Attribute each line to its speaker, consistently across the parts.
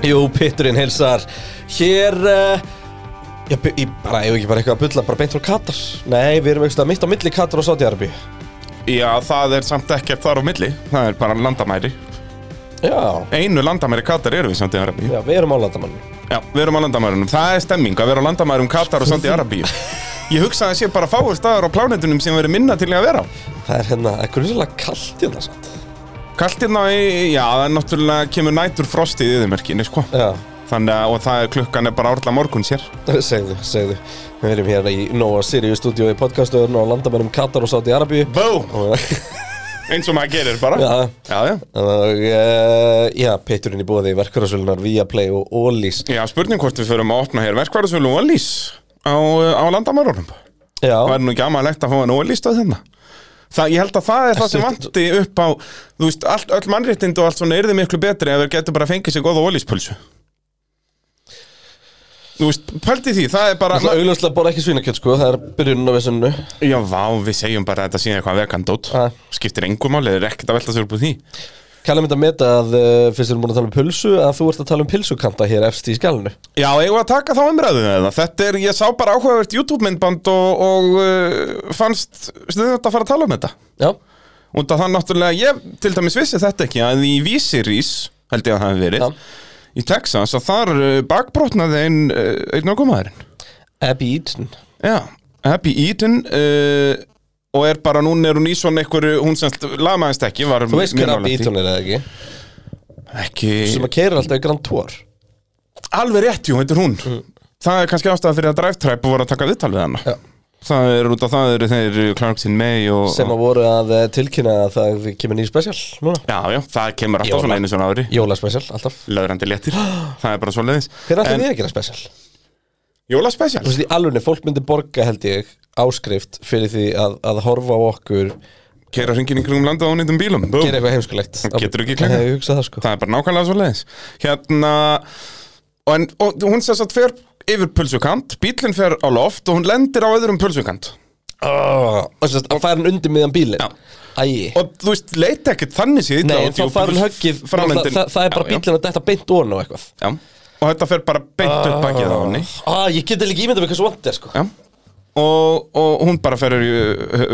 Speaker 1: Jú, Pitturinn hilsar Hér uh, Já, bu- í, bara, ef ekki bara eitthvað að bulla Bara beint frá Katar Nei, við erum eitthvað mitt á milli Katar og Sátiarbi
Speaker 2: Já, það er samt ekkert þar á milli Það er bara landamæri
Speaker 1: Já
Speaker 2: Einu landamæri Katar eru við samt í Arabíu
Speaker 1: Já, við erum á landamann
Speaker 2: Já, við erum á landamærunum. Það er stemming að vera á landamærum Katar og Sandi Arabíu. Ég hugsa að það sé bara fáir staðar á plánetunum sem verið minna til í að vera á.
Speaker 1: Það er hérna, ekkur er svolítið kalt hérna samt
Speaker 2: Kalt hérna í, já, það er náttúrulega kemur nætur frostið í yðurmerkinni, sko.
Speaker 1: Já,
Speaker 2: Þannig að, og það er klukkan er bara árla morgun sér.
Speaker 1: segðu, segðu Við erum hérna í Nóa Sirius stúdíu í podcastöðurinn á landamannum Katar og Sátiarbi
Speaker 2: Bó!
Speaker 1: Og
Speaker 2: Eins og maður gerir bara.
Speaker 1: Já.
Speaker 2: Já, já.
Speaker 1: Og uh, já, Pitturinn í bóði verkvarðarsölunar Viaplay og Ólís
Speaker 2: Já, spurning hvort við förum að opna hér verkvarðasölu og lís á, á landamærunum.
Speaker 1: Já,
Speaker 2: Það er nú ekki amalegt að fá hann ólýstað hérna Það, ég held að það er það sem vanti upp á Þú veist, all, öll mannréttindi og allt svona yrði miklu betri ef þeir getur bara fengið sér góða ólýspulsu Þú veist, pældi því, það er bara
Speaker 1: Það er augljóslega bara ekki svínakjöt sko, það er byrjunin á vissunnu
Speaker 2: Já, vá, við segjum bara að þetta síðan eitthvað vegandót
Speaker 1: Ha.
Speaker 2: Skiptir engum máli, þeir er ekkert að velta sér upp úr því
Speaker 1: Kallum þetta að meta að uh, fyrst við erum búin að tala um pulsu að þú ert að tala um pilsukanta hér efst í skjálnu
Speaker 2: Já, eigum við að taka þá umræðu með það Þetta er, ég sá bara áhugavert YouTube-myndband og, og uh, fannst sniðugt að fara að tala um þetta
Speaker 1: Já,
Speaker 2: Út af það náttúrulega, ég til dæmis vissi þetta ekki að í Vísirís, held ég að það hefði verið, í Texas, að þar uh, bakbrotnaði einn uh, ein okkumæðurinn.
Speaker 1: Abby Eaton
Speaker 2: Já, Happy Eden uh, og er bara, núna er hún í svona einhverju, hún sem lamaðist ekki, var
Speaker 1: Þú veist hver
Speaker 2: mjög
Speaker 1: Abby
Speaker 2: nálægt í.
Speaker 1: Eaton er eða ekki sem
Speaker 2: Ekki,
Speaker 1: að keira alltaf í Grand Tour
Speaker 2: alveg rétt, jú, þetta er hún. Það er kannski ástæða fyrir að Drive Tribe voru að taka viðtal við hana.
Speaker 1: Mm. Já.
Speaker 2: Það er út af það eru þeir Clarkson May og...
Speaker 1: sem að voru að uh, tilkynna að það kemur nýr spesial núna
Speaker 2: Já, já, það kemur alltaf
Speaker 1: Jóla.
Speaker 2: svona einu svona ári.
Speaker 1: Jólaspesial alltaf
Speaker 2: Löðrandi léttir, það er bara svo leiðis.
Speaker 1: Hver ætti við að gera spesial?
Speaker 2: Jólaspecial?
Speaker 1: Þú veist í alveg, fólk myndi borga held ég áskrift fyrir því að, að horfa á okkur
Speaker 2: Keira hringin í kringum landa á nýttum bílum Bú.
Speaker 1: gera eitthvað heimskulegt
Speaker 2: Getur ekki klikkað.
Speaker 1: Ég hugsa það sko
Speaker 2: Það er bara nákvæmlega svo leiðis Hérna Og, en, og hún sess að fer yfir pulsukant Bílinn fer á loft og hún lendir á öðrum pulsukant
Speaker 1: oh, Og þess að fær hann undir miðan bílinn Æi
Speaker 2: Og þú veist, leita ekkert þannig séð
Speaker 1: Nei, en þá fara hann höggið
Speaker 2: framlendin
Speaker 1: það, það, það er bara bílinn að detta beint ón og eitthvað
Speaker 2: já, já. Og þetta fer bara beint upp bakið á henni
Speaker 1: ah, Ég get ekki ímyndað með hversu vant er sko
Speaker 2: Já Og, og hún bara fer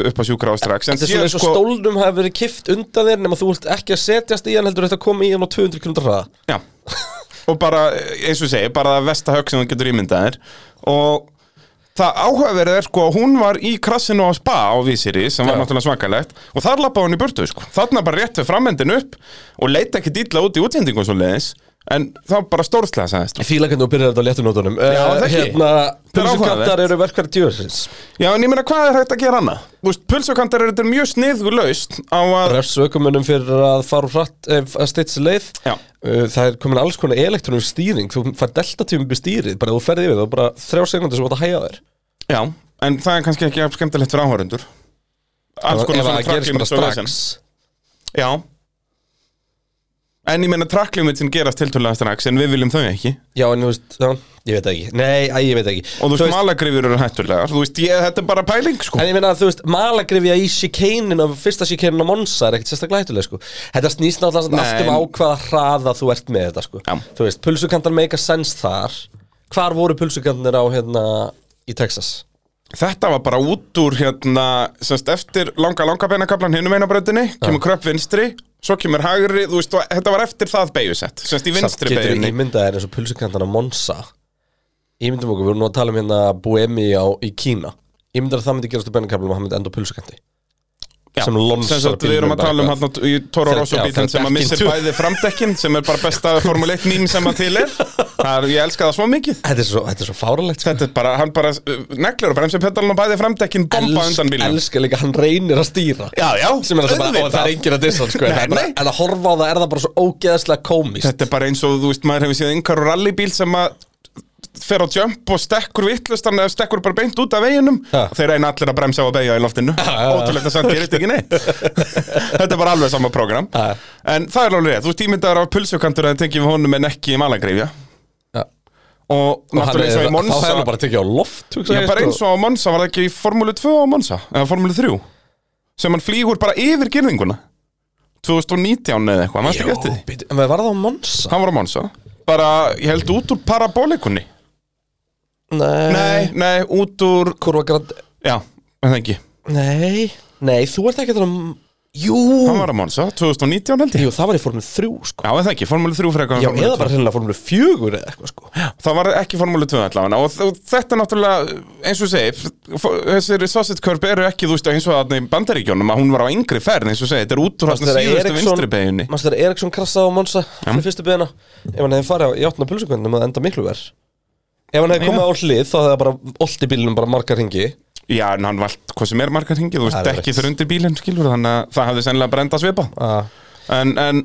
Speaker 2: upp á sjúkra á strax En sko-
Speaker 1: Þetta er svona
Speaker 2: síðan,
Speaker 1: eins og stólnum hafi verið kift undan þér nema þú vilt ekki að setjast í hann heldur þetta að koma í hann á 200 km hraða
Speaker 2: Já, og bara, eins og ég segi, bara það vesta högg sem þú getur ímyndað þér Og það áhugaverið er sko að hún var í krassinu á spa á Vísiri sem
Speaker 1: Já.
Speaker 2: var náttúrulega svakalegt Og þar lappaði hún í burtu sko, þarna bara rétt við framendin upp og leita ekki dýtla út í útsendingum svo leiðis En þá bara stórslega sagðist
Speaker 1: Ég fíla hvernig þú byrjar þetta á léttunótunum Já,
Speaker 2: það ekki.
Speaker 1: Hérna,
Speaker 2: Það er áhugavert.
Speaker 1: pulsukantar eru verkværi djöðsins
Speaker 2: Já, en ég meina, hvað er hægt að gera annað? Þú veist, pulsukantar eru þetta mjög sniðgulaust á að
Speaker 1: Refs ökumunum fyrir að fara úr hratt eh, að steytsi leið
Speaker 2: Já.
Speaker 1: Uh, Það er komin alls konar elektronum stýring Þú fær deltatímum við stýrið bara þú ferði yfir það og bara þrjá segundir sem þú átt að hæja þér
Speaker 2: Já, en það er kannski ekki jafn skemmtilegt fyrir áhörundur Alls
Speaker 1: Ef-
Speaker 2: konar
Speaker 1: ef
Speaker 2: svona
Speaker 1: það gerist
Speaker 2: track
Speaker 1: bara
Speaker 2: limits og vesen.
Speaker 1: strax
Speaker 2: Já En ég meina tracklimutsin gerast tiltölulega strax En við viljum þau ekki
Speaker 1: Já, en þú veist, já, ég veit það ekki Nei, æ, ég veit það ekki
Speaker 2: Og þú veist, malagrifur eru hættulegar Þú veist, ég, þetta er bara pæling sko
Speaker 1: En ég meina að þú veist, malagrifja í sjíkeinin af fyrsta sjíkeinin á Monsa er ekkert sérstaklega hættuleg sko. Þetta snýst náttúrulega samt
Speaker 2: Nei.
Speaker 1: allt um á hvaða hraða þú ert með þetta sko.
Speaker 2: Já.
Speaker 1: Þú veist, pulsukantar make a sense þar Hvar voru pulsukantarnir á hérna í Texas?
Speaker 2: Þetta var bara út úr hérna semst, Eftir langa langa beinakablan hinum einabröndinni Kemur kröpp vinstri Svo kemur hægri, þú veist, og þetta var eftir það beigusett Semst í
Speaker 1: Samt
Speaker 2: vinstri
Speaker 1: getur
Speaker 2: beigunni
Speaker 1: ímyndað þér eins og pulsukantarna á Monsa Ímyndum okkur, við vorum nú að tala um hérna Boemi á, í Kína Ímyndar að það myndi gerast á bennakablum og það myndi enda á pulsukanti sem lonsar
Speaker 2: Við erum
Speaker 1: bílnum
Speaker 2: að tala um
Speaker 1: bara
Speaker 2: hann í Toro
Speaker 1: Þegar-
Speaker 2: Rosso
Speaker 1: já,
Speaker 2: bílinn
Speaker 1: þegar
Speaker 2: sem að
Speaker 1: dekkin
Speaker 2: missir
Speaker 1: tjú-
Speaker 2: bæði framdekkin sem er bara besta Formule 1 mím sem að til er Það er, ég elska það svo mikið
Speaker 1: Þetta er svo, þetta er svo fáralegt sko.
Speaker 2: Þetta er bara, hann bara uh, neglir og bremsir pedalinn og bæði framdekkin bomba
Speaker 1: Elsk-
Speaker 2: undan bílnum
Speaker 1: Elskar líka, hann reynir að stýra
Speaker 2: Já, já,
Speaker 1: sem er það bara, og
Speaker 2: auðvitað.
Speaker 1: það er enginn að dissa hann, sko, en
Speaker 2: Nei,
Speaker 1: það er bara,
Speaker 2: nei.
Speaker 1: en að horfa á það er það bara svo ógeðslega komist
Speaker 2: Þetta er bara eins og, þú veist, maður hefur séð einhver rallybíl sem að fer á jump og stekkur vittlustan eða stekkur bara beint út af veginum
Speaker 1: Ja.
Speaker 2: þeir reyna allir að bremsa og beigja í loftinu
Speaker 1: ja, ja.
Speaker 2: ótrúlegt að samt gerist ekki neitt þetta er bara alveg sama program
Speaker 1: Ja.
Speaker 2: en það er alveg rétt, þú veist, ímyndaður af pulsukantur að tengja við honum en ekki í malagrifja
Speaker 1: Ja.
Speaker 2: og
Speaker 1: og hann
Speaker 2: náttúrulega eins og í
Speaker 1: er, þá hefur
Speaker 2: Monsa
Speaker 1: hann bara tekið á loft sko.
Speaker 2: Já, bara eins og á Monsa var það ekki í Formúlu 2 á Monsa eða Formúlu 3 sem hann flýgur bara yfir gerðinguna 2019 eða eitthvað, maður ekki eftir því
Speaker 1: en það var það á Monsa
Speaker 2: Hann var á Monsa bara, ég held út úr parabolikunni
Speaker 1: Nei
Speaker 2: Nei, nei, út úr
Speaker 1: Kurva grand
Speaker 2: Já, en það ekki
Speaker 1: Nei Nei, þú ert ekki að tala um Jú
Speaker 2: Hann var að Monza, 2019 held ég
Speaker 1: Jú, það var í formule 3 sko
Speaker 2: Já, en það ekki, formúli 3 frekar en
Speaker 1: Já,
Speaker 2: Formúlu
Speaker 1: eða
Speaker 2: 2.
Speaker 1: bara hreinlega formule 4 eða eitthvað sko Já
Speaker 2: Það var ekki formúli 2 allavega og, og þetta náttúrulega, eins og ég segi f- Þessir sausage curb eru ekki, þú veist, eins og þarna í bandaríkjónum að hún var á yngri ferð, eins og ég segi, þetta er út úr hans síðustu vinstri beginni
Speaker 1: Mastu þegar Eriksson krassaði á Monsa fyrir fyrstu beginna Ef hann hefði farið á- í áttuna pulsukvöndum að enda miklu verð Ef hann hefði
Speaker 2: Já.
Speaker 1: komið á hlið þá hefði það bara olti bílunum bara margar ringi
Speaker 2: Já, en hann vald hvað sem er margar hringið, þú
Speaker 1: Það
Speaker 2: veist,
Speaker 1: er
Speaker 2: ekki
Speaker 1: rétt.
Speaker 2: fyrir undir bílinn, skilur Þannig að það hafði sennilega bara enda svipað
Speaker 1: ah.
Speaker 2: en, en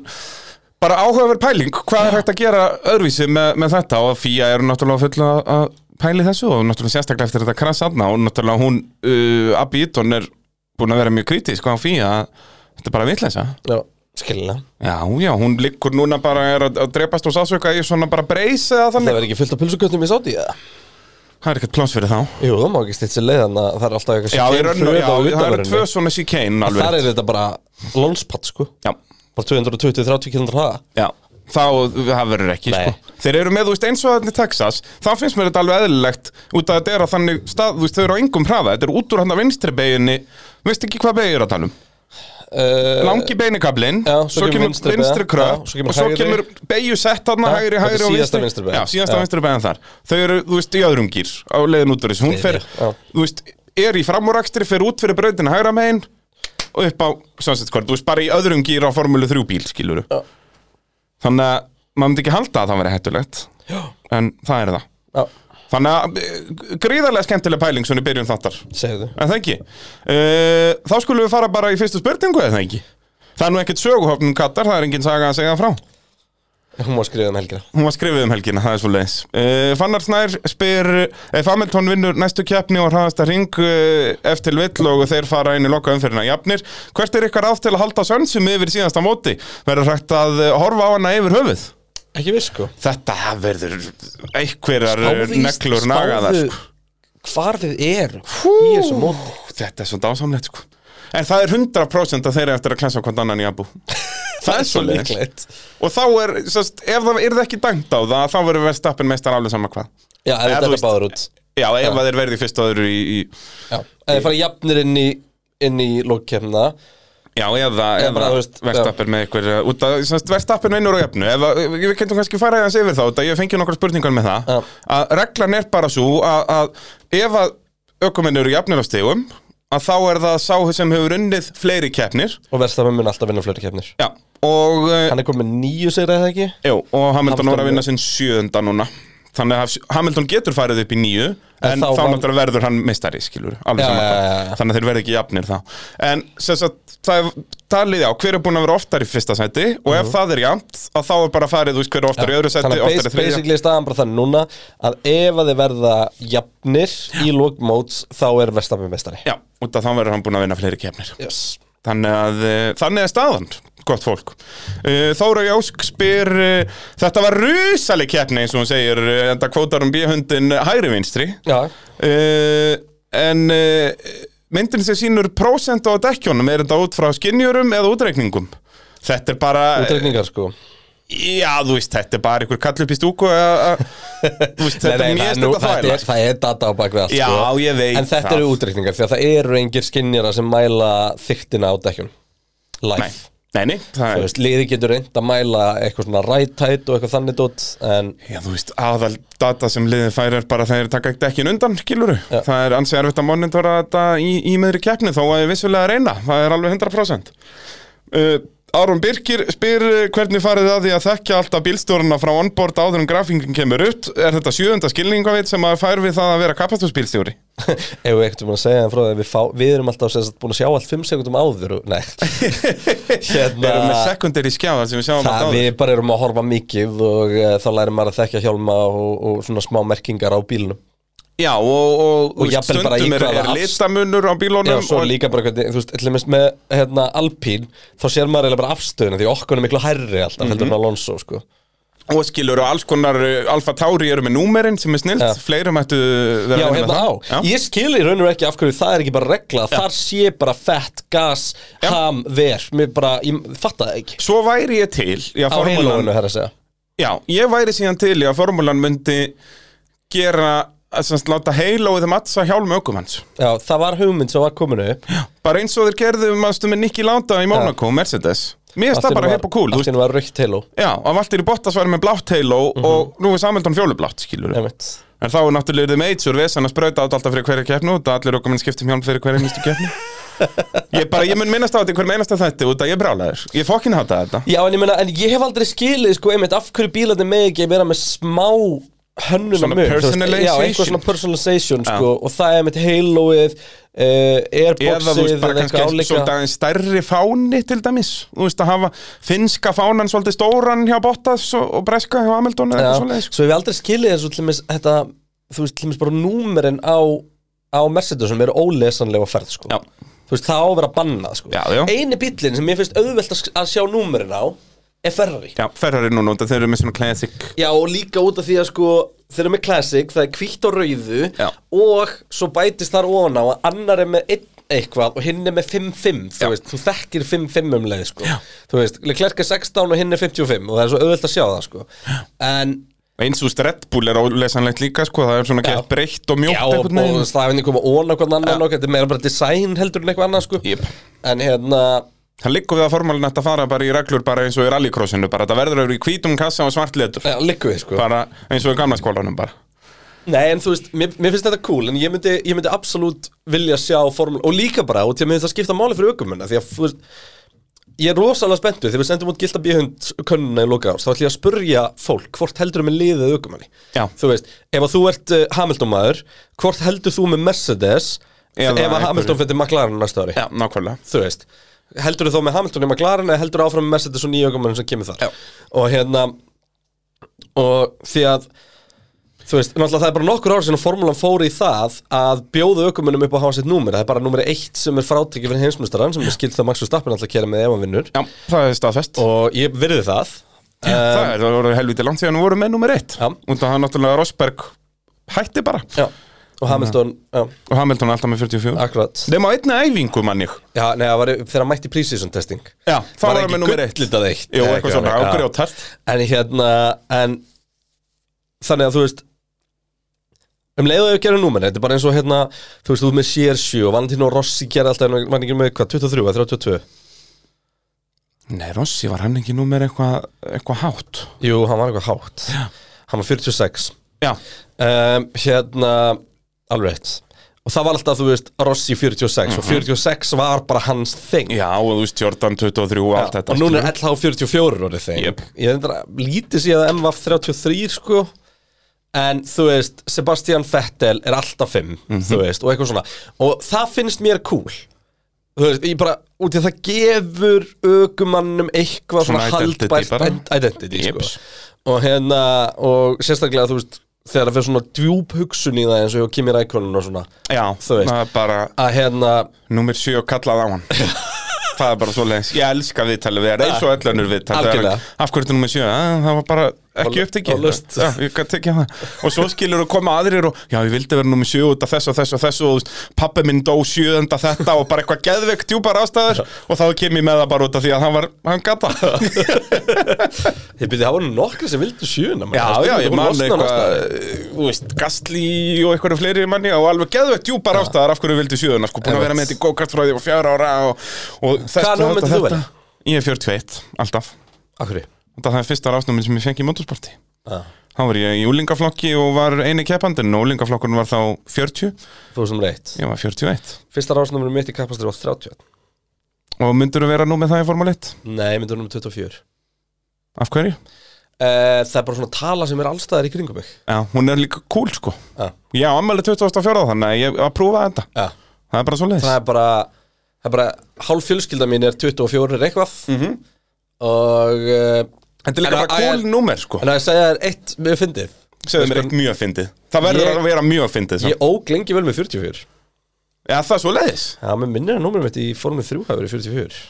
Speaker 2: bara áhugaverð pæling hvað er hægt að gera öðruvísi með, með þetta og FIA eru náttúrulega fulla að pæli þessu og náttúrulega sérstaklega eftir þetta krass aðna og náttúrulega hún uh, Abbi Ítón er búin að vera mjög kritisk á FIA að þetta er bara vitleisa
Speaker 1: Já, skilina
Speaker 2: já, já, hún liggur núna bara er að, að drepast og sásöka í svona bara breys eða
Speaker 1: Það
Speaker 2: þannig
Speaker 1: verður ekki fullt af pulsukvöndum í sáti eða?
Speaker 2: það er ekkert pláns fyrir þá
Speaker 1: Jú, það má ekki stýtt sér leiðan að það er alltaf eitthvað
Speaker 2: já,
Speaker 1: chicane fyrir
Speaker 2: er, já,
Speaker 1: utan og
Speaker 2: það
Speaker 1: utan
Speaker 2: eru
Speaker 1: vörunni.
Speaker 2: tvö svona síkæn
Speaker 1: En Þar
Speaker 2: alveg
Speaker 1: er þetta bara lónspatt sko
Speaker 2: já,
Speaker 1: Bara 220-30 km hraða
Speaker 2: Já, þá það verður ekki
Speaker 1: Nei.
Speaker 2: sko. Þeir eru með, þú veist, eins og þannig Texas þá finnst mér þetta alveg eðlilegt út að þetta er að þannig stað, þú veist, þau eru á engum hraða þetta er út úr hann að vinstri beginni veist ekki hvað begið er að tala um
Speaker 1: uh,
Speaker 2: langi beinikablin,
Speaker 1: já, svo kemur vinstri
Speaker 2: vinstri
Speaker 1: beygja,
Speaker 2: kröpp
Speaker 1: já, svo kemur
Speaker 2: og svo
Speaker 1: hægri.
Speaker 2: kemur beigju sett hann
Speaker 1: Já, þetta
Speaker 2: hægri,
Speaker 1: er
Speaker 2: hægri og
Speaker 1: síðasta vinstri beygjan.
Speaker 2: já, síðasta
Speaker 1: Já.
Speaker 2: vinstri beigjan þar þau eru, þú veist, í öðrum gýr á leiðin út úr þessu, hún fer,
Speaker 1: Þriðja, já.
Speaker 2: þú veist er í framúrakstri, fer út fyrir brautina hægra megin og upp á, sannsett hvort, þú veist, bara í öðrum gýr á formúlu 3 bíl, skiluru
Speaker 1: Já.
Speaker 2: þannig að maður myndi ekki halda að það veri hættulegt
Speaker 1: Já,
Speaker 2: en það er það
Speaker 1: já,
Speaker 2: þannig að eh, gríðarlega skemmtileg pæling svona í byrjun þáttar
Speaker 1: segðu
Speaker 2: en það ekki uh, þá skulum við fara bara í fyrstu spurningu eða það ekki það er nú ekkert söguhopnum kattar það er engin saga að segja frá
Speaker 1: Hún má skrifa um helgina
Speaker 2: hún var skrifið um helgina, það er svo leiðis uh, Fannar Snær spyr ef Hamilton vinnur næstu keppni og hraðast að ring uh, eftir vill og þeir fara inn í loka umfyrirna jafnir hvert er ykkar ráð til að halda sönsum yfir síðasta móti verður hægt að eh, horfa á hana yfir höfuð
Speaker 1: Ekki viss sko
Speaker 2: Þetta verður einhverjar
Speaker 1: Spáðu í-
Speaker 2: neklur nagaðar
Speaker 1: spáðu
Speaker 2: sko.
Speaker 1: hvar við erum í þessu móti
Speaker 2: Þetta er svo dásamlegt sko. En það er 100% að þeir eru eftir að klensa hvort annan í abu Það er svo leik
Speaker 1: líklegt
Speaker 2: Og þá er, sást, ef það er það ekki dæmt á það Þá verður verðstappin meistar alveg sama hvað
Speaker 1: Já, ef
Speaker 2: Eða,
Speaker 1: þetta
Speaker 2: þú
Speaker 1: er
Speaker 2: veist-
Speaker 1: báður út
Speaker 2: Já, ef að þeir verði fyrst og öðru í, í
Speaker 1: Já, ef þið fara jafnir inn í inn í lókkemna
Speaker 2: Já, eða,
Speaker 1: bara,
Speaker 2: eða
Speaker 1: þú veist,
Speaker 2: verðstappin með einhver uh, Út að, sást, verðstappin vinnur á jafnu Ef að, við kentum kannski færa aðeins yfir þá Þetta ég fengi nokkar spurningar með það
Speaker 1: Já.
Speaker 2: Að reglan er bara svo að, að Ef að ökumenn eru jafnir á stegum Að þá er það sá sem hefur unnið fleiri keppnir
Speaker 1: og verðstafan mun alltaf vinna fleiri keppnir
Speaker 2: Já, og eh,
Speaker 1: Hann er komið með nýju sigra eða ekki
Speaker 2: Jú, og Hamilton
Speaker 1: Hamilton
Speaker 2: voru að vinna sinn sjöunda núna Þannig að haf- Hamilton getur farið upp í nýju En,
Speaker 1: þá
Speaker 2: þá,
Speaker 1: vann-
Speaker 2: náttúrulega verður hann mistari, skilur Alveg
Speaker 1: Já,
Speaker 2: saman
Speaker 1: já,
Speaker 2: hvað.
Speaker 1: já, já.
Speaker 2: Þannig að þeir verði ekki jafnir þá En sem sagt, það er talið á Hver er búin að vera oftar í fyrsta sæti Og ef það er jafnt, að þá er bara farið Þú veist hver er oftar í öðru sæti,
Speaker 1: Mhm. Þannig að
Speaker 2: oftar
Speaker 1: bas-
Speaker 2: í þriðja
Speaker 1: basically er staðan bara þannig núna að ef að þið verða jafnir í lókmóts þá er verðstafan mestari
Speaker 2: Já, út af þá verður hann búin að vinna fleiri kefnir
Speaker 1: Yes
Speaker 2: Þannig að, eh, þannig er staðan, gott fólk Eh, Þóra Jósk spyr eh, Þetta var rusaleg keppni eins og hún segir eh, Þetta kvótar um bíhundin hægri vinstri
Speaker 1: Já,
Speaker 2: uh, En uh, myndin sem sýnur prósent á dekkjónum Er þetta út frá skinjurum eða útreikningum? Þetta er bara,
Speaker 1: útreikningar sko
Speaker 2: já þú veist, þetta er bara einhver kall upp í stúku að- að- Þú veist, þetta er
Speaker 1: Nei, nei,
Speaker 2: mjög
Speaker 1: það er nú-
Speaker 2: stönd að
Speaker 1: það
Speaker 2: þvæla
Speaker 1: er- Það er data á bakvið allt
Speaker 2: Já,
Speaker 1: sko.
Speaker 2: ég veit
Speaker 1: En þetta
Speaker 2: það.
Speaker 1: eru útreikningar því að það eru engir skinnjara sem mæla þyktina á dekkjum Live
Speaker 2: Nei, nei, nei það
Speaker 1: Þú
Speaker 2: er
Speaker 1: veist, liði getur reynd að mæla eitthvað svona rættætt og eitthvað þannig dót en
Speaker 2: Já, þú veist, aðal data sem liðið fær er bara þegar þeir taka ekki dekkin undan, skiluru Það er ansið erfitt að monitora þetta í, í meðri keppni þó að ég vissulega að reyna, það er alveg 100% uh, Árum Birkir spyr uh, hvernig farið að því að þekkja alltaf bílstjórna frá onboard áður en grafingin kemur upp Er þetta sjöðunda skilningavit sem að fær við það að vera kapastusbílstjóri?
Speaker 1: ef við ekkert búin að segja en frá því að við, fá, við erum alltaf sem sagt búin að sjá allt 5 sekundum áður og- Nei,
Speaker 2: Við erum með
Speaker 1: hérna
Speaker 2: sekundir í skjáðar sem við sjáum
Speaker 1: Það
Speaker 2: alltaf
Speaker 1: við
Speaker 2: áður
Speaker 1: bara erum að horfa mikið og uh, þá lærir maður að þekkja hjálma og, og svona smá merkingar á bílunum
Speaker 2: Já, og, og, og, og
Speaker 1: jafnvel bara í
Speaker 2: stundum er,
Speaker 1: hvaða
Speaker 2: er
Speaker 1: afs-
Speaker 2: litamunur á
Speaker 1: Já,
Speaker 2: bílónum
Speaker 1: svo
Speaker 2: og
Speaker 1: líka bara hvernig, þú veist, til dæmis með hérna, Alpín, þá sér maður eiginlega bara afstöðuna því okkur er miklu hærri alltaf, heldur
Speaker 2: Mhm.
Speaker 1: en Alonso, sko
Speaker 2: og skilur og alls konar uh, Alfa Tauri eru með númerinn sem er snilt
Speaker 1: Já.
Speaker 2: fleiri mættu vera
Speaker 1: Já,
Speaker 2: að vinna
Speaker 1: hérna á,
Speaker 2: það. Já.
Speaker 1: ég skil í raunur ekki af hverju það er ekki bara regla, þar sé bara fett, gas,
Speaker 2: Já.
Speaker 1: ham, ver, mér bara, ég fatta það ekki
Speaker 2: Svo væri ég til í að
Speaker 1: Á
Speaker 2: formúlan-
Speaker 1: heilóinu, herra að segja
Speaker 2: Já, já, ég væri síðan til í að formúlan myndi gera, að semst láta heilóið mattsa hjálmi ökum hans
Speaker 1: Já, það var hugmynd sem var kominu upp
Speaker 2: bara eins og þeir gerðu, maðurstu með Nicky Lauda í Monaco, Mercedes mér finnst það bara hefur cool, þú veist
Speaker 1: Allt henni var raukt heil og
Speaker 2: Já, að Valtteri Bottas var með blátt heiló
Speaker 1: Mhm.
Speaker 2: og nú er Samhildon fjólublátt, skilur
Speaker 1: Einmitt.
Speaker 2: En þá er náttúrulega yrði major vesen að sprauta át alltaf fyrir hverja keppnu út að allir okkur minn skiptum um hjálm fyrir hverja minnstu keppnu Ég bara, ég mun minnast á þetta í hverjum einasta þætti út að ég er brálaður Ég fokkin hata þetta
Speaker 1: Já, en ég meina, en ég hef aldrei skilið, sko, einmitt, af hverju bílarnir með ekki vera með smá hönnum
Speaker 2: Svona personalization.
Speaker 1: Já, einhver svona personalization, sko, og það er einmitt Haloið, uh, Airboxið
Speaker 2: Eða þú veist bara kannski svolítið aðeins stærri fáni til dæmis Þú veist að hafa finnska fánan svolítið stóran hjá Bottas og, og breska hjá Hamilton eða
Speaker 1: Já,
Speaker 2: eitthvað svoleiðis, sko.
Speaker 1: svo hef ég aldrei skilið þessu til þess þetta, þú veist, til þess bara númerin á, á Mercedes sem eru ólesanlega á ferð, sko
Speaker 2: Já.
Speaker 1: Þú veist, það á að vera bannað, sko
Speaker 2: Já, já.
Speaker 1: Eini bíllinn sem mér finnst auðvelt að, að sjá númerin á er Ferrari
Speaker 2: Já, Ferrari núna, út að þeir eru með svona classic
Speaker 1: Já, og líka út af því að sko þeir eru með classic, það er hvítt og rauðu
Speaker 2: Já.
Speaker 1: og svo bætist þar ofan á að annar er með einn eitthvað og hinn er með 5-5, þú
Speaker 2: Já.
Speaker 1: veist, þú þekkir 5-5 um leið, sko, þú veist, Leclerc er 16 og hinn er 55 og það er svo auðvelt að sjá það, sko, en,
Speaker 2: Eins og þú veist, Red Bull er ólesanlegt líka, sko, það er svona gett breytt og mjótt
Speaker 1: já, og
Speaker 2: einhvern veginn.
Speaker 1: það er einhver ofan á hvern annan og þetta er meira bara design heldur en eitthvað annað, sko,
Speaker 2: Jep.
Speaker 1: en hérna,
Speaker 2: Það liggur við að formálinn ætti að fara bara í reglur bara eins og í rallycrossinu bara það verður að vera í hvítum kassa og svart letur
Speaker 1: já, liggum við, sko.
Speaker 2: bara eins og í gamla skólanum bara
Speaker 1: Nei, en þú veist, mér, mér finnst þetta cool En ég myndi, ég myndi absolutt vilja sjá formule Og líka bara, og til að mér finnst það skipta máli fyrir ökumunna Því að, þú veist Ég er rosalega spenntu þegar við sendum út gilda bíhund könnuna í loka árs, þá ætlum ég að spurja fólk hvort heldur með liðið aukumanni
Speaker 2: Já.
Speaker 1: Þú veist, ef að þú ert uh, Hamilton maður hvort heldur þú með Mercedes ef
Speaker 2: Eða
Speaker 1: að
Speaker 2: einhverju.
Speaker 1: Hamilton fyrir McLaren næsta ári
Speaker 2: Já, nákvæmlega
Speaker 1: þú veist heldur þú þá með Hamilton í McLaren eða heldur þú áfram með Mercedes og nýja ökumannum sem kemur þar
Speaker 2: Já.
Speaker 1: og hérna og því að þú veist, náttúrulega það er bara nokkur ára sinna formúlan fór í það að bjóða ökumannum upp á að hafa sitt númer, það er bara númeri eitt sem er frátekið fyrir heimsmyndstarann sem er skilt það Max Verstappen alltaf að kera með ef hann vinnur
Speaker 2: Já, það er staðfest
Speaker 1: og ég virði það
Speaker 2: Það er, það voru helviti langt síðan við vorum með nummer eitt
Speaker 1: Já.
Speaker 2: og það er náttúrulega Rosberg hætti bara
Speaker 1: já. og Hamilton, já,
Speaker 2: og Hamilton er alltaf með 44
Speaker 1: akkurat
Speaker 2: Nefn á einna æfingu manni
Speaker 1: já, nei, það var þegar hann mætti pre-season testing
Speaker 2: Já, það var hann með nummer eitt
Speaker 1: gulllitað eitt
Speaker 2: Jú,
Speaker 1: Nei,
Speaker 2: eitthvað
Speaker 1: ekki,
Speaker 2: svona
Speaker 1: já.
Speaker 2: ágrjótart
Speaker 1: En hérna, en Þannig að þú veist Um leiðu að gera númenni, þetta er bara eins og hérna Þú veist, þú ert með CR7 og Valentino Rossi gera alltaf En var ekki með hvað, 23 eða 32
Speaker 2: Nei, Rossi var hann ekki nummer eitthvað eitthva hátt
Speaker 1: Jú, hann var eitthvað hátt Já. Hann var 46
Speaker 2: Já,
Speaker 1: um, Hérna, alveg rétt Og það var alltaf, þú veist, Rossi 46 Og 46 var bara hans þing
Speaker 2: Já og þú veist, Jordan 23 og allt þetta
Speaker 1: Og núna
Speaker 2: skilur.
Speaker 1: er LH 44 orðið þing
Speaker 2: Jep.
Speaker 1: Ég endur að lítið síðan að MVF 33 sko En þú veist, Sebastian Vettel er alltaf 5
Speaker 2: Mhm.
Speaker 1: Þú veist, og eitthvað svona Og það finnst mér cool Þú veist, ég bara, út í að það gefur Ökumannum eitthvað svona,
Speaker 2: Svona identity
Speaker 1: haldbært
Speaker 2: bara.
Speaker 1: ident- Identity
Speaker 2: Jeps.
Speaker 1: sko Og hérna, og sérstaklega þú veist Þegar það fyrir svona djúb hugsun í það eins og ég og Kimi Rækonin og svona
Speaker 2: Já,
Speaker 1: þú veist.
Speaker 2: það er bara
Speaker 1: Að hérna,
Speaker 2: Númer 7 kallað á hann Það er bara svo leiðis Ég elska viðtalið við erum eins og ellanur viðtalið
Speaker 1: Algjörlega.
Speaker 2: Af hverju er þetta númer 7? Það var bara ekki
Speaker 1: Var- var
Speaker 2: upptekið
Speaker 1: laust.
Speaker 2: Já, ég gat tekið það Og svo skilur þú koma aðrir og Já, ég vildi vera númer 7 út af þess og þess og þess og þú veist, Pappi minn dó 7 enda þetta og bara eitthvað geðveikt djúpar ástæður Og þá kem ég með það bara út af því að hann var Hann gata
Speaker 1: þið byrðið hafa nokkra sem vildu sjöuna
Speaker 2: Já, já, ég man eitthvað eh, Þú veist, Gastli og eitthvað fleiri manni og alveg geðveikt djúpar ástæðar af hverju vildi sjöðuna sko, búin að
Speaker 1: Einmitt.
Speaker 2: vera með þetta í go-kart frá því og fjara ára og, og þess
Speaker 1: Hvaða númer
Speaker 2: þetta-
Speaker 1: myndir þú
Speaker 2: þetta.
Speaker 1: velja?
Speaker 2: Ég er 41, alltaf
Speaker 1: Akkurri
Speaker 2: og það er fyrsta rásnuminn sem ég fengi í motorsporti
Speaker 1: ah.
Speaker 2: Þá var ég í úlingaflokki og var eini keppandinn og úlingaflokkurinn var þá 40
Speaker 1: Þú sem rétt
Speaker 2: ég var 41
Speaker 1: Fyrsta rásnumrið mitt í kappastur var 31
Speaker 2: og myndur þú vera nú með það í Formule 1?
Speaker 1: Nei, myndur nummer 24
Speaker 2: Af hverju?
Speaker 1: uh, Það er bara svona tala sem er allstaðar í kringum mig
Speaker 2: Já, hún er líka cool sko
Speaker 1: Já.
Speaker 2: Já, ammæli 24. þannig að ég að prófa þetta
Speaker 1: Já.
Speaker 2: Það er bara svo leiðis
Speaker 1: Það er bara Það er bara Hálf fjölskylda mín er 24 er eitthvað -hmm. Og uh,
Speaker 2: Þetta er líka
Speaker 1: En að-
Speaker 2: bara cool
Speaker 1: að-
Speaker 2: númer sko
Speaker 1: En að ég segja þér eitt með fyndið
Speaker 2: Segðu mér eitt mjög fyndið Það verður
Speaker 1: Ég-
Speaker 2: að vera mjög fyndið
Speaker 1: Ég óg lengi vel með 44
Speaker 2: Já, það er svo leiðis
Speaker 1: Já, með minnir að númrið mitt í formið 3 hafi verið 44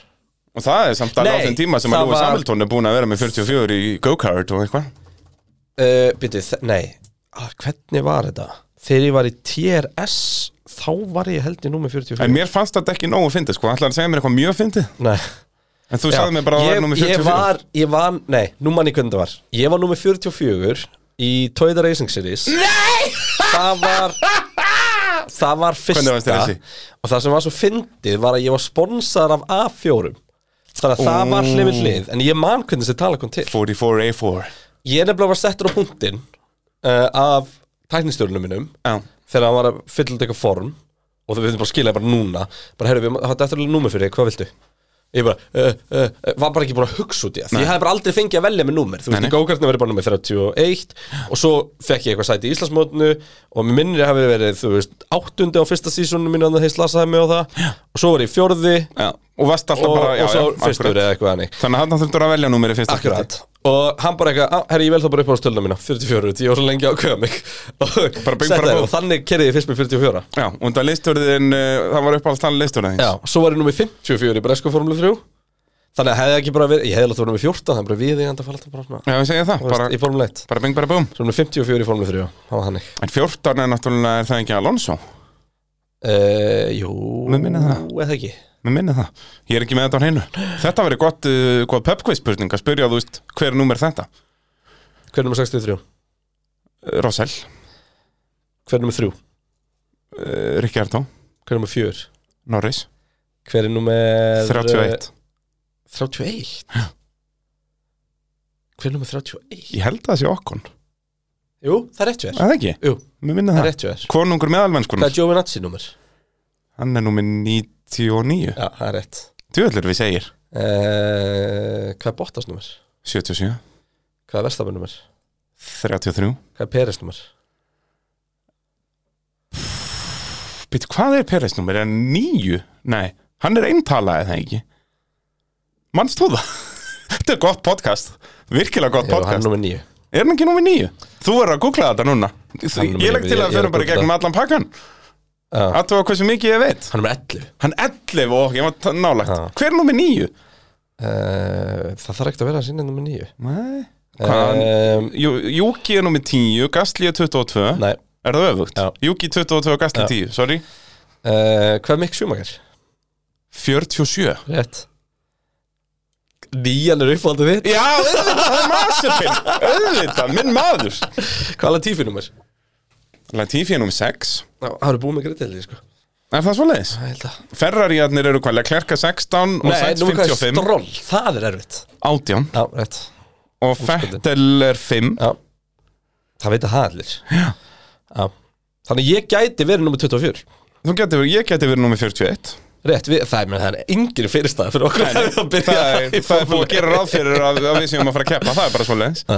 Speaker 2: Og það er samt alveg á
Speaker 1: Nei,
Speaker 2: þeim tíma sem að
Speaker 1: það
Speaker 2: Lúi
Speaker 1: var-
Speaker 2: Samiltón er búin að vera með 44 í go-kart og eitthvað
Speaker 1: uh, Býtu, nei ah, Hvernig var þetta? Þegar ég var í TRS Þá var ég held í númið 44
Speaker 2: En mér fannst þetta ekki nógu fyndið sko Ætlar að segja mér eitthvað mjög fyndið
Speaker 1: Nei
Speaker 2: En þú sagði mér bara að það
Speaker 1: ég,
Speaker 2: var nummer
Speaker 1: ég
Speaker 2: 44
Speaker 1: var, ég var, nei, nú mann ég hvernig það var Ég var nummer 44 í Toyota Racing Series
Speaker 2: Nei!
Speaker 1: Það var Það var fyrsta
Speaker 2: Hvernig varst þér þessi?
Speaker 1: Og það sem var svo fyndið var að ég var sponsor af A4 Þannig að það var hlið við hlið En ég man hvernig þessi tala kom til
Speaker 2: 44A4
Speaker 1: Ég nefnilega var settur á punktinn uh, Af tæknistjórnum minnum
Speaker 2: Já,
Speaker 1: Þegar hann var að fylla út eitthvað form Og það við þurfum bara að skila bara núna Bara heyrðu, við hafum eftir alveg númer fyrir þig, hvað viltu? Ég bara, uh, uh, uh, var bara ekki bara að hugsa út í það Því ég hafði bara aldrei fengið að velja með númer Þú veist,
Speaker 2: Nei,
Speaker 1: í gókartinu verið bara númer 31 Og svo fekk ég eitthvað sæti í Íslandsmótinu Og mér minnir hafi verið, þú veist, áttundi á fyrsta sísónu mínu Þannig að þeir slasaði mig á það Og svo var ég fjórði
Speaker 2: já Og varst alltaf
Speaker 1: og,
Speaker 2: bara já,
Speaker 1: og svo
Speaker 2: já,
Speaker 1: fyrstur
Speaker 2: akkurat.
Speaker 1: eða eitthvað hannig
Speaker 2: Þannig að hann þurftur að velja númerið fyrst
Speaker 1: Akkurat Og hann bara eitthvað, "Ah, herri ég vel þá bara upp á stölda mína 44, ég var svo lengi að köða mig Og
Speaker 2: Bara bing,
Speaker 1: setti
Speaker 2: bara
Speaker 1: það
Speaker 2: bú.
Speaker 1: Og þannig kerði ég fyrst með 44
Speaker 2: Já, og það leistörðin, það var upp alls þannig leistörðin
Speaker 1: Já, svo var ég nummi 54 í Bresko Formule 3 Þannig að hefði ekki bara verið, ég hefði alltaf verið nummi 14 Þannig bara við ég enda að fara alltaf bara svona
Speaker 2: Já, ég segja það,
Speaker 1: þú veist,
Speaker 2: bara,
Speaker 1: Í Formule 1
Speaker 2: bara bing bara búm
Speaker 1: Svo nummi 54 í Formule 3, það var þannig
Speaker 2: En 14 er náttúrulega, er það ekki Alonso?
Speaker 1: uh, Jú,
Speaker 2: Mér minnir það.
Speaker 1: eða ekki
Speaker 2: Mér minna það, ég er ekki með þetta á hreinu Þetta verið gott, uh, gott pubquiz spurning að spyrja, þú veist, hver númer er þetta? Eh,
Speaker 1: Hver er nummi 63?
Speaker 2: Rosell,
Speaker 1: Hver er nummi 3?
Speaker 2: uh, Ricciardo,
Speaker 1: Hver er nummi 4?
Speaker 2: Norris
Speaker 1: Hver er eh, nummi
Speaker 2: 31,
Speaker 1: 31? Hver er nummi 31?
Speaker 2: ég held að það sé okkon
Speaker 1: Jú, það er rétt hjá
Speaker 2: Er
Speaker 1: þér
Speaker 2: það ekki?
Speaker 1: Jú,
Speaker 2: Mér minna
Speaker 1: það er
Speaker 2: það
Speaker 1: rétt hjá þér
Speaker 2: Konungur
Speaker 1: Það
Speaker 2: meðalmennskunar,
Speaker 1: er Giovinazzi nummer
Speaker 2: hann er númer 99
Speaker 1: Já, það er rétt
Speaker 2: Djúðlur við segir
Speaker 1: uh, Hvað er Bottas nummer?
Speaker 2: 77,
Speaker 1: Hvað er Verstappen nummer?
Speaker 2: 33
Speaker 1: Hvað er Peres nummer?
Speaker 2: Býttu, hvað er Peres númer? Er hann 9? Nei, hann er eintala eða ekki Manst þú það? þetta er gott podcast, virkilega gott
Speaker 1: Jú, hann
Speaker 2: podcast
Speaker 1: er nummer 9
Speaker 2: Er hann ekki númer níu? Þú verður að googla þetta núna Þú-
Speaker 1: númer
Speaker 2: Ég legg
Speaker 1: níu,
Speaker 2: til
Speaker 1: ég-
Speaker 2: að
Speaker 1: ég er
Speaker 2: fyrir
Speaker 1: að
Speaker 2: bara í
Speaker 1: googla.
Speaker 2: gegnum allan pakkan
Speaker 1: Já.
Speaker 2: Aðtóa hversu mikið ég veit
Speaker 1: Hann er með 11
Speaker 2: Hann 11 og ég var t- nálægt
Speaker 1: Já.
Speaker 2: Hver er númer níu?
Speaker 1: uh, Það þarf ekkert að vera að sinna nummer 9
Speaker 2: Nei Hvað?
Speaker 1: um,
Speaker 2: Jú- Júki er númer 10, Gastli er 22
Speaker 1: Nei
Speaker 2: Er það öfugt?
Speaker 1: Já.
Speaker 2: Júki 22 og Gastli
Speaker 1: Já.
Speaker 2: 10, sorry
Speaker 1: uh, Hvað er Mick Schumacher?
Speaker 2: 47
Speaker 1: Rétt Nýjan er uppáldið þitt
Speaker 2: Já, auðvitað, það er Masipin Auðvitað, minn maður
Speaker 1: Hvað er Latifi nummer?
Speaker 2: Latifi er númer 6
Speaker 1: Já, hann er búið með greið til því sko
Speaker 2: Er það svoleiðis?
Speaker 1: Það held að
Speaker 2: Ferrariarnir eru hvað, Leclerc er 16 og
Speaker 1: Nei,
Speaker 2: Sainz
Speaker 1: nú hvað er
Speaker 2: 55
Speaker 1: stról Það er erfitt
Speaker 2: 18
Speaker 1: Já, rétt
Speaker 2: og Fettel er 5
Speaker 1: Já Það veit að það allir Já Já Þannig ég gæti verið nummer 24
Speaker 2: Þú geti verið, ég geti verið nummer 41
Speaker 1: Rétt, við, það er með það er yngri fyrirstæð fyrir okkur að við að byrja
Speaker 2: Það er,
Speaker 1: í
Speaker 2: það er búið
Speaker 1: Formúlu
Speaker 2: að gera ráð fyrir að, að við séum að fara að keppa, það er bara svo leiðis
Speaker 1: Já.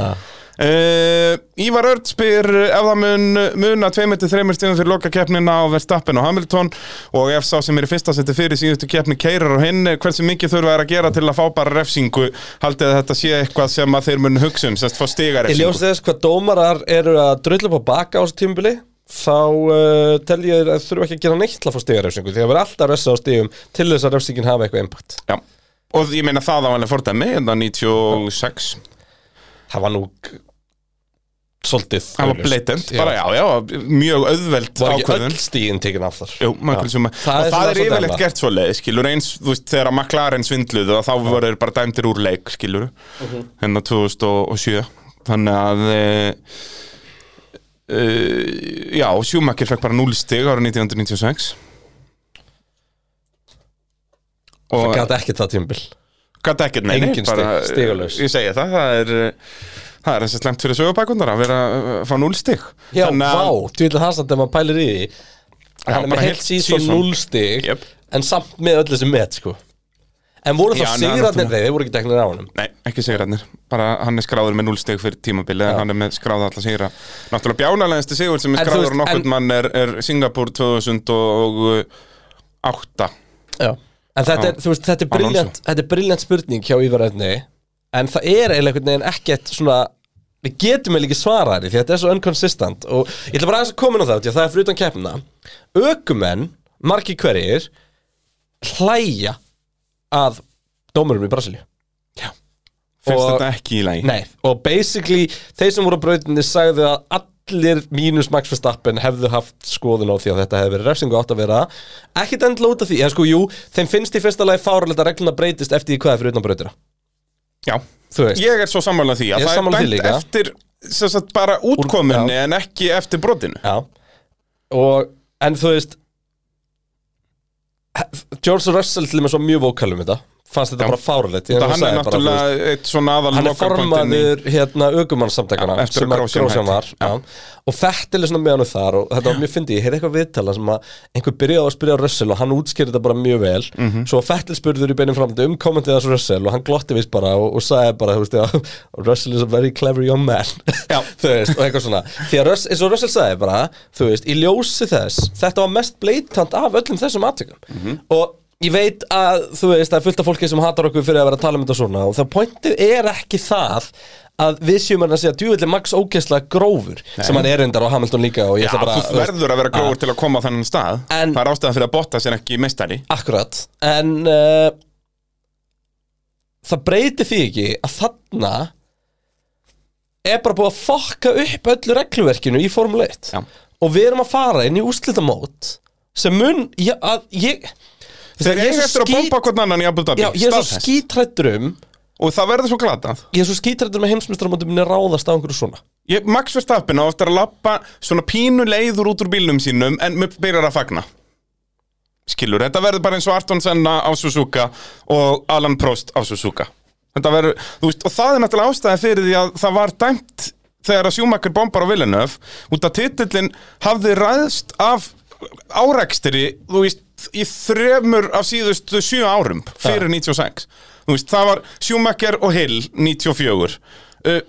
Speaker 2: uh, Ívar Örd spyr ef það mun mun að 2-3 stíðum fyrir lokakeppnina á Verstappen og Hamilton og ef sá sem er í fyrsta seti fyrir síðustu keppni keirar og hinn, hversu mikið þurfa er að gera til að fá bara refsingu, haldið að þetta sé eitthvað sem að þeir mun hugsa um, semst fá stiga
Speaker 1: Ég ljósi
Speaker 2: refsingu
Speaker 1: þess hvað dómarar eru að drullu upp á baka á þessu tímubili þá uh, tel ég þeir að þurfa ekki að gera neitt til að fá stigarefsingu því það verður alltaf refsa á stigum til þess að refsingin hafa eitthvað impact
Speaker 2: Já. og ég meina það á alveg fordæmi hérna, en það 96
Speaker 1: Það var nú k- svolítið
Speaker 2: það var
Speaker 1: augljóst.
Speaker 2: blatant,
Speaker 1: Já.
Speaker 2: bara já, já, mjög auðveld
Speaker 1: Var ekki
Speaker 2: ákvöðun
Speaker 1: öll stígin tekin af þar
Speaker 2: Jú, Michael Schumacher
Speaker 1: Það
Speaker 2: Og
Speaker 1: er
Speaker 2: það
Speaker 1: svona
Speaker 2: er
Speaker 1: svo
Speaker 2: yfirleitt
Speaker 1: dæma.
Speaker 2: gert svo leið, skilur eins, þú veist, þegar að McLaren svindluðu og þá voru þeir bara dæmdir úr leik, skilur
Speaker 1: Mhm.
Speaker 2: hérna 2007 þannig að e, e, já, Schumacher fekk bara 0 stig ára 1996
Speaker 1: Það
Speaker 2: og
Speaker 1: gæti ekki það tímubil
Speaker 2: gæti ekkert neini
Speaker 1: Engin stig, stigalaus.
Speaker 2: ég segi það, það er eh, það er þessi slemt fyrir sögubækundar að vera að fá 0 stig
Speaker 1: Já,
Speaker 2: Þannig að-
Speaker 1: vá, þú vil hans að þegar maður pælir í því
Speaker 2: Já,
Speaker 1: Hann er
Speaker 2: bara
Speaker 1: með heilt
Speaker 2: heilt
Speaker 1: síðan
Speaker 2: season.
Speaker 1: 0 stig
Speaker 2: Jep.
Speaker 1: en samt með öllu sem met sko En voru
Speaker 2: Já,
Speaker 1: það
Speaker 2: nei,
Speaker 1: sigrarnir
Speaker 2: náttúrulega.
Speaker 1: þeir, þeir voru ekki teknir á honum
Speaker 2: Nei, ekki sigrarnir, bara hann er skráður með 0 stig fyrir tímabilið en hann er með skráða alla sigra Náttúrulega bjánalegasti sigur sem er
Speaker 1: En þú
Speaker 2: skráður
Speaker 1: veist,
Speaker 2: nokkurt
Speaker 1: en-
Speaker 2: mann er, er Singapur 2008
Speaker 1: Já. En þetta er, þú veist, þetta er
Speaker 2: Alonso.
Speaker 1: briljant, þetta er briljant spurning hjá Ívaræðni En það er eiginlega einhvern veginn ekkert svona Við getum eiginlega ekki svarað henni Því þetta er svo unconsistent Og ég ætla bara aðeins að koma inn á það Því að það er fyrir utan keppna Ökumenn, margir hverjir Hlæja að dómurum í Brasilíu
Speaker 2: Finnst
Speaker 1: Og-
Speaker 2: þetta ekki í lagi?
Speaker 1: Nei, og basically Þeir sem voru á brautinni sagði að allir mínus Max Verstappen hefðu haft skoðun á því að þetta hefði verið refsingu átt að vera ekkit endla út af því, en sko jú þeim finnst í fyrsta lagi fáralegt að regluna breytist eftir því hvað er fyrir utan brautina,
Speaker 2: Já,
Speaker 1: þú veist
Speaker 2: ég er svo sammála því
Speaker 1: Ég
Speaker 2: að
Speaker 1: er
Speaker 2: það er
Speaker 1: sammála því
Speaker 2: dæmt
Speaker 1: líka.
Speaker 2: eftir sem sagt, bara útkomunni en ekki eftir brotinu
Speaker 1: Já og, En þú veist he- George Russell til þess var mjög vókalum þetta fannst þetta
Speaker 2: Já.
Speaker 1: bara fáralegt Ég
Speaker 2: Það hann er
Speaker 1: sagði bara, þú veist,
Speaker 2: náttúrulega eitt svona aðal
Speaker 1: Hann er
Speaker 2: lokapunkturinn í-
Speaker 1: formaður hérna aukumannsamtakana
Speaker 2: Já, eftir að Grosjean hætti.
Speaker 1: var já. og Fettil er svona með hann þar og þetta var mjög fyndið, ég heyrði eitthvað viðtala sem að einhver byrjaði á að spyrja á Russell og hann útskýrði þetta bara mjög vel
Speaker 2: Mhm.
Speaker 1: svo Fettil spurður í beinum framöndu um kommentið þess Russell og hann glotti vist bara og, og sagði bara, þú veist, já, Russell is a very clever young man
Speaker 2: Já.
Speaker 1: þú veist, og eitthvað svona því að Russell, eins og Russell sagði bara, þú veist, í ljósi þess þetta var mest bleitant af öllum þessum aðtökum
Speaker 2: Mhm.
Speaker 1: og ég veit að þú veist, það er fullt af fólki sem hatar okkur fyrir að vera að tala um þetta svona og það pointið er ekki það að við séum hann að segja djúvillig Max ógeðslega grófur sem hann er reyndar á Hamilton líka og ég
Speaker 2: Já,
Speaker 1: ætla bara
Speaker 2: þú verður að vera gróður til að koma á þennan stað
Speaker 1: En-
Speaker 2: Það er ástæðan fyrir að botta sér ekki meistari
Speaker 1: Akkurat, en uh, það breytir því ekki að þarna er bara búið að fokka upp öllu regluverkinu í Formule 1
Speaker 2: Já.
Speaker 1: og við erum að fara inn í úrslitamót sem mun, ég, að ég
Speaker 2: Þegar
Speaker 1: ég
Speaker 2: ég
Speaker 1: er svo
Speaker 2: eftir að
Speaker 1: skít-
Speaker 2: bomba hvern annan í Abu Dhabi
Speaker 1: Já, ég er svo
Speaker 2: staðfest.
Speaker 1: skítrættur um
Speaker 2: Og það verður svo glatað
Speaker 1: Ég er svo skítrættur um að heimsmyndstramóti minni ráðast á einhverju svona
Speaker 2: ég, Max Verstappen á eftir að lappa svona pínu leiður út úr bílnum sínum En mér byrjar að fagna Skilur, þetta verður bara eins og Arton Senna á Suzuka Og Alan Prost á Suzuka Þetta verður, þú veist, og það er náttúrulega ástæðan fyrir því að það var dæmt Þegar að Sjúmakar bombar á Villeneuve Út að titillin hafði ræðst af árekstri Þú veist, í þremur af síðustu sjö árum Fyrir 96 Þú veist, það var Sjúmakar og Hill 94 uh,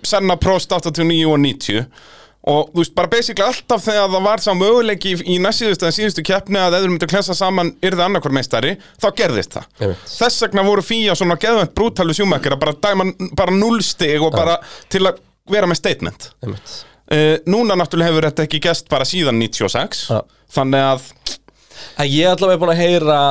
Speaker 2: Senna Prost 89 og 90 og þú veist, bara basically alltaf þegar það var sá möguleiki í, í næstsíðustu en síðustu keppni að eður myndu klesa saman yrði annarkvör meistari, þá gerðist það
Speaker 1: Einmitt.
Speaker 2: þess vegna voru fíja svona geðvænt brútalu sjúmakir að bara dæma n- bara núlstig og bara til að vera með statement
Speaker 1: Einmitt.
Speaker 2: uh, núna náttúrulega hefur þetta ekki gest bara síðan 96
Speaker 1: Já.
Speaker 2: þannig að
Speaker 1: En ég allavega er búin að heyra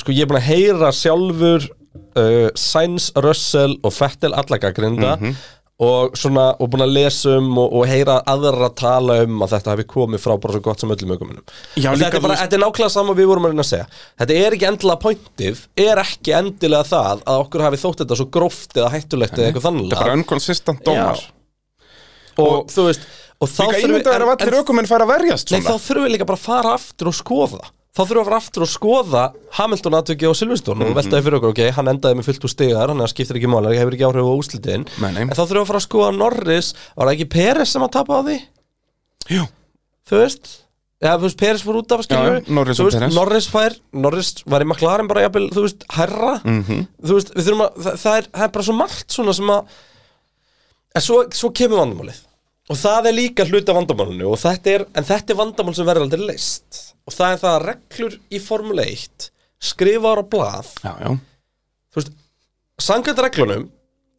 Speaker 1: Sko ég er búin að heyra sjálfur uh, Sainz, Russell og Fettel allagagrinda
Speaker 2: Mhm.
Speaker 1: mm Og svona, og búin að lesa um og, og heyra aðra tala um að þetta hafi komið frá bara svo gott sem öllum aukumunum
Speaker 2: Já,
Speaker 1: Og
Speaker 2: líka
Speaker 1: þetta, er
Speaker 2: þú
Speaker 1: bara,
Speaker 2: veist-
Speaker 1: þetta er nákvæmlega sama og við vorum að reyna að segja Þetta er ekki endilega pointið, er ekki endilega það að okkur hafi þótt þetta svo gróft eða hættulegt eða eitthvað þannig
Speaker 2: þetta er bara unconsistent dómar
Speaker 1: Já. og, þú veist og þá
Speaker 2: líka
Speaker 1: þurfum við-
Speaker 2: ímyndað er að
Speaker 1: en- en-
Speaker 2: allir aukumenn fara að verjast
Speaker 1: Nei, þá
Speaker 2: svona
Speaker 1: þurfum við líka bara að fara aftur og skoða Þá þurfum við að fara aftur og skoða Hamilton aðtöki á Silveston
Speaker 2: Mhm.
Speaker 1: og veltaði fyrir okkur, ok, hann endaði með fullt úr stigar hann skiptir ekki málar, hefur ekki áhrif á úslitin
Speaker 2: Nei, nei.
Speaker 1: en þá þurfum við að fara að skoða Norris var það ekki Peres sem að tapa á því?
Speaker 2: Jú.
Speaker 1: Þú veist? Já, þú veist, Peres fór út af skilur
Speaker 2: Já, já, Norris og Perez.
Speaker 1: Norris fær, Norris var í McLaren bara jafnvel, þú veist, herra
Speaker 2: Mhm.
Speaker 1: Þú veist, við þurfum að, það, það, er, það er bara svo margt svona sem að En svo, svo kemur vandamálið Og það er líka hluti af vandamálinu og þetta er, En þetta er vandamál sem verður aldrei leist Og það er það að reglur í Formule 1 Skrifaður á blað
Speaker 2: já, já,
Speaker 1: Þú veist, sangkvæmt reglunum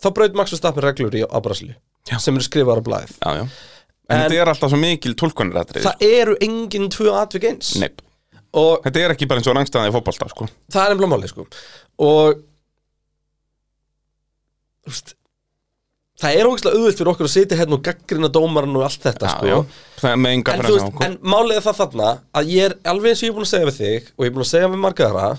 Speaker 1: Þá braut Max Verstappen reglur í, á Brasilíu Sem eru skrifaður á blaðið
Speaker 2: já, já. En,
Speaker 1: En-
Speaker 2: þetta er alltaf svo mikil tólkunarættrið
Speaker 1: Það eru engin tvö atvik eins Og
Speaker 2: Þetta er ekki bara eins og rangstæðan í fótbolta sko.
Speaker 1: það er nefnilega máli sko. og þú veist, það er ógeðslega auðvilt fyrir okkur að sitja hérna og gaggrina dómaran og allt þetta
Speaker 2: Já,
Speaker 1: sko.
Speaker 2: já. Það er með
Speaker 1: en,
Speaker 2: enga
Speaker 1: þú
Speaker 2: pressa á
Speaker 1: veist,
Speaker 2: okkur
Speaker 1: en málið er það þarna að ég er alveg eins og ég er búin að segja við þig og ég er búin að segja við margaðara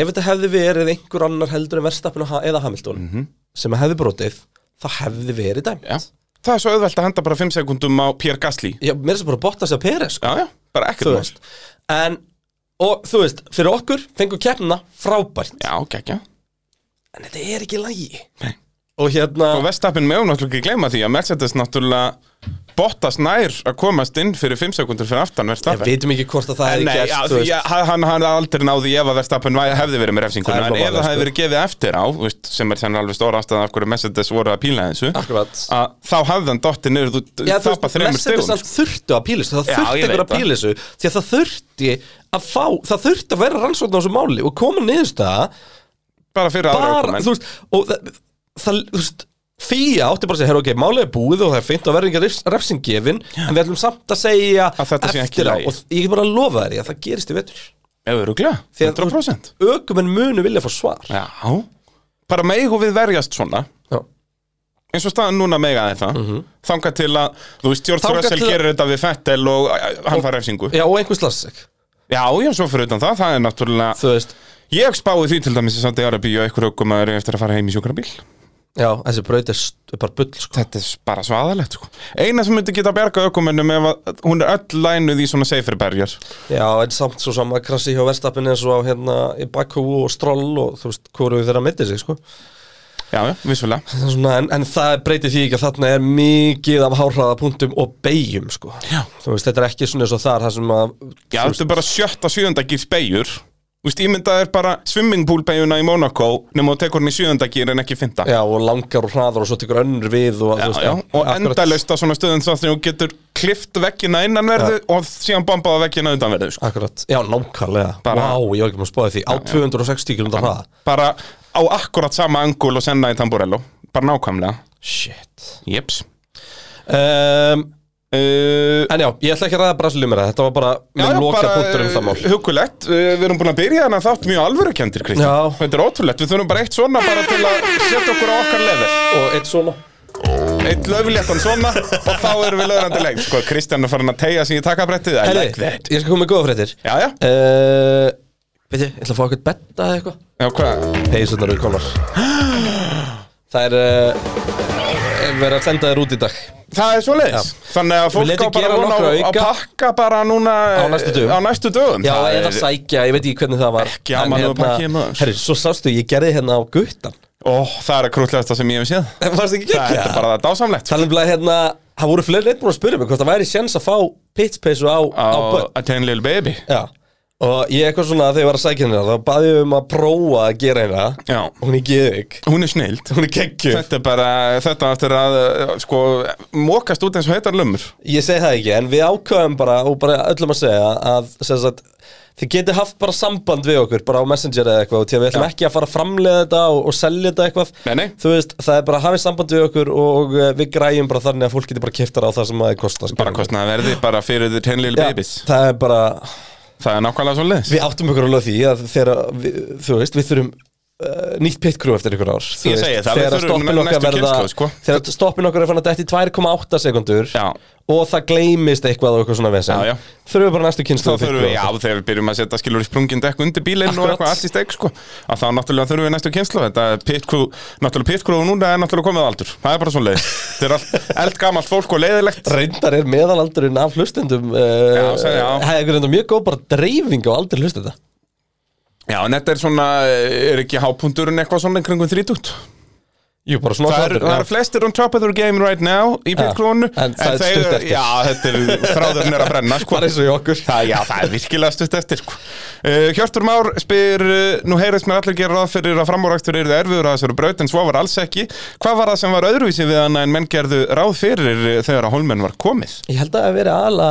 Speaker 1: ef þetta hefði verið einhver annar heldur en verðstappin eða Hamilton sem hefði brotið, það hefði verið dæmt
Speaker 2: Mhm. Já. Það er svo auðvelt að henda bara 5 sekundum á Pierre Gasly
Speaker 1: Já, mér er svo bara að botta sig að Peres
Speaker 2: Já, já,
Speaker 1: þú
Speaker 2: bara ekkert mál
Speaker 1: veist en, og þú veist, fyrir okkur fengur keppna frábært
Speaker 2: Já, gekkja
Speaker 1: en þetta er ekki lægi
Speaker 2: Nei. Sko,
Speaker 1: og hérna
Speaker 2: Og Vestappin mögum náttúrulega ekki gleyma því að Mercedes náttúrulega Bottas nær að komast inn fyrir 5 sekundur fyrir aftan
Speaker 1: Við
Speaker 2: Verstappen
Speaker 1: veitum ekki hvort að það hefði
Speaker 2: Nei, já,
Speaker 1: gerst þú
Speaker 2: því
Speaker 1: veist.
Speaker 2: að hann hann hafði aldrei náði ef að Verstappen væ- hefði verið með refsingu
Speaker 1: Það er
Speaker 2: En ef
Speaker 1: náttúrulega
Speaker 2: það
Speaker 1: sko.
Speaker 2: hefði verið gefið eftir á þú veist, sem er sem alveg stóra ástæðan af hverju Mercedes voru að píla þessu
Speaker 1: Akkurat
Speaker 2: að þá hafði hann dotti niður þú
Speaker 1: Já, þú
Speaker 2: tapar
Speaker 1: veist,
Speaker 2: þreymur
Speaker 1: Mercedes
Speaker 2: styrun
Speaker 1: samt þurfti að pílisu Það
Speaker 2: sko. Já,
Speaker 1: þurfti
Speaker 2: ég veit
Speaker 1: ykkur að
Speaker 2: það.
Speaker 1: pílisu Því að það þurfti að fá Það þurfti að vera rannsókn á þessu máli Og koma niðurst það
Speaker 2: bara fyrir aðra
Speaker 1: Bara,
Speaker 2: ökumenn.
Speaker 1: þú veist Og það, það þú veist Fía átti bara að segja, herra ok, málið er búið og það er fint að vera engar refsingefin En við ætlum samt að segja
Speaker 2: Að þetta sé ekki
Speaker 1: eftir á
Speaker 2: í lagi.
Speaker 1: Og ég er bara að lofa þér í að það gerist í vetur
Speaker 2: Öruglega,
Speaker 1: Því að-
Speaker 2: 100%
Speaker 1: Ökumenn munu vilja fá svar
Speaker 2: Já Bara megu við verjast svona
Speaker 1: Já.
Speaker 2: eins og staðan núna mega þeir það þangað til að, þú veist, George
Speaker 1: Mhm. Þangað
Speaker 2: Russell
Speaker 1: til að-
Speaker 2: gerir þetta við Fettel og æ, æ, hann fær refsingu
Speaker 1: Já, og einhvers lasik
Speaker 2: Já, já, svo fyrir utan það, það er náttúrulega
Speaker 1: Þú veist,
Speaker 2: Ég spáði því til dæmis í Saudi Arabíu og einhver okkur maður eftir að fara heim í sjúkrabíl
Speaker 1: já, þessi braut er st- bara bull sko.
Speaker 2: Þetta er bara svo aðalegt sko. Eina sem myndi geta bjarga ökumennum ef að hún er öll lænuð í svona safer berjar
Speaker 1: Já, en samt svo sama krassi hjá verstapinni eins og á hérna í Bakú og Stroll og þú veist, hvoru þeirra meiti sig sko.
Speaker 2: Já, já, vissulega
Speaker 1: Það er svona, en, en það breytir því ekki að þarna er mikið af hárhraðapunktum og beigjum sko.
Speaker 2: Já.
Speaker 1: Þú veist, þetta er ekki svona eins og þar það sem að
Speaker 2: Já, þetta er bara sjötta, sjöunda gýrs beigur Þú veist, ímyndað er bara swimmingpool beiguna í Monaco nema þú tekur hann í sjöunda gýr en ekki finta
Speaker 1: Já, og langar og hraðar og svo tekur önnur við og,
Speaker 2: já, já, og endalaust á svona stöðum svo þegar þú getur klift veggina innanverðu og síðan bombað á veggina undanverðu sko.
Speaker 1: Akkurat, já, nákvæmlega Vá,
Speaker 2: Bara-
Speaker 1: ég var ekki maður að spáði því Á 260 km hraða
Speaker 2: bara á akkurat sama angul og senna í tamburello bara nákvæmlega
Speaker 1: Shit
Speaker 2: Jeps
Speaker 1: um,
Speaker 2: uh,
Speaker 1: En já, ég ætla ekki að ræða brasilíumera Þetta var bara minn loka punktur um það mál
Speaker 2: hugulegt, uh, eh, við erum búin að byrja þannig að þátt mjög alvörukendir
Speaker 1: Já.
Speaker 2: Kristján Þetta er ótrúlegt, við þurfum bara eitt svona bara til að setja okkur á okkar level
Speaker 1: Og eitt svona
Speaker 2: Eitt löfléttan svona og þá erum við löðrandi leik Sko, Kristján er farin að tegja sig í takabrettið I
Speaker 1: Herri,
Speaker 2: like that
Speaker 1: ég skal koma með góða fréttir
Speaker 2: Já, já,
Speaker 1: uh, Veitir, ég ætla að fá eitthvað betta eða eitthvað
Speaker 2: já, hvað?
Speaker 1: Peysunar eru konar Það er uh, verið að senda þér út í dag
Speaker 2: Það er svo leiðis Þannig að
Speaker 1: Við
Speaker 2: fólk
Speaker 1: létum
Speaker 2: á bara
Speaker 1: gera
Speaker 2: von á,
Speaker 1: nokkra
Speaker 2: á
Speaker 1: auka.
Speaker 2: pakka bara núna
Speaker 1: Á næstu dögum.
Speaker 2: á næstu dögum.
Speaker 1: Já,
Speaker 2: það
Speaker 1: eða sækja, ég veit ekki hvernig það var hérna,
Speaker 2: Ekki gaman að pakka í maður.
Speaker 1: Herri, svo sástu, ég gerði hérna á guttan
Speaker 2: Ó, það er að krútlegasta sem ég hef séð
Speaker 1: Það varst ekki
Speaker 2: Það er
Speaker 1: gekkja
Speaker 2: bara dásamlegt
Speaker 1: Það er nefnilega hérna, það voru fleiri neitt búin að spyrja mig hvort það væri séns að fá pitspeysu á, á, á
Speaker 2: Á
Speaker 1: börn.
Speaker 2: A Ten Little Baby
Speaker 1: Já. Og ég eitthvað svona þegar ég var að sækja hérna, þá baði ég um að prófa að gera hérna.
Speaker 2: Já,
Speaker 1: Hún er geðvig.
Speaker 2: hún er snild
Speaker 1: Hún er geggju.
Speaker 2: Þetta er bara, þetta eftir að uh, sko, mókast út eins og heitar lumur
Speaker 1: Ég segi það ekki, en við ákvæðum bara, og bara öllum að segja, að sem sagt, þið geti haft bara samband við okkur, bara á Messenger eða eitthvað, og því að við ætlum ekki að fara að framlega þetta og, og selja þetta eitthvað.
Speaker 2: Nei, nei,
Speaker 1: Þú veist, það er bara að hafa samband við okkur og eh, við græjum bara þannig að fólk geti bara kipta á það sem að það kostar. skilur
Speaker 2: bara
Speaker 1: við.
Speaker 2: kostnaði verði bara fyrir The Ten Little
Speaker 1: Já,
Speaker 2: Babies
Speaker 1: Það er bara,
Speaker 2: Það er nákvæmlega svo leiðis
Speaker 1: Við áttum okkur alveg á því að þegar, við, þú veist, við þurfum uh, nýtt pitkrú eftir ykkur ár Þú
Speaker 2: Ég
Speaker 1: veist,
Speaker 2: segi það, við
Speaker 1: þegar
Speaker 2: þurfum
Speaker 1: stoppin okkar
Speaker 2: næstu
Speaker 1: verða-
Speaker 2: kynslóð, sko.
Speaker 1: Þegar stoppin okkar er fann að detti 2,8 sekundur
Speaker 2: Já,
Speaker 1: Og það gleymist eitthvað og eitthvað svona vesen
Speaker 2: Já, já.
Speaker 1: Þurfum við bara næstu
Speaker 2: þá
Speaker 1: kynslu
Speaker 2: þurfum við, já, þegar við byrjum að setja skilur í sprungin dekk undir bílinn og
Speaker 1: Akkurat.
Speaker 2: eitthvað allt í steg, sko að þá náttúrulega þurfum við næstu kynslu þetta er pit crew, náttúrulega pit crew núna er náttúrulega komið á aldur, það er bara svona leið þetta er allt eldgamalt fólk og leiðilegt
Speaker 1: Reyndar er meðalaldurinn af hlustendum uh,
Speaker 2: Já, sagði- já.
Speaker 1: Það er reyndar mjög góð bara dreifing á aldrei hlustenda
Speaker 2: já, en þetta er svona, er ekki hápundurinn eitthvað svona kringum þrítút
Speaker 1: Jú, bara svona
Speaker 2: það, er, það er flestir on top of their game right now í pit
Speaker 1: Já,
Speaker 2: crewinu
Speaker 1: en það er
Speaker 2: þeir-
Speaker 1: stutt eftir.
Speaker 2: já, þetta er þráðurinn er að brenna, sko
Speaker 1: Bara eins og í okkur
Speaker 2: Það, já, það er virkilega stutt eftir sko. uh, Hjörtur Már spyr uh, Nú heyrðist mér allir gera ráð fyrir að framúrækstur eru erfiður að þessari braut en svo var alls ekki Hvað var það sem var öðruvísi við hann en menn gerðu ráð fyrir uh, þegar að holmenn var komið?
Speaker 1: Ég held að það hafi verið ala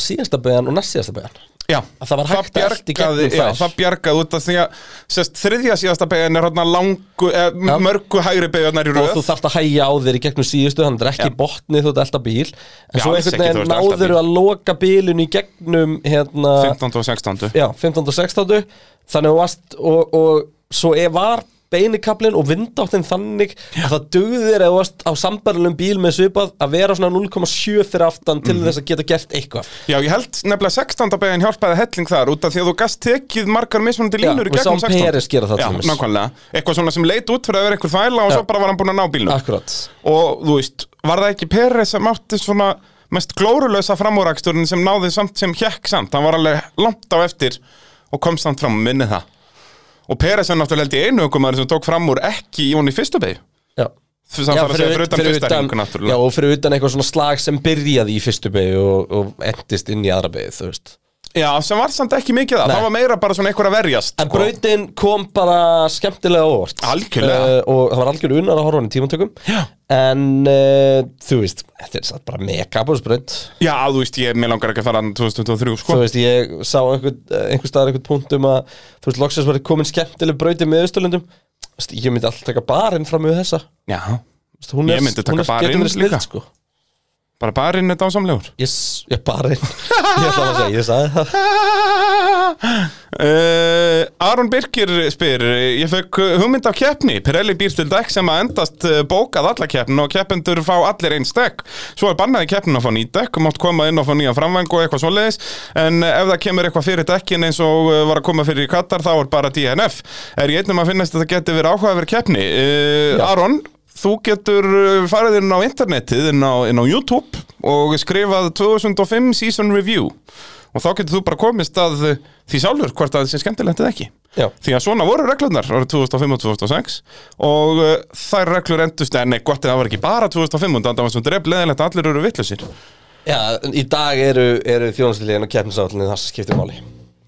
Speaker 1: síðasta beigjan og næst síðasta beigjan
Speaker 2: Já,
Speaker 1: Að það var hægt að elta í
Speaker 2: bjargaði,
Speaker 1: gegnum
Speaker 2: já,
Speaker 1: þær.
Speaker 2: það bjargaði út af því að sérst, þriðja síðasta beigjan er hann langu, eh,
Speaker 1: Já.
Speaker 2: mörgu hægri beigjarnar í
Speaker 1: og
Speaker 2: röð
Speaker 1: þú þarft að hægja á þér í gegnum síðustu þannig er ekki
Speaker 2: Já.
Speaker 1: ja. botni þú ert alltaf bíl en
Speaker 2: Já,
Speaker 1: svo
Speaker 2: alls
Speaker 1: einhvern
Speaker 2: ekki, þú
Speaker 1: veginn
Speaker 2: ert að elta
Speaker 1: náður
Speaker 2: bíl.
Speaker 1: að loka bílinu í gegnum hérna,
Speaker 2: 15. og 16.
Speaker 1: já, 15. og 16. þannig að þú varst og, og svo er var beinikablin og vindáttin þannig að það dugðir að þú varst á sambarlegum bíl með svipað að vera svona 0,7 fyrir aftan
Speaker 2: Mhm.
Speaker 1: til þess að geta gert eitthvað
Speaker 2: Já, ég held nefnilega 16. beigjan hjálpaði helling þar út af því að þú gast tekið margar mismunandi
Speaker 1: Já,
Speaker 2: línur í
Speaker 1: við
Speaker 2: gegnum
Speaker 1: sáum
Speaker 2: 16.
Speaker 1: Peres gera það
Speaker 2: Já,
Speaker 1: til dæmis.
Speaker 2: nákvæmlega. Eitthvað svona sem leit út fyrir að vera einhver þvæla og
Speaker 1: Já.
Speaker 2: svo bara var hann búin að ná bílnum.
Speaker 1: Akkurat
Speaker 2: Og þú veist, var það ekki Peres sem átti svona mest glórulösa framúræksturinn sem náði samt sem hjekk samt. Hann var alveg langt á eftir og kom samt fram og minni það. Og Peres er náttúrulega held í einu ökumæður sem tók fram úr ekki í hún í fyrstu beig.
Speaker 1: Já
Speaker 2: Þannig að fara að segja fyrir utan fyrsta ringu
Speaker 1: já,
Speaker 2: náttúrulega.
Speaker 1: og fyrir utan eitthvað svona slag sem byrjaði í fyrstu beigju og, og endist inn í aðra beigju, þú veist
Speaker 2: Já, sem var samt ekki mikið það.
Speaker 1: Nei.
Speaker 2: Það var meira bara svona einhver að verjast.
Speaker 1: En
Speaker 2: sko.
Speaker 1: brautin kom bara skemmtilega á óvart
Speaker 2: Algjörlega.
Speaker 1: Eh, Og það var algjörlega unnar að horfa hann í tímantökum
Speaker 2: Já.
Speaker 1: En uh, þú veist, þetta er satt bara megabúsbraut
Speaker 2: Já, þú veist, ég, mér langar ekki að fara hann 2023, sko.
Speaker 1: Þú veist, ég sá einhver, einhver staðar einhvern punkt um að Þú veist, loksins var komin skemmtilega brautin með Östurlundum Þú veist, Ég myndi alltaf taka barinn fram með þessa Þú
Speaker 2: Já,
Speaker 1: veist, Hún
Speaker 2: Ég myndi taka
Speaker 1: hún
Speaker 2: barinn
Speaker 1: getur verið snill,
Speaker 2: líka.
Speaker 1: sko.
Speaker 2: bara barinn er dásamlegur.
Speaker 1: Ég, s- ég barinn Ég ætla að segja, ég sagði það
Speaker 2: Uh, Eh, Aron Birkir spyr, ég fekk hugmynd af keppni, Pirelli býr til dekk sem að endast eh, bókað alla keppnin og keppendur fá allir eins dekk. Svo er bannaði keppnin að fá nýt dekk, mátt koma inn og fá nýja framvæng og eitthvað svoleiðis, en eh, ef það kemur eitthvað fyrir dekkin eins og eh, var að koma fyrir í Katar, þá er bara DNF. Er ég einnum að finnast að það geti verið áhugaverð keppni? Uh, Aron, þú getur eh, farið inn á internetið, inn á, inn á YouTube og skrifað 2005 Season Review og þá getur þú bara komist að eh, því sjálfur hvort að það sé skemmtilegt eða ekki
Speaker 1: Já.
Speaker 2: því að svona voru reglurnar árið 2005 og 2006 og uh, þær reglur endust en nei, gott ef það var ekki bara 2005 þannig að það var svo drefn leðilegt að allir eru vittlusir
Speaker 1: Já, en í dag eru, eru þjónustilíðin og keppnisállin það sem skiptir máli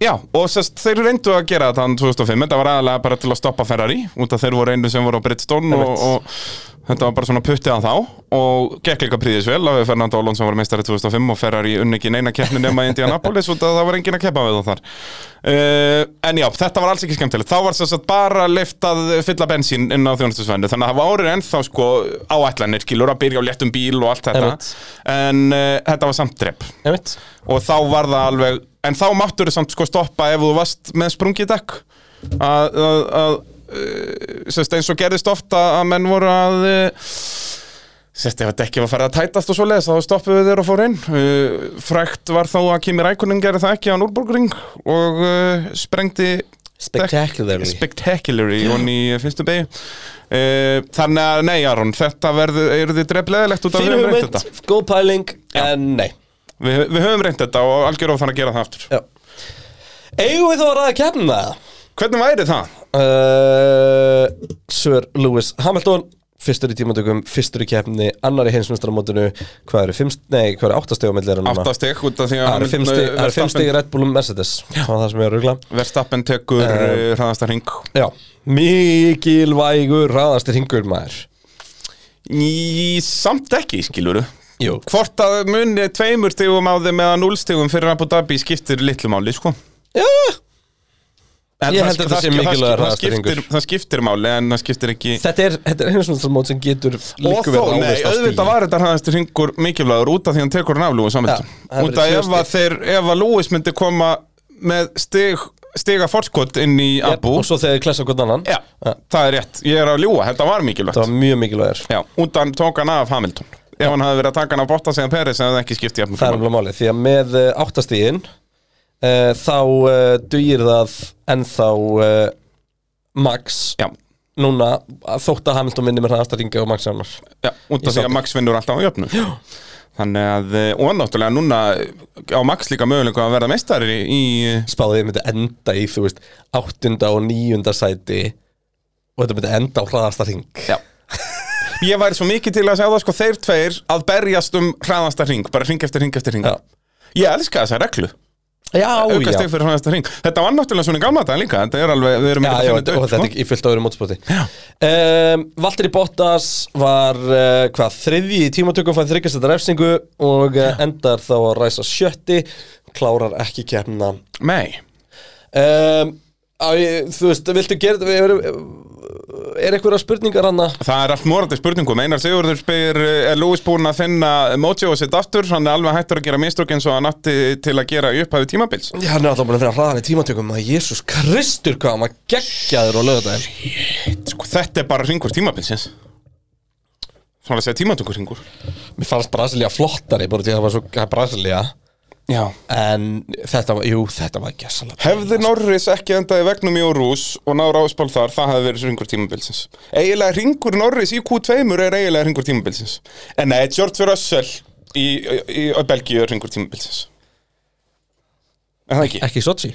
Speaker 2: Já, og sest, þeir reyndu að gera þetta hann 2005, þetta var aðalega bara til að stoppa Ferrari út af þeir voru einu sem voru á Bridgestone og, og þetta var bara svona puttið að þá og gekk líka príðis vel að við Fernando Alonso var meistari 2005 og Ferrari unni ekki neina keppni nema í Indianapolis út af það var engin að keppa við þá þar uh, En já, þetta var alls ekki skemmtilegt þá var sess að bara lyft að fylla bensín inn á þjónustusvendu, þannig að það var árið ennþá sko áætlanir, skilur að byrja á léttum bíl og allt þetta,
Speaker 1: Einmitt.
Speaker 2: en uh, þetta var samt drepp
Speaker 1: Einmitt
Speaker 2: og þá var það alveg en þá máttur þau samt sko stoppa ef þú varst með sprungið dekk að, að, að eh, sérst, eins og gerðist ofta að menn voru að eh, sérst ef að dekki var farið að tætast og svo leðis þá stoppuðu þeir og fóru inn Eh, frækt var þá að Kimi Rækunin gerði það ekki á Núrburgring og uh, sprengdi
Speaker 1: Spectacularly.
Speaker 2: Spectacularly hún í fyrstu begi uh, þannig að nei Aron þetta verður, eru þið drefleðilegt út af
Speaker 1: Fyrir
Speaker 2: við höfum reynt
Speaker 1: hugmynd,
Speaker 2: þetta
Speaker 1: góð pæling, en nei
Speaker 2: við, við höfum reynt þetta og algjör of þannig að gera það aftur
Speaker 1: Já Eigum við þá að ræða keppnina það?
Speaker 2: Hvernig væri það?
Speaker 1: uh, Sir Lewis Hamilton Fyrstur í tímatökum, fyrstur í keppni Annar í heimsmyndstarmótinu Hvað eru fimm, nei, hvað eru áttastegum millir núna?
Speaker 2: Áttastig út af því að
Speaker 1: Það eru fimm stig- það eru fimm stig í Red Bull og Mercedes Það var það sem ég var að rugla
Speaker 2: Verstappen tekur uh, hraðasta ring
Speaker 1: Já, mikilvægur ráðastir hingur maður
Speaker 2: Í samt ekki, skiluru
Speaker 1: Jú
Speaker 2: Hvort að muni tveimur stigum á þeim eða núlstigum fyrir Abu Dhabi skiptir litlu máli, sko
Speaker 1: Já,
Speaker 2: en
Speaker 1: Ég held
Speaker 2: það sk-
Speaker 1: að þetta
Speaker 2: það
Speaker 1: sé
Speaker 2: sk- það
Speaker 1: mikilvægur
Speaker 2: sk- það
Speaker 1: hraðasti
Speaker 2: skiptir-
Speaker 1: hringur.
Speaker 2: Það skiptir máli, en það skiptir ekki
Speaker 1: þetta er, þetta er heimsmyndstarmót sem getur
Speaker 2: Og
Speaker 1: líku
Speaker 2: þó,
Speaker 1: verið
Speaker 2: nei,
Speaker 1: ávist á
Speaker 2: auðvitað
Speaker 1: stíl
Speaker 2: var þetta hraðastur hringur mikilvægur út af því hann tekur hann af Lúi saman
Speaker 1: Já, það
Speaker 2: Út
Speaker 1: verður
Speaker 2: af
Speaker 1: tvö
Speaker 2: ef að þeir, ef að Lúis myndi koma með stig, stiga fórskot inn í Abu
Speaker 1: Og svo þegar þið klessa hvern annan
Speaker 2: Já,
Speaker 1: Já.
Speaker 2: Eh, það er rétt, ég er að ljúa, þetta var mikilvægt
Speaker 1: Það var mjög mikilvægur
Speaker 2: Já, út hann tók hann af Hamilton Ef hann hafði verið að taka hann af Bottas eða Peres en það ekki skipti jafnum
Speaker 1: Það er alveg málið, því að með eh, áttastígin uh, þá uh, dugir það ennþá uh, Max
Speaker 2: Já,
Speaker 1: núna að þótt að Hamilton vinni með hraðastaringa og Max annar
Speaker 2: já, út af því að Max vinnur alltaf á jöfnum Já Þannig að, eh, og náttúrulega núna eh, á Max líka möguleika að verða meistari í, eh,
Speaker 1: spáðið þið myndi enda í, þú veist, áttunda og níunda sæti og þetta myndi enda á hraðastaring
Speaker 2: Já Ég væri svo mikið til að segja það sko þeir tveir að berjast um hraðasta ring, bara ring eftir ring eftir ring
Speaker 1: Já,
Speaker 2: Ég elska þessa reglu,
Speaker 1: já,
Speaker 2: auka
Speaker 1: já.
Speaker 2: steg fyrir hraðasta ring Þetta var náttúrulega svona í gamla dag líka, þetta er alveg, við erum
Speaker 1: Já,
Speaker 2: ekkert
Speaker 1: já,
Speaker 2: að
Speaker 1: og
Speaker 2: finna þetta upp
Speaker 1: þetta
Speaker 2: sko.
Speaker 1: er í fullt á öðru mótspoti um, Valtteri Bottas var uh, hvað, þriðji í tímatökum fann þryggjast þetta refsingu og uh, endar þá að ræsa sjötti klárar ekki kemna
Speaker 2: Nei,
Speaker 1: um, á, ég, Þú veist, viltu gera er, er einhverja spurningar hann
Speaker 2: Það er allt morandi spurningum, Einar Sigurður spyr eh, er Lewis búinn að finna mojo sitt aftur, hann er alveg hættur að gera mistök eins og hann átti til að gera í upphæfi tímabils
Speaker 1: Já, hann er alltaf búin að vera hraðan í tímatökum að Jésús Kristur hvað hann var geggjaður á lögadaginn
Speaker 2: sko, Þetta er bara ringur tímabilsins Svona að segja tímatökur ringur
Speaker 1: Mér fannst Brasilia flottari bara því að það var svo Brasilia
Speaker 2: Já
Speaker 1: en þetta var, jú, þetta var gessalega
Speaker 2: Hefði Norris ekki endaði vegnum í Orús og náður áspál þar, það hefði verið ringur tímabilsins Eiginlega ringur Norris í Q2 er eiginlega ringur tímabilsins En nei, George Russell í, í, í, í Belgíu er ringur tímabilsins En það ekki?
Speaker 1: Ekki í Sochi?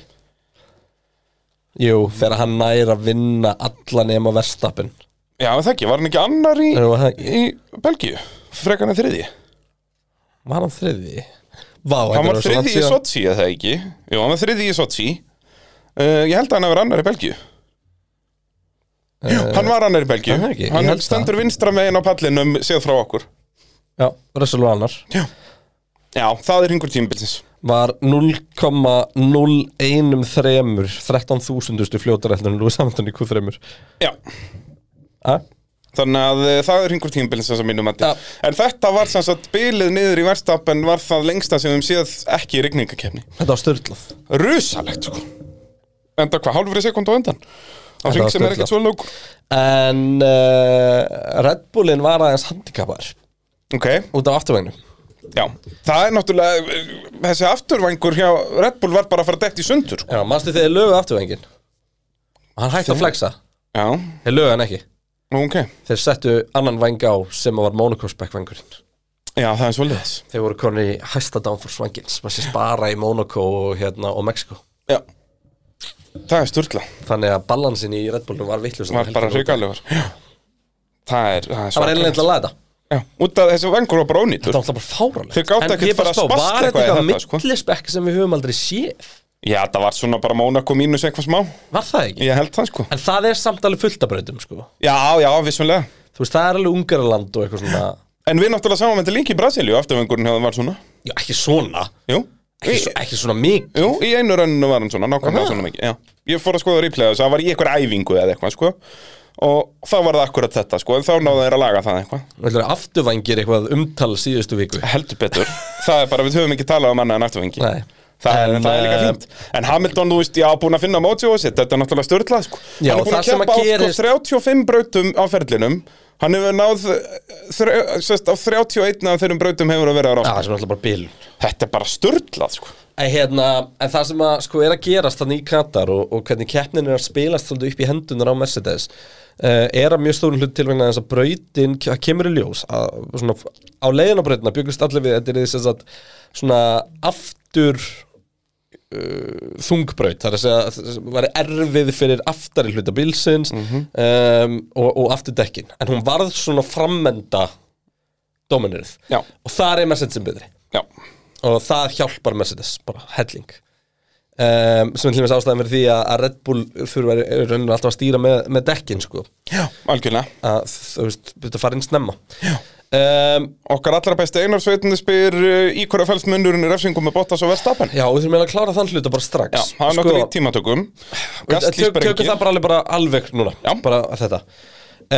Speaker 1: Jú, þegar hann nær að vinna alla nema verstappin
Speaker 2: Já, það ekki, var hann ekki annar í,
Speaker 1: Jú, það ekki.
Speaker 2: í Belgíu, frekarna þriði
Speaker 1: Var hann þriðji? Vá,
Speaker 2: Hann var þriði í Sochi, eða það ekki Jú, hann var þriði í Sochi uh, Ég held að hann hafi verið annar í Belgíu Hann var annar í Belgíu
Speaker 1: Eh, hann er ekki, ég
Speaker 2: Hann
Speaker 1: held það.
Speaker 2: stendur vinstra megin á pallinum séð frá okkur
Speaker 1: Já, Russell var annar
Speaker 2: Já, það er yngur tímabilsins
Speaker 1: Var 0,013 13.000 fljótar heldur en Lúi Samantun í Q3
Speaker 2: Já,
Speaker 1: Ha?
Speaker 2: þannig að uh, það er yngur tímabilsins að mínum mati
Speaker 1: Já.
Speaker 2: En þetta var sem sagt bilið niður í verstappen var það lengsta sem við séð ekki í rigningakefni
Speaker 1: Þetta var störlað
Speaker 2: Rusalegt, sko enda hvað, hálfri sekund á undan á
Speaker 1: Þetta
Speaker 2: ring
Speaker 1: var
Speaker 2: sem
Speaker 1: sturlað.
Speaker 2: er ekkert svo lög
Speaker 1: En uh, Red Bullin var aðeins handikappar
Speaker 2: ok,
Speaker 1: út af afturvægnu
Speaker 2: já, það er náttúrulega eh, þessi afturvængur hjá Red Bull var bara að fara dætt í sundur sko.
Speaker 1: Já, mannstu þegar lögu afturvængin Og hann hætti að flexa
Speaker 2: já,
Speaker 1: Þeir lögu hann ekki
Speaker 2: ok,
Speaker 1: Þeir settu annan væng á sem var monocrossback vængurinn
Speaker 2: já það er svolítið
Speaker 1: Þeir voru konir í hæsta downforce vængin sem að sé spara í Monaco og, hérna, og Mexiko
Speaker 2: já, það er sturgla
Speaker 1: Þannig að balansin í Red Bullum var vittlust
Speaker 2: var bara hryggalugur það er, það er
Speaker 1: Það var
Speaker 2: svakalegt.
Speaker 1: einlega til að laga þetta
Speaker 2: Já, út af þessi vengur var bara ónýtur
Speaker 1: Þetta var alltaf bara fáránlegt
Speaker 2: Þeir gátu
Speaker 1: En ég
Speaker 2: ekkert
Speaker 1: er
Speaker 2: bara að
Speaker 1: spá,
Speaker 2: spasla
Speaker 1: Var
Speaker 2: eitthvað í
Speaker 1: þetta
Speaker 2: þetta, sko?
Speaker 1: eitthvað millispekk sem við höfum aldrei séð
Speaker 2: Já, það var svona bara Mónaco mínus eitthvað smá
Speaker 1: Var það ekki?
Speaker 2: Ég held það sko
Speaker 1: En það er samt alveg fullt af breytum sko
Speaker 2: Já, já, vissulega
Speaker 1: Þú veist, það er alveg Ungaraland og eitthvað svona
Speaker 2: En við náttúrulega samanvendir líka í Brasilíu Afturvengurinn hefði var svona
Speaker 1: Já, ekki svona
Speaker 2: Jú, í,
Speaker 1: Ekki, svo, ekki svona mikið
Speaker 2: jú, í einu rönninu var hann svona Nákvæmlega
Speaker 1: Aha.
Speaker 2: svona mikið já. Ég fór að skoða replay þess að það var í eitthvað æfingu eða eitthvað sko Og þá var það akkurat þetta sko En þá náðu þeir að laga það eitthvað
Speaker 1: Þú veist, afturvængir eitthvað umtal síðustu viku
Speaker 2: Heldur betur Það er bara, við höfum ekki talað um annað en afturvengi
Speaker 1: Nei.
Speaker 2: Það,
Speaker 1: En,
Speaker 2: en, það er líka
Speaker 1: eh,
Speaker 2: fínt En Hamilton, þú veist, já, búin að finna mótsjóðu sitt Þetta er náttúrulega störtlað, sko
Speaker 1: Já,
Speaker 2: Hann er búin
Speaker 1: það
Speaker 2: að
Speaker 1: sem að
Speaker 2: keppa á
Speaker 1: gerist-
Speaker 2: sko, 35 brautum á ferlinum Hann hefur náð þre, sest, Á 31 af þeirrum brautum hefur að vera
Speaker 1: Já,
Speaker 2: á rátt
Speaker 1: það sem er alltaf bara bílun
Speaker 2: Þetta er bara störtlað, sko
Speaker 1: En, hérna, en það sem að, sko, er að gerast þannig í Katar og, og hvernig keppnin er að spilast svolítið upp í hendunar á Mercedes uh, er að mjög stórum hlut til vegna þess að brautin að kemur í ljós að, svona, á leiðin á brautina byggust allir við þetta er þess að svona aftur uh, þungbraut það er að segja að var erfið fyrir aftari hluta bílsins um, og, og afturdekkin en hún varð svona frammenda dominerið
Speaker 2: Já.
Speaker 1: og þar er Mercedes sem betri
Speaker 2: Já,
Speaker 1: og það hjálpar Mercedes bara helling um, sem er til dæmis ástæðan fyrir því að að Red Bull fyrir að rauninu alltaf að stýra með, með dekkin sko
Speaker 2: já, algjörlega
Speaker 1: að þú veist, byrja að fara inn snemma um,
Speaker 2: Okkar allra besti Einar Sveitinu spyr uh, Í hverja fælst munurinn í refsingum með Bottas og Verstappen
Speaker 1: Já, við þurfum eiginlega að klára þann hluta bara strax Sko,
Speaker 2: Já, það er nokkar í tímatökum Gastli
Speaker 1: Tökum tökum
Speaker 2: sprengið
Speaker 1: það bara alveg, bara alveg núna
Speaker 2: Já.
Speaker 1: Bara þetta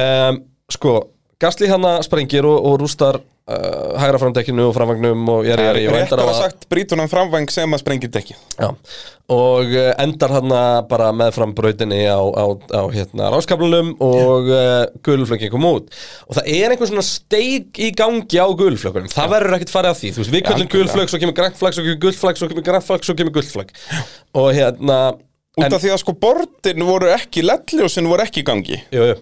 Speaker 1: um, Sko, Gastli hana sprengir og, og rústar uh, hægra framdekkinu og framvagnum og ég er í og endar á
Speaker 2: Réttara
Speaker 1: að
Speaker 2: sagt, brýtur hann framvæng sem að sprengið dekkið
Speaker 1: Já, og eh, endar hann bara meðfram brautinni á, á, á hérna ráskaflunum og uh, gulflökin kom út og það er einhver svona steig í gangi á gulflökunum, það verður ekkert farið að því þú veist, við köllum
Speaker 2: algjörlega.
Speaker 1: gulflökk, svo kemur grænt flagg, svo kemur gulflagg, svo kemur grænt flagg, svo kemur gulflagg og hérna
Speaker 2: Út
Speaker 1: en,
Speaker 2: af því að sko bortin voru ekki, lettljósin voru ekki í gangi
Speaker 1: jú, jú,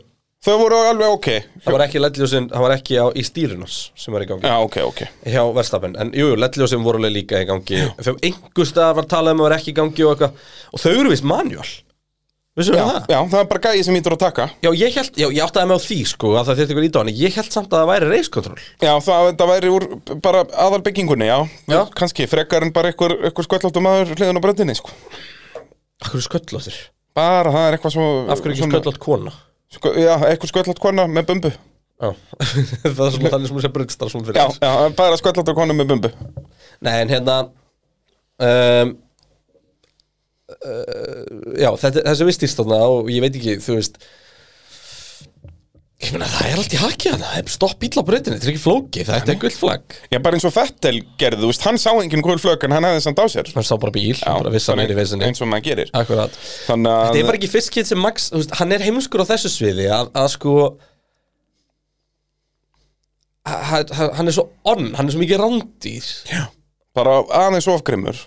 Speaker 2: Þau voru alveg ok
Speaker 1: það var ekki letljósin, það var ekki á, í stýrunos sem var í gangi
Speaker 2: Já, ok, ok
Speaker 1: hjá verðstafinn, en jú, jú, letljósin voru alveg líka í gangi, fyrir einhver stað var talað um að var ekki í gangi og eitthvað, og þau eru vist manual, vissum
Speaker 2: Já,
Speaker 1: við það?
Speaker 2: já, það er bara gæði sem ítur að taka
Speaker 1: Já, ég held, já, ég áttaði mig á því sko að það þyrfti ykkur íta á hann, ég held samt að það væri reiskontroll
Speaker 2: Já, það, það væri úr bara aðal byggingunni, já,
Speaker 1: Já.
Speaker 2: Kannski frekar en bara einhver, einhver sköllóttum aður hliðin á bröndinni, sko
Speaker 1: Akkur er sköllóttir?
Speaker 2: Bara, það er eitthvað svo
Speaker 1: Af hverju ekki
Speaker 2: svona-
Speaker 1: sköllótt kona?
Speaker 2: Sko, já, eitthvað sköllótt kona með bumbu
Speaker 1: Já, það er svona þannig sem hún sé brunnstar svona fyrir
Speaker 2: Já,
Speaker 1: þér.
Speaker 2: já bara sköllótt kona með bumbu
Speaker 1: Nei, en hérna um, uh, Já, þetta, þessi vistist þarna og ég veit ekki, þú veist Ég meina, það er allt í haki hana, það er stopp bíl á brautinni, þetta er ekki flókið, þetta er gult flagg
Speaker 2: Já, bara eins og Fettel gerði, þú veist, hann sá engin gul flögg en hann hefði samt á sér
Speaker 1: Hann sá bara bíl,
Speaker 2: Já,
Speaker 1: bara vissi að hann er í
Speaker 2: þannig-
Speaker 1: vesinni
Speaker 2: Eins og maður gerir
Speaker 1: Akkurat
Speaker 2: Þannig að
Speaker 1: Þetta er bara ekki fyrst kýtt sem Max þú veist, Hann er heimskur á þessu sviði að, að sko að- að- að- Hann er svo onn, hann er svo mikið rándýr Já,
Speaker 2: bara aðeins ofgrimur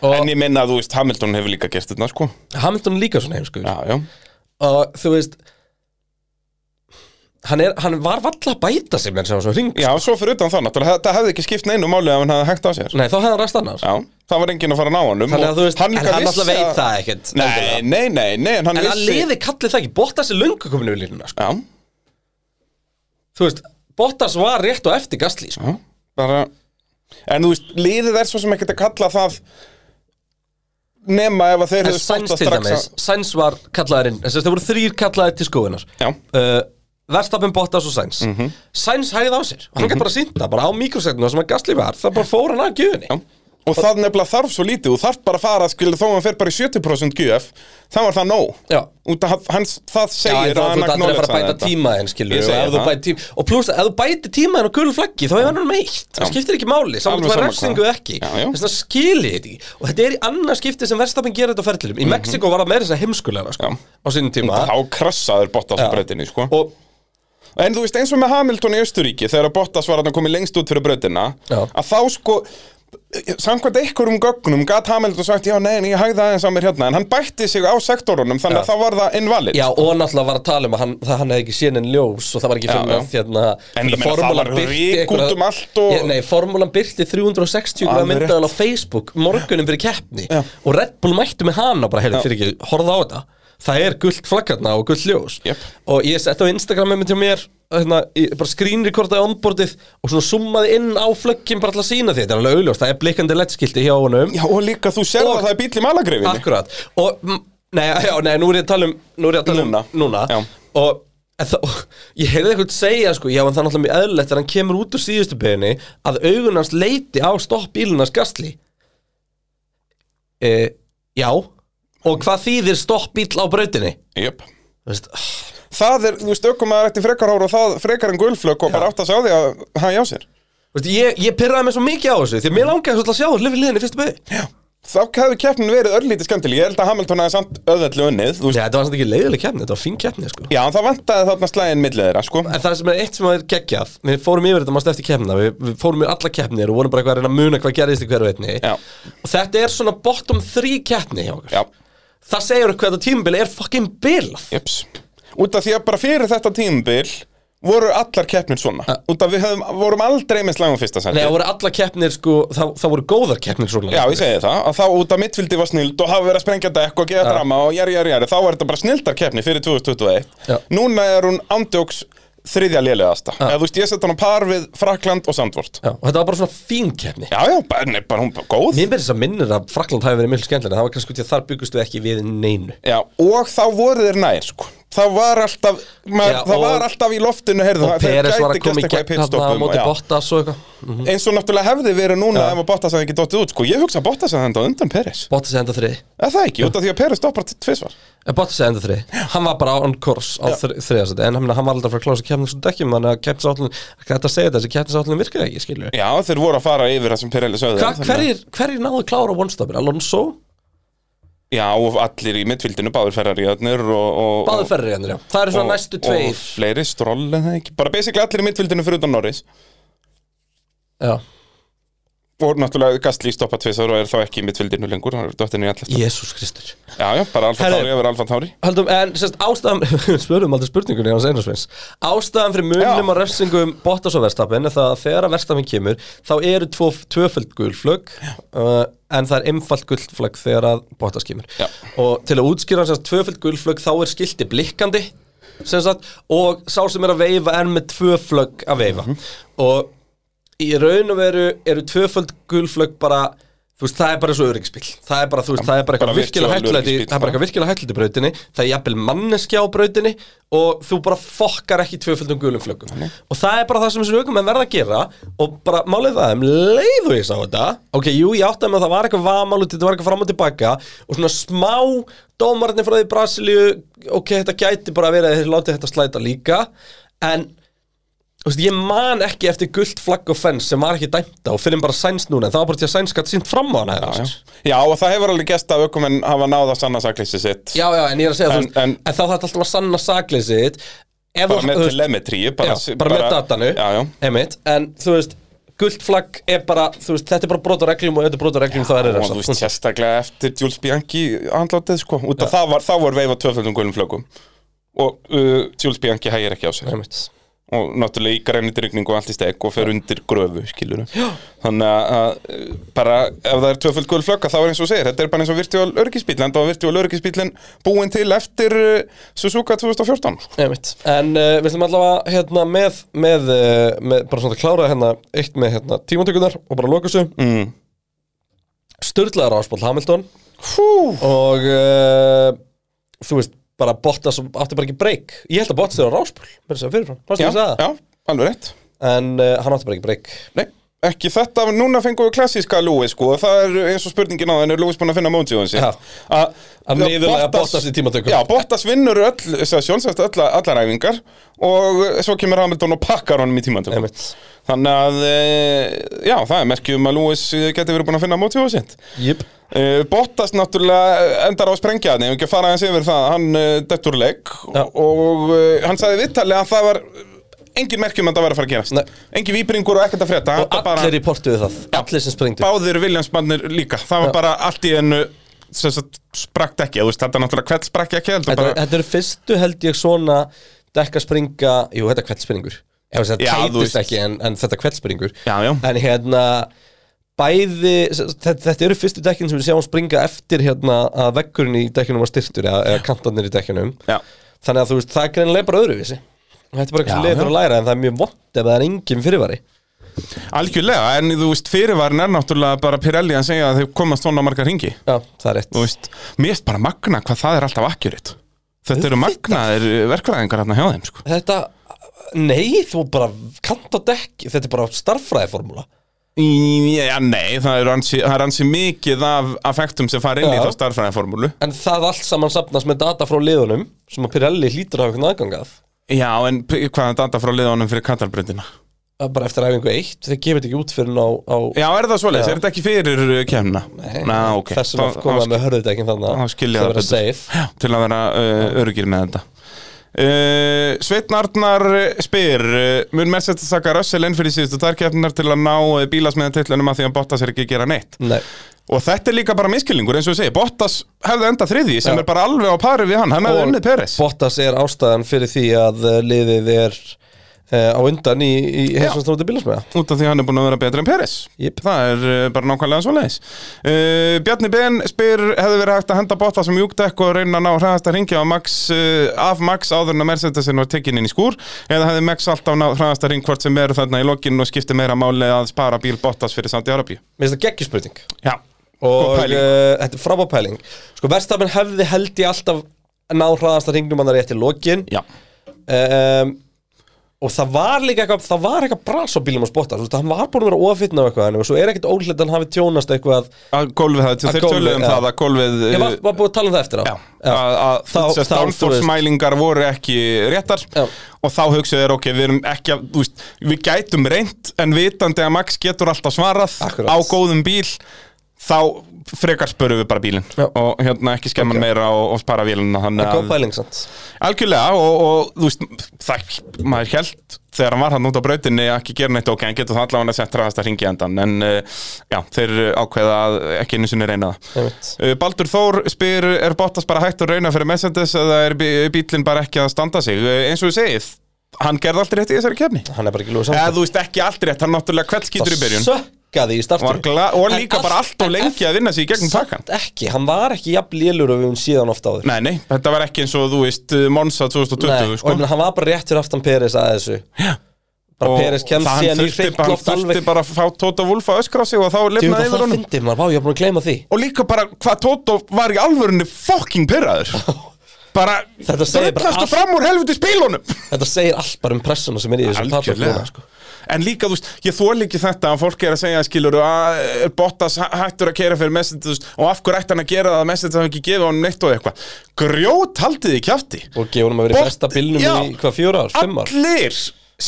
Speaker 1: Og
Speaker 2: En ég minna að þú veist, Hamilton hefur líka gert þetta, sko
Speaker 1: Hamilton er líka svona heimskur
Speaker 2: Já, já
Speaker 1: Og þú veist Hann, er, hann var valla að bæta sig með þessu hring
Speaker 2: Já, svo fyrir utan það, náttúrulega, það hefði ekki skipt neinu máli ef hann hefði hægt á sér
Speaker 1: Nei, þá hefði hann ræst annars
Speaker 2: Já, það var enginn að fara að ná honum
Speaker 1: Mm. Þannig
Speaker 2: og
Speaker 1: að þú veist, en
Speaker 2: hann líka
Speaker 1: hann
Speaker 2: vissi
Speaker 1: alltaf veit
Speaker 2: að-
Speaker 1: það ekkert endilega.
Speaker 2: Nei, nei, nei, nei, en hann
Speaker 1: En að
Speaker 2: vissi
Speaker 1: liði kallið það ekki, Bottas er löngu kominu við línuna sko.
Speaker 2: Já,
Speaker 1: Þú veist, Bottas var rétt og eftir Gastli sko.
Speaker 2: já, bara En þú veist, liðið er svo sem ekkert að kalla það Nema ef að þeir
Speaker 1: En
Speaker 2: hefðu
Speaker 1: Sainz
Speaker 2: spottað
Speaker 1: til
Speaker 2: strax
Speaker 1: dæmis, Sainz var kallaðurinn Þess að það voru þrýr kallaðir til skoðunar
Speaker 2: Já.
Speaker 1: uh, Verstappen, Bottas og Sainz Mhm. Sainz hægði á sér, hann mm bara sýnda bara á mikrosekundum sem að Gasly var, það bara fór hann að gjöðinni
Speaker 2: Já. Og það nefnilega þarf svo lítið, þú þarf bara að fara, skilur, þó að hann fer bara í 70% GF, þá var það nóg.
Speaker 1: Já.
Speaker 2: Út að hans, það
Speaker 1: Já, en
Speaker 2: segir
Speaker 1: þá
Speaker 2: að
Speaker 1: þú
Speaker 2: hann
Speaker 1: ert aldrei að fara að bæta tíma henn, skilur
Speaker 2: Ég
Speaker 1: við,
Speaker 2: segi
Speaker 1: og ef þú
Speaker 2: það.
Speaker 1: bætir tíma Og pluss, ef þú bætir tíma henn á gulum flaggi, þá er hann um eitt Það
Speaker 2: Já.
Speaker 1: skiptir ekki máli, saman
Speaker 2: Alveg
Speaker 1: hvað
Speaker 2: sama
Speaker 1: refsingu
Speaker 2: hvað.
Speaker 1: ekki
Speaker 2: Já, já.
Speaker 1: Þess vegna skil ég þetta ekki Og þetta er í annað skipti sem verðstapin gerir þetta á ferðlilum Í Mexiko var það meira þess að heimskulega, sko,
Speaker 2: Já.
Speaker 1: á sínum tíma
Speaker 2: Þá krassaður Bottas á breytinni, sko.
Speaker 1: Og
Speaker 2: En þú veist eins og með Hamilton í Östuríki þegar að Bottas var að komið lengst út fyrir brautina
Speaker 1: Já.
Speaker 2: að þá sko samkvæmt einhverjum gögnum gat Hamilton sagt já nei, nei, ég hægði aðeins á mér hérna en hann bætti sig á sektorunum þannig
Speaker 1: Já.
Speaker 2: að þá var það invalid
Speaker 1: Já, og náttúrulega var að tala um að hann, það hann hefði ekki sénin ljós og það var ekki
Speaker 2: Já,
Speaker 1: fyrir
Speaker 2: já.
Speaker 1: með hérna
Speaker 2: En
Speaker 1: þetta
Speaker 2: ég meina, það
Speaker 1: formúlan
Speaker 2: var
Speaker 1: birti
Speaker 2: ryk
Speaker 1: einhverja-
Speaker 2: út um allt og-
Speaker 1: Ég- Nei, formúlan byrti 360
Speaker 2: Alveg
Speaker 1: hvað myndaðan á
Speaker 2: rétt.
Speaker 1: Facebook morgunum fyrir keppni
Speaker 2: Já.
Speaker 1: og Red Bull mættu með hana bara, heyrðu,
Speaker 2: Já.
Speaker 1: fyrir ekki, horfða á þetta Það er gullt flaggarna og gullt ljós
Speaker 2: Jep.
Speaker 1: Og ég setti á Instagramið mitt hjá mér hérna, ég bara screenrekordaði onboardið og svona summaði inn á flöggin bara til að sína því, þetta er alveg augljóst, það er blikkandi lettskilti hjá honum
Speaker 2: Já, og líka þú sér
Speaker 1: Og-
Speaker 2: að það er bíl í malagrifinni
Speaker 1: Akkurat Og, mm, nei, já, nei, nú er ég að tala um Nú er ég að tala
Speaker 2: Núna.
Speaker 1: um núna
Speaker 2: Já.
Speaker 1: Og en þá- ég heyrði eitthvað segja sko, Já, en það er náttúrulega mjög eðlilegt Þegar hann kemur út úr síðustu beginni Að augun hans leiti á stopp bílunars gasli e, Já Og hvað þýðir stopp bíl á brautinni?
Speaker 2: Jöp
Speaker 1: Þú veist,
Speaker 2: Það er, þú veist, ökkum að þetta frekar ára og það frekar en gulflökk og bara átt að sjá því að hægja á sér
Speaker 1: þú veist, ég, ég pirraði mig svo mikið á þessu Því að mér langaði svolítið að sjá þessu lifið liðinni í fyrstu beginni Já,
Speaker 2: Þá hefði keppnin verið örlítið skemmtileg, ég held að Hamilton hefði samt öðvelli unnið, þú veist
Speaker 1: þetta var samt ekki leiðileg keppni, þetta var fín keppni sko.
Speaker 2: Já, en það vantaði þarna slæðin millið þeirra, sko
Speaker 1: En það sem er eitt sem er geggjað Við fórum yfir þetta mást eftir kemna Við, við fórum yfir alla keppnir og vorum bara eitthvað að reyna að muna hvað gerðist í hverju einni
Speaker 2: Já.
Speaker 1: Og þetta er svona bottom 3 keppni hjá okkur
Speaker 2: Já,
Speaker 1: Það segir okkur hvað þetta tímabili er fucking bilað
Speaker 2: Jeps. Út af því að bara fyrir þetta tímabil voru allar keppnir svona. Út af við höfum, vorum aldrei með slagum fyrsta
Speaker 1: Ah. Nei,
Speaker 2: sæti.
Speaker 1: það voru alla keppnir sko Það, það voru góðar keppnir svona
Speaker 2: Já, ég segi það. Að þá út af mittfildi var snild og hafa verið að sprengja dekk og geða
Speaker 1: Ah.
Speaker 2: drama og jæri, jæri, jæri. Þá var þetta bara snildarkeppni fyrir 2021.
Speaker 1: Já. Ah.
Speaker 2: Núna er hún ándjóks þriðja lélegasta. Eða þú veist, ég sett hann á par við Frakland og Sandvort.
Speaker 1: Já, Og þetta var bara svona fín keppni
Speaker 2: Já, já, bara, nei, bara hún bara góð.
Speaker 1: Mér verður þess að minnir að Frakland hafi verið mjög skemmtilega en Það var kannski út í að þar byggust við ekki við neinu
Speaker 2: Já, og þá voru þeir nær, sko. Það var alltaf, maður,
Speaker 1: Já,
Speaker 2: það
Speaker 1: og-
Speaker 2: var alltaf í loftinu, heyrðu, það- þeir
Speaker 1: Peres var
Speaker 2: gæti
Speaker 1: að koma
Speaker 2: gerst
Speaker 1: í
Speaker 2: eitthvað í
Speaker 1: gegn þarna á
Speaker 2: pitstoppum,
Speaker 1: móti
Speaker 2: já.
Speaker 1: Bottas og eitthvað
Speaker 2: eins og náttúrulega hefði verið núna
Speaker 1: Já.
Speaker 2: ef að Bottas hefði ekki dottið út sko. ég hugsa að Bottas hefði enda á undan Peres
Speaker 1: Bottas er enda þriði
Speaker 2: eða það ekki, út af því að Peres stoppar til tvisvar
Speaker 1: En Bottas er enda þrið, hann var bara on course á þriðasæti, en hann hann var aldrei frá að klása kemnins og dekkjum, þannig að kemnisállin þetta segir þessi kemnisállin virkaði ekki, skilju
Speaker 2: já, þeir voru að fara yfir það sem Perelis höfði
Speaker 1: Hverjir hverjir náðu að klára one-stopin? Alonso?
Speaker 2: já, og allir í mittfildinu, báður ferraríðarnir og, og,
Speaker 1: Báðu ferri hendur, já Það eru svona
Speaker 2: og-
Speaker 1: næstu tveir
Speaker 2: og fleiri stról eða ekki bara basically allir í mittfildinu fyrir utan Norris
Speaker 1: Já,
Speaker 2: og náttúrulega Gastli stoppa tvisvar og er þá ekki í mittfildinu lengur hann er dottinu í allast
Speaker 1: Jésús Kristur
Speaker 2: já, já, bara Alfa
Speaker 1: Herri.
Speaker 2: Tauri yfir Alfa Tauri
Speaker 1: Haldum, en sérst, ástæðan Spörum aldrei spurningunni hans einarsveins Ástæðan fyrir munum
Speaker 2: Já.
Speaker 1: á refsingum Bottas og verstafin er það að þegar að verstafin kemur þá eru tvo, tvöföld gulflögg uh, en það er einfalt gulflögg þegar að Bottas kemur
Speaker 2: Já.
Speaker 1: og til að útskýra sérst, tvöföld gulflögg þá er skilti blikkandi sem sagt, og sá sem er að veifa er með tvöflögg að veifa
Speaker 2: Mhm.
Speaker 1: og í raun og veru eru tvöföld gulflögg bara þú veist, það er bara svo öryggsbíl það er bara, þú veist, það er bara
Speaker 2: bara
Speaker 1: eitthvað virkilega
Speaker 2: virtual
Speaker 1: hættulegt í-
Speaker 2: öryggisbíll,
Speaker 1: það er bara
Speaker 2: bara.
Speaker 1: eitthvað virkilega hættulegt í brautinni það er jafnvel manneskja á brautinni og þú bara fokkar ekki tvöföldum gulum flöggum og það er bara það sem þessi aukum verða að gera og bara málið það um leiðu ég sá þetta ok, jú, ég átti með að það var eitthvað vamal út þetta var eitthvað fram og tilbaka og svona smá dómarnir frá því í Brasilíu ok, þetta gæti bara að vera þeir láti þetta slæta líka en Þú veist, ég man ekki eftir gult flagg og fens sem var ekki dæmta og finnum bara sæns núna en það var bara til að sæns gætt sínt fram á hana já,
Speaker 2: já. já, og það hefur alveg gest að aukumenn hafa náða sannasakleysi sitt
Speaker 1: já, já, en ég er að segja
Speaker 2: En-
Speaker 1: en, en,
Speaker 2: en-
Speaker 1: en þá þarf alltaf að sanna sakleysið ef
Speaker 2: bara
Speaker 1: þú-
Speaker 2: með
Speaker 1: þú veist-
Speaker 2: telemetríu bara,
Speaker 1: já, bara með datanu
Speaker 2: já, já.
Speaker 1: einmitt, en þú veist gult flagg er bara, þú veist, þetta er bara brot á reglum og ef þetta er brot á reglum þá er sko.
Speaker 2: og
Speaker 1: það
Speaker 2: þú veist sérstaklega eftir Jules Bianchi andlátið sko, út af það var, það var veifað tvöföldum gulum flögum og uh, Jules Bianchi hægir ekki á sér
Speaker 1: einmitt
Speaker 2: og náttúrulega í grænit rigningu og allt í steg og fer undir gröfu, skilur þannig að- að uh, bara ef það er tvöföld gul flögga þá er eins og þú segir, þetta er bara eins og virtuál örgisbíl, en það var virtuál örgisbílin búin til eftir uh, Suzuka 2014 sko.
Speaker 1: Einmitt. En uh, við ætlum allavega hérna, með, með, uh, með bara svona að klára hérna, eitt með hérna, tímantökunar og bara loka þessu mm. Sturlaður áspól Hamilton
Speaker 2: Fú,
Speaker 1: og uh, þú veist bara Bottas átti bara ekki breyk ég held að Bottas er á ráspól mér að segja fyrirfram, fannst
Speaker 2: já,
Speaker 1: ég að segja það
Speaker 2: já, alveg rétt
Speaker 1: en uh, hann átti bara ekki breyk
Speaker 2: Nei, ekki þetta, núna fengum við klassíska Lewis sko, og það er eins og spurningin á þannig er Lewis búinn að finna mótjóðan sér
Speaker 1: Já. Að niðurlægja Bottas í tímatökum.
Speaker 2: Já, Bottas vinnur öll, sjálfsagt öll, allar æfingar og svo kemur Hamilton og pakkar honum í tímatökum
Speaker 1: Einmitt.
Speaker 2: þannig að, e, já, það er merkjum að Lewis geti verið búinn að finna mótjóðan sér
Speaker 1: Jip
Speaker 2: Uh, Bottas náttúrulega eh, endar á sprengjaðni ef ekki að fara aðeins yfir það, hann uh, dettur úr leik
Speaker 1: Já.
Speaker 2: og uh, hann sagði vittalega að það var eh, engin merkjum að það var að fara að gerast
Speaker 1: Nei.
Speaker 2: engin víbringur og ekkert að frétta
Speaker 1: Og
Speaker 2: Þetta bara,
Speaker 1: allir í portu við það Allir sem sprengdu
Speaker 2: báðir Williamsmannir líka það
Speaker 1: Já.
Speaker 2: var bara allt í ennu sem sagt, sprakt ekki, þú veist, þetta náttúrulega hvert sprakk ekki heldur
Speaker 1: Þetta,
Speaker 2: bara,
Speaker 1: þetta eru fyrstu held ég svona dekka springa, jú þetta er kveldspringur Ef þess að
Speaker 2: Já,
Speaker 1: þetta
Speaker 2: þú veist.
Speaker 1: tætist ekki en, en þetta er kveldspringur
Speaker 2: já, já,
Speaker 1: En hérna bæði, þetta, þetta eru fyrstu dekkin sem við sjáum springa eftir hérna að veggurinn í dekkinum var styrtur eða, eða kantarnir í dekkinum
Speaker 2: já,
Speaker 1: Þannig að þú veist, það er greinilega bara öðruvísi Þetta er bara eitthvað
Speaker 2: Já,
Speaker 1: sem liður
Speaker 2: já.
Speaker 1: að læra en það er mjög vond ef það er engin fyrirvari
Speaker 2: algjörlega en þú veist, fyrirvarin er náttúrulega bara Pirelli að segja að þau komast svona margar ringi
Speaker 1: Já, það er rétt
Speaker 2: þú veist, mér erst bara magna hvað það er alltaf akkjuritt þetta eru magnaðir verkvæðingar hérna hjá þeim sko.
Speaker 1: Þetta, nei, þú bara kant á dekk, þetta er bara starffræðiformúla
Speaker 2: Í- Já, nei, það er ansi, það er ansi mikið af affektum sem fara inn í
Speaker 1: Já.
Speaker 2: þá starfræðinformúlu
Speaker 1: En það allt saman sapnast með data frá liðunum sem að Pirelli hlýtur að hafa einhvern aðgangað
Speaker 2: Já, en p- hvaða data frá liðanum fyrir Katalbröndina?
Speaker 1: bara eftir æfingu eitt, þeir gefið þetta ekki út fyrir á, á
Speaker 2: Já, er það svoleiðis?
Speaker 1: Já.
Speaker 2: Er þetta ekki fyrir uh, kemna? Nei, Ná, ok
Speaker 1: þessum að koma með hörðutekin þannig
Speaker 2: þá
Speaker 1: að
Speaker 2: skil ég
Speaker 1: það
Speaker 2: það
Speaker 1: verið
Speaker 2: betur.
Speaker 1: safe
Speaker 2: Já, til að vera uh, örugir með þetta uh, Sveitn Arnar spyr uh, Mun Mercedes taka Russell inn fyrir síðustu tærkeppnar til að ná uh, bílasmiðan titlunum að því að Bottas er ekki að gera neitt
Speaker 1: Nei,
Speaker 2: Og þetta er líka bara miskilningur eins og ég segi Bottas hefði enda þriði sem
Speaker 1: Já.
Speaker 2: er bara alveg á pari við hann Hann hefði
Speaker 1: Og
Speaker 2: unnið Peres
Speaker 1: Bottas er ástæðan fyrir því að eh, liðið er uh, á undan í, í heilsumstróti bílasmæða
Speaker 2: Út af því að hann er búin að vera betri en Peres
Speaker 1: Jip.
Speaker 2: Það er uh, bara nákvæmlega svoleiðis uh, Bjarni Ben spyr hefði verið hægt að henda Bottas um júkdekk og reyna að ná hraðast að ringja Max, uh, af Max áður en að Mercedesin var tekinn inn í skúr eða hefði Max alltaf náð hraðast að ring hvort sem er þarna í lokinn og skipti meira máli að spara bíl Bottas fyrir Saudi Arabíu
Speaker 1: Mér finnst það geggjuspurning
Speaker 2: Já,
Speaker 1: og uh,
Speaker 2: Góð Sko, pæling.
Speaker 1: þetta er frábær pæling sko verstafinn hefði held ég alltaf náð hraðasta hringnum hann er rétt í lokin
Speaker 2: Já.
Speaker 1: um, og það var líka eitthvað það var eitthvað bras á bílum á spotta veist, hann var búin að vera ofinn á eitthvað en svo er ekkert óhlið að hann hafi tjónast eitthvað
Speaker 2: Að gólfið það,
Speaker 1: Að
Speaker 2: þeir
Speaker 1: gólfið,
Speaker 2: töluðum
Speaker 1: já.
Speaker 2: það að gólfið
Speaker 1: ég
Speaker 2: uh,
Speaker 1: var, var búin að tala um það eftir á
Speaker 2: Já, að, að
Speaker 1: Þá-
Speaker 2: þá,
Speaker 1: þá, þú veist.
Speaker 2: downforce-mælingar voru ekki réttar
Speaker 1: Já.
Speaker 2: og þá hugsaðu þér, ok, við erum ekki að, þú veist, við gætum reynt en vitandi að Max getur alltaf svarað
Speaker 1: Akkurat.
Speaker 2: á góðum bíl þá frekar spörum við bara bílinn
Speaker 1: Já.
Speaker 2: og hérna ekki skemman
Speaker 1: Ok.
Speaker 2: meira og, og spara vélina þannig
Speaker 1: Eh, góð
Speaker 2: að
Speaker 1: pæling sant
Speaker 2: algjörlega og, og þú veist, það, maður held þegar hann var hann út á brautinni að ekki gera neitt ok, hann getur það allavega að setja ræðast að ringi endan en uh, já, þeir ákveða að ekki einu sinni reyna það
Speaker 1: Einmitt.
Speaker 2: Uh, Baldur Þór spyr, er Bottas bara hægt að rauna fyrir Mercedes eða er bí- bíllinn bara ekki að standa sig? Uh, Eins og þú segið, hann gerði allt rétt í þessari kefni.
Speaker 1: hann er bara ekki lúið
Speaker 2: Eða
Speaker 1: samt
Speaker 2: þú veist ekki allt rétt, hann náttúrulega kveldskýtur í byrjun.
Speaker 1: sökkaði í
Speaker 2: Var
Speaker 1: startinu
Speaker 2: gla- Og
Speaker 1: En
Speaker 2: líka bara allt of
Speaker 1: en
Speaker 2: lengi að vinna sig í gegnum pakkan.
Speaker 1: samt ekki, hann var ekki jafn lélur og við höfum síðan ofta áður
Speaker 2: Nei, nei, þetta var ekki eins og þú veist uh, Monza 2020,
Speaker 1: Nei, og
Speaker 2: sko.
Speaker 1: ég meina, hann var bara rétt fyrir aftan Peres að þessu Já. bara Peres kemst
Speaker 2: það
Speaker 1: síðan í
Speaker 2: hann þurfti,
Speaker 1: hreitt
Speaker 2: hann
Speaker 1: loft
Speaker 2: þurfti
Speaker 1: alveg
Speaker 2: bara að fá Tóta Wolf að öskra á sig og þá
Speaker 1: Þú
Speaker 2: lifnaði
Speaker 1: veit
Speaker 2: Hérna yfir
Speaker 1: það
Speaker 2: honum.
Speaker 1: fyndi maður, vá ég er búin að gleyma því
Speaker 2: Og líka bara hvað Tóta var í alvörunni fucking pyrraður. Bara,
Speaker 1: Þetta segir bara
Speaker 2: dröllastu
Speaker 1: allt.
Speaker 2: fram úr helviti spilunum.
Speaker 1: Þetta segir allt bara um pressuna sem er í þessum tapleik núna,
Speaker 2: Algjörlega
Speaker 1: sko.
Speaker 2: En líka, þú veist, ég þóli ekki þetta að fólk er að segja, skilur, að er Bottas hæ- hættur að keira fyrir Messenger þú veist, og af hverju ætti hann að gera það að Messenger hafi ekki gefið honum neitt og eitthvað Grjót haldið í kjafti
Speaker 1: Og gefa hann að vera í
Speaker 2: Bort-
Speaker 1: besta bílnum
Speaker 2: Já.
Speaker 1: í hvað fjóra ár, fimm ár
Speaker 2: Allir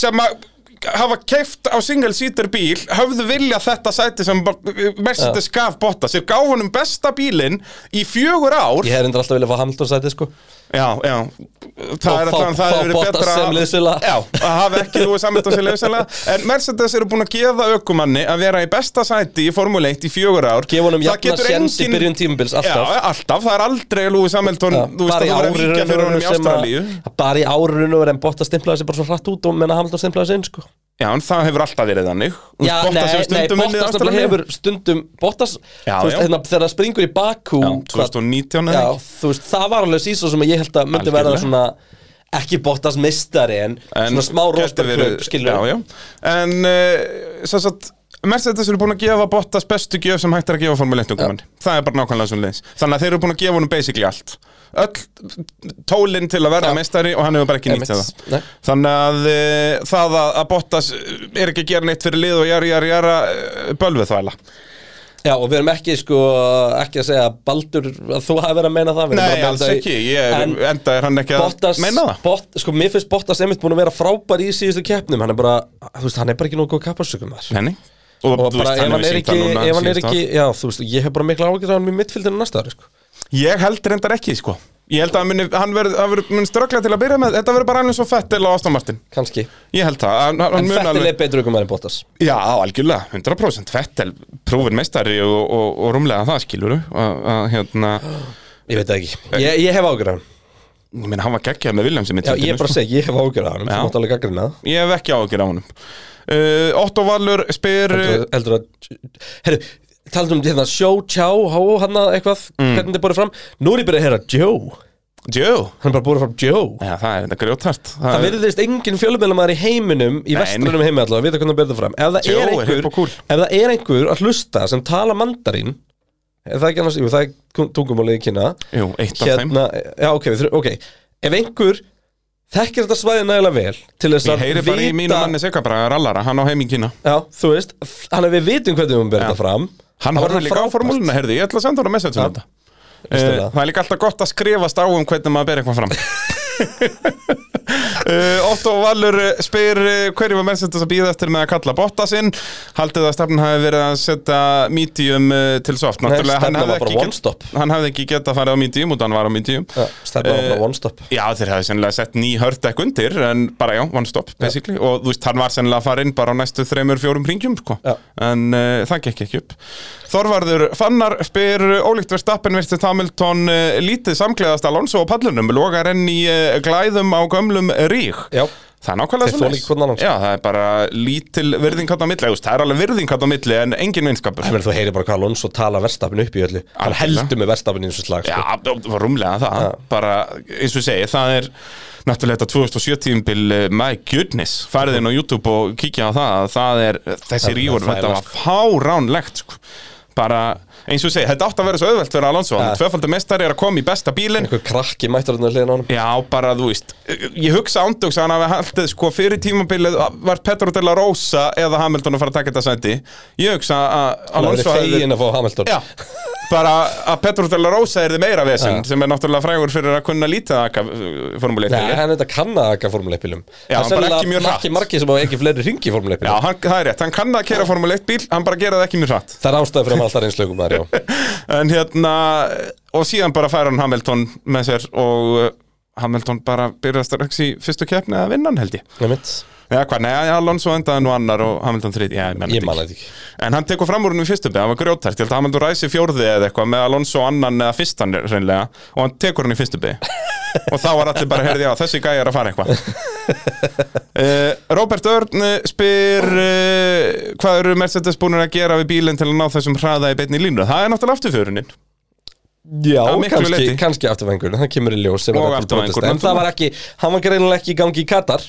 Speaker 2: sem að hafa keift á single seater bíl höfðu vilja þetta sæti sem Mercedes gaf Bottas þeir gáf honum besta bílinn í fjögur ár
Speaker 1: Ég hef endur alltaf viljað fá Hamilton sæti sko
Speaker 2: Já, já Það
Speaker 1: Og
Speaker 2: er
Speaker 1: fá-
Speaker 2: alltaf það
Speaker 1: fá
Speaker 2: hefur verið
Speaker 1: Bottas
Speaker 2: betra
Speaker 1: sem liðsfélaga.
Speaker 2: Já, að hafa ekki Lewis Hamilton sem liðsela En Mercedes eru búin að gefa ökumanni að vera í besta sæti í Formule 1 í fjögur ár
Speaker 1: Gefa honum
Speaker 2: Það
Speaker 1: jafna
Speaker 2: getur
Speaker 1: séns í byrjun tímabils, alltaf.
Speaker 2: Já, alltaf, það er aldrei Lewis Hamilton
Speaker 1: Já,
Speaker 2: Þú veist að þú verður að víkja fyrir honum í Ástralíu
Speaker 1: Bara í árinu verið en Bottas stimplaði sig bara svo hratt út og menna Hamilton stimplaði sig inn sko
Speaker 2: Já, en það hefur alltaf verið þannig Þú
Speaker 1: Já,
Speaker 2: veist,
Speaker 1: nei,
Speaker 2: Bottas
Speaker 1: nei, Bottas nefnilega
Speaker 2: hefur stundum unnið Ástralíu.
Speaker 1: hefur stundum Bottas,
Speaker 2: Já,
Speaker 1: þú veist,
Speaker 2: já.
Speaker 1: hérna, þegar það springur í Bakú
Speaker 2: Já, 2019
Speaker 1: Mm,
Speaker 2: eða
Speaker 1: Já,
Speaker 2: ekki?
Speaker 1: þú veist, það var alveg síðan sem ég held að myndi verða
Speaker 2: Algjörlega.
Speaker 1: svona ekki Bottas mistari en, svona smá
Speaker 2: gæti
Speaker 1: rostarklöp,
Speaker 2: verið-
Speaker 1: skilur
Speaker 2: já, já. En uh, svo að Mercedes eru búin að gefa Bottas bestu gjöf sem hægt er að gefa Formule 1 okkur Það er bara nákvæmlega svo leiðis Þannig að þeir eru búin að gefa honum basically allt öll tólinn til að verða
Speaker 1: Já.
Speaker 2: meistari og hann hefur bara ekki
Speaker 1: Einmitt.
Speaker 2: nýtt þetta
Speaker 1: Nei.
Speaker 2: þannig að e, það að, að Bottas er ekki að gera neitt fyrir lið og jara, jara, jara e, bölvið þvæla
Speaker 1: Já, og við erum ekki, sko, ekki að segja Baldur, að þú hafi verið að meina það við erum bara
Speaker 2: Nei,
Speaker 1: að
Speaker 2: alls
Speaker 1: benda í-
Speaker 2: ekki, ég,
Speaker 1: En
Speaker 2: enda er hann ekki að
Speaker 1: Bottas,
Speaker 2: meina það
Speaker 1: bot, sko, mér finnst Bottas einmitt búin að vera frábær í síðustu keppnum Hann er bara, þú veist, hann er bara ekki nógu góð kapparsökum þar
Speaker 2: Henni
Speaker 1: Og bara, ef hann er ekki, ef hann er
Speaker 2: síðustu ár.
Speaker 1: ekki, já, þú veist, ég hef bara mikla ágjörð á hann í mittfildinu næsta ári, sko
Speaker 2: Ég held reyndar ekki, sko Ég held að hann muni, hann verð, hann verð, mun ströggla til að byrja með Þetta verður bara alveg svo fett eða Aston Martin
Speaker 1: Kanski,
Speaker 2: Ég held það hann, hann
Speaker 1: en
Speaker 2: mun
Speaker 1: Fettil
Speaker 2: alveg-
Speaker 1: er betur aukum en Bottas
Speaker 2: Já, algjörlega, 100% Fettel, prófin meistari og, og, og rúmlega það skilur hérna,
Speaker 1: Ég veit það ekki, ég, ég hef ágjörð á hann
Speaker 2: Ég meina, hann var geggjað með Williams í
Speaker 1: Já, ég
Speaker 2: mittfundinu
Speaker 1: er bara að segja, ég hef ágjörð á hann Þú
Speaker 2: Já.
Speaker 1: mátt alveg gaggrina það
Speaker 2: Ég hef ekki ágjör á honum uh, Otto Valur spyr
Speaker 1: Heldur- heldur að herru, talaðu um hérna sjó, tjá, há, hann hérna eitthvað
Speaker 2: Mm.
Speaker 1: hvernig þið borðið fram, nú er ég byrjað að heyra Joe,
Speaker 2: Joe
Speaker 1: hann er bara borðið fram Joe
Speaker 2: Já, það er þetta grjótart
Speaker 1: það virðist engin fjölumælumar í heiminum í
Speaker 2: Nei,
Speaker 1: vestrunum heimi allavega, vita hvernig það byrjað fram ef það,
Speaker 2: Joe
Speaker 1: er
Speaker 2: er
Speaker 1: einhver,
Speaker 2: hipp og kúl.
Speaker 1: ef það er einhver að hlusta sem tala mandarín er það ekki annars, jú, það er tungumálið í kynna
Speaker 2: Jú, eitt af þeim
Speaker 1: hérna, já, ok, við þurfum, ok ef einhver þekkir þetta svæði nægilega vel til þess
Speaker 2: Ég
Speaker 1: að
Speaker 2: heyri bara í mínu manni Sigabra Rallara, hann á heim í Kína
Speaker 1: já, þú veist, hann ef við vitum hvernig hún byrjað fram þá
Speaker 2: Hann
Speaker 1: verður
Speaker 2: horfði líka á
Speaker 1: frábært.
Speaker 2: formúluna, herði, ég ætla að senda hún að message um þetta
Speaker 1: Veistu
Speaker 2: Eh,
Speaker 1: það?
Speaker 2: Það er líka alltaf gott að skrifast á um hvernig maður ber eitthvað fram uh, Otto Valur eh, spyr eh, hverju var Mercedes að býða eftir með að kalla botta sinn Haldið að stefnan hafi verið að setja medium eh, til soft Náttúrulega hann
Speaker 1: stefnan
Speaker 2: hefði,
Speaker 1: var bara
Speaker 2: ekki
Speaker 1: one stop.
Speaker 2: hann hefði ekki getað að fara á medium út hann var á medium
Speaker 1: Já, stefna var
Speaker 2: Eh,
Speaker 1: bara one stop
Speaker 2: Já, þeir hefði sennilega sett ný hört ekki undir en bara já, one stop basically og þú veist, hann var sennilega að fara inn bara á næstu þreymur, fjórum ringjum, sko
Speaker 1: Já.
Speaker 2: en uh, það gekk ekki upp Þorvarður Fannar spyr uh, ólíkt verðstappen virtist Hamilton uh, lítið samkleðast Alonso á pallunum, logar enn í uh, glæðum á gömlum rík
Speaker 1: Já,
Speaker 2: Það er nákvæmlega
Speaker 1: Þeir þola ekki hvorn annan, sko.
Speaker 2: Já, það er bara lítil virðingat á milli Þú veist, Það er alveg virðingat á milli en engin vinskapur
Speaker 1: menn þú heyri bara hvað Alonso tala verstafinu upp í öllu Hann
Speaker 2: Algjörlega.
Speaker 1: heldur með verstafinu eins og slag sko.
Speaker 2: Já, það var rúmlega það Bara, eins og ég segi, það er Náttúrulega þetta 2007 tímbil eh, My goodness, farið inn á YouTube og kíkja á það Það er, sko. þessi
Speaker 1: Það-
Speaker 2: rígur
Speaker 1: það er
Speaker 2: Þetta var fáránlegt sko. Bara, eins og ég segi, þetta átti að vera svo auðvelt fyrir Alonso Hann
Speaker 1: Ja.
Speaker 2: er tvöfaldar mestari, er að koma í besta bílinn
Speaker 1: Einhver krakki mættur hann að hliðin á hann
Speaker 2: Já, bara þú veist Ég hugsa ándjóks að hann hafi haldið sko fyrir tímabilið var Petro Della Rosa eða Hamilton að fara að taka þetta sæti Ég hugsa að
Speaker 1: Það
Speaker 2: Alonso
Speaker 1: verið
Speaker 2: hefði-
Speaker 1: fegin að fá Hamilton
Speaker 2: Já, bara að Petro Della Rosa er þið meira vesinn
Speaker 1: Já.
Speaker 2: sem er náttúrulega frægur fyrir að kunna lítið að uh, akka
Speaker 1: Nei,
Speaker 2: formuleitið
Speaker 1: hann er þetta kann að akka formuleipilum Það er
Speaker 2: Já, hann bara
Speaker 1: sennilega
Speaker 2: ekki mjög hratt.
Speaker 1: margir margir sem á ekki fleiri ringi
Speaker 2: Já,
Speaker 1: formuleipilum
Speaker 2: hann, það er rétt, hann kann að kera formuleitt bíl, hann bara gera það ekki mjög hratt
Speaker 1: Það er ástæði fyrir að maður alltaf einslögum maður, já
Speaker 2: En hérna, og síðan bara fær hann Hamilton með sér og uh, Hamilton bara byrja strax í fyrstu keppni að vinna hann held ég
Speaker 1: Nei, mitt,
Speaker 2: Já, hvað, nei, Alonso endaði nú annar og Hamilton þrið, já, ég menna
Speaker 1: ég manna þetta
Speaker 2: ekki
Speaker 1: ekki
Speaker 2: En hann tekur fram úr hann í fyrstu beð, hann var grjótært, ég held að Hamilton ræsi fjórði eða eitthvað með Alonso annan eða fyrstan reynlega og hann tekur hann í fyrstu beð og þá var allir bara, heyrði, já, þessi gæi er að fara eitthvað uh, Robert Örn eh, spyr uh, hvað eru Mercedes búin að gera við bílinn til að ná þessum hraða í beinni línu það er náttúrulega afturförunin
Speaker 1: Já,
Speaker 2: Að miklu
Speaker 1: kannski,
Speaker 2: leyti.
Speaker 1: kannski afturvengurinn, það kemur í ljós sem
Speaker 2: Og
Speaker 1: að Red Bull
Speaker 2: afturvængurinn,
Speaker 1: brotist. En það
Speaker 2: náttúrulega.
Speaker 1: var ekki, hann var greinilega ekki í gangi í Katar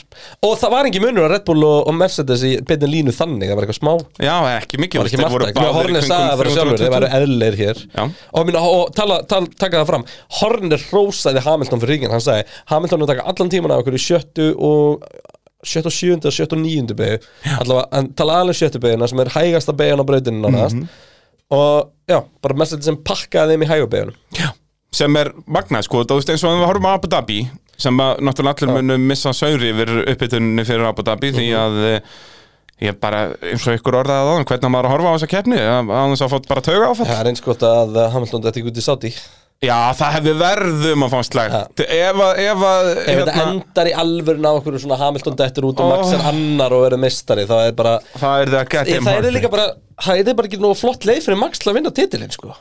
Speaker 1: Og það var engin munur að Red Bull og, og Mercedes í beinni línu þannig Það var eitthvað smá
Speaker 2: já, ekki mikið,
Speaker 1: var ekki
Speaker 2: þeir voru
Speaker 1: margt að
Speaker 2: báðir í
Speaker 1: Horner
Speaker 2: kringum
Speaker 1: sagði það bara sjálfur,
Speaker 2: 320.
Speaker 1: þeir væru eðlir hér
Speaker 2: Já.
Speaker 1: og, minna, og tala, tala, taka það fram Horner rósaði Hamilton fyrir ringin hann sagði, Hamilton er að taka allan tíman af okkur í sjöttu og sjöttu og sjöndu og sjöttu og níundu beigju allavega, hann talaði alveg um sjöttu beiguna sem er hægasta beigjan á brautinu nánast
Speaker 2: Mhm.
Speaker 1: og já, bara mest sem pakkaði þeim í hægu beigunum
Speaker 2: Já. sem er magnað sko, þú veist eins og við horfum á Abu Dhabi sem að náttúrulega allir munu missa sauri yfir uppbytuninni fyrir Abu Dhabi því
Speaker 1: Mhm.
Speaker 2: að eh, ég bara eins og ykkur orðaði það hvernig maður á að horfa á þessa keppni að þess að fótt bara tauga áfætt
Speaker 1: það er eins gott að eh, Hamilton þetta ekki út í sáti
Speaker 2: Já, það hefði verðum að fá slægt ef að, ef hérna- að
Speaker 1: ef þetta endar í alvörun á okkur svona Hamilton dettur út og Max er annar og verður mestari þá er bara
Speaker 2: það er það að geta
Speaker 1: Ég, það er líka bara, það er bara ekki nóg flott leið fyrir Max til að vinna titilinn sko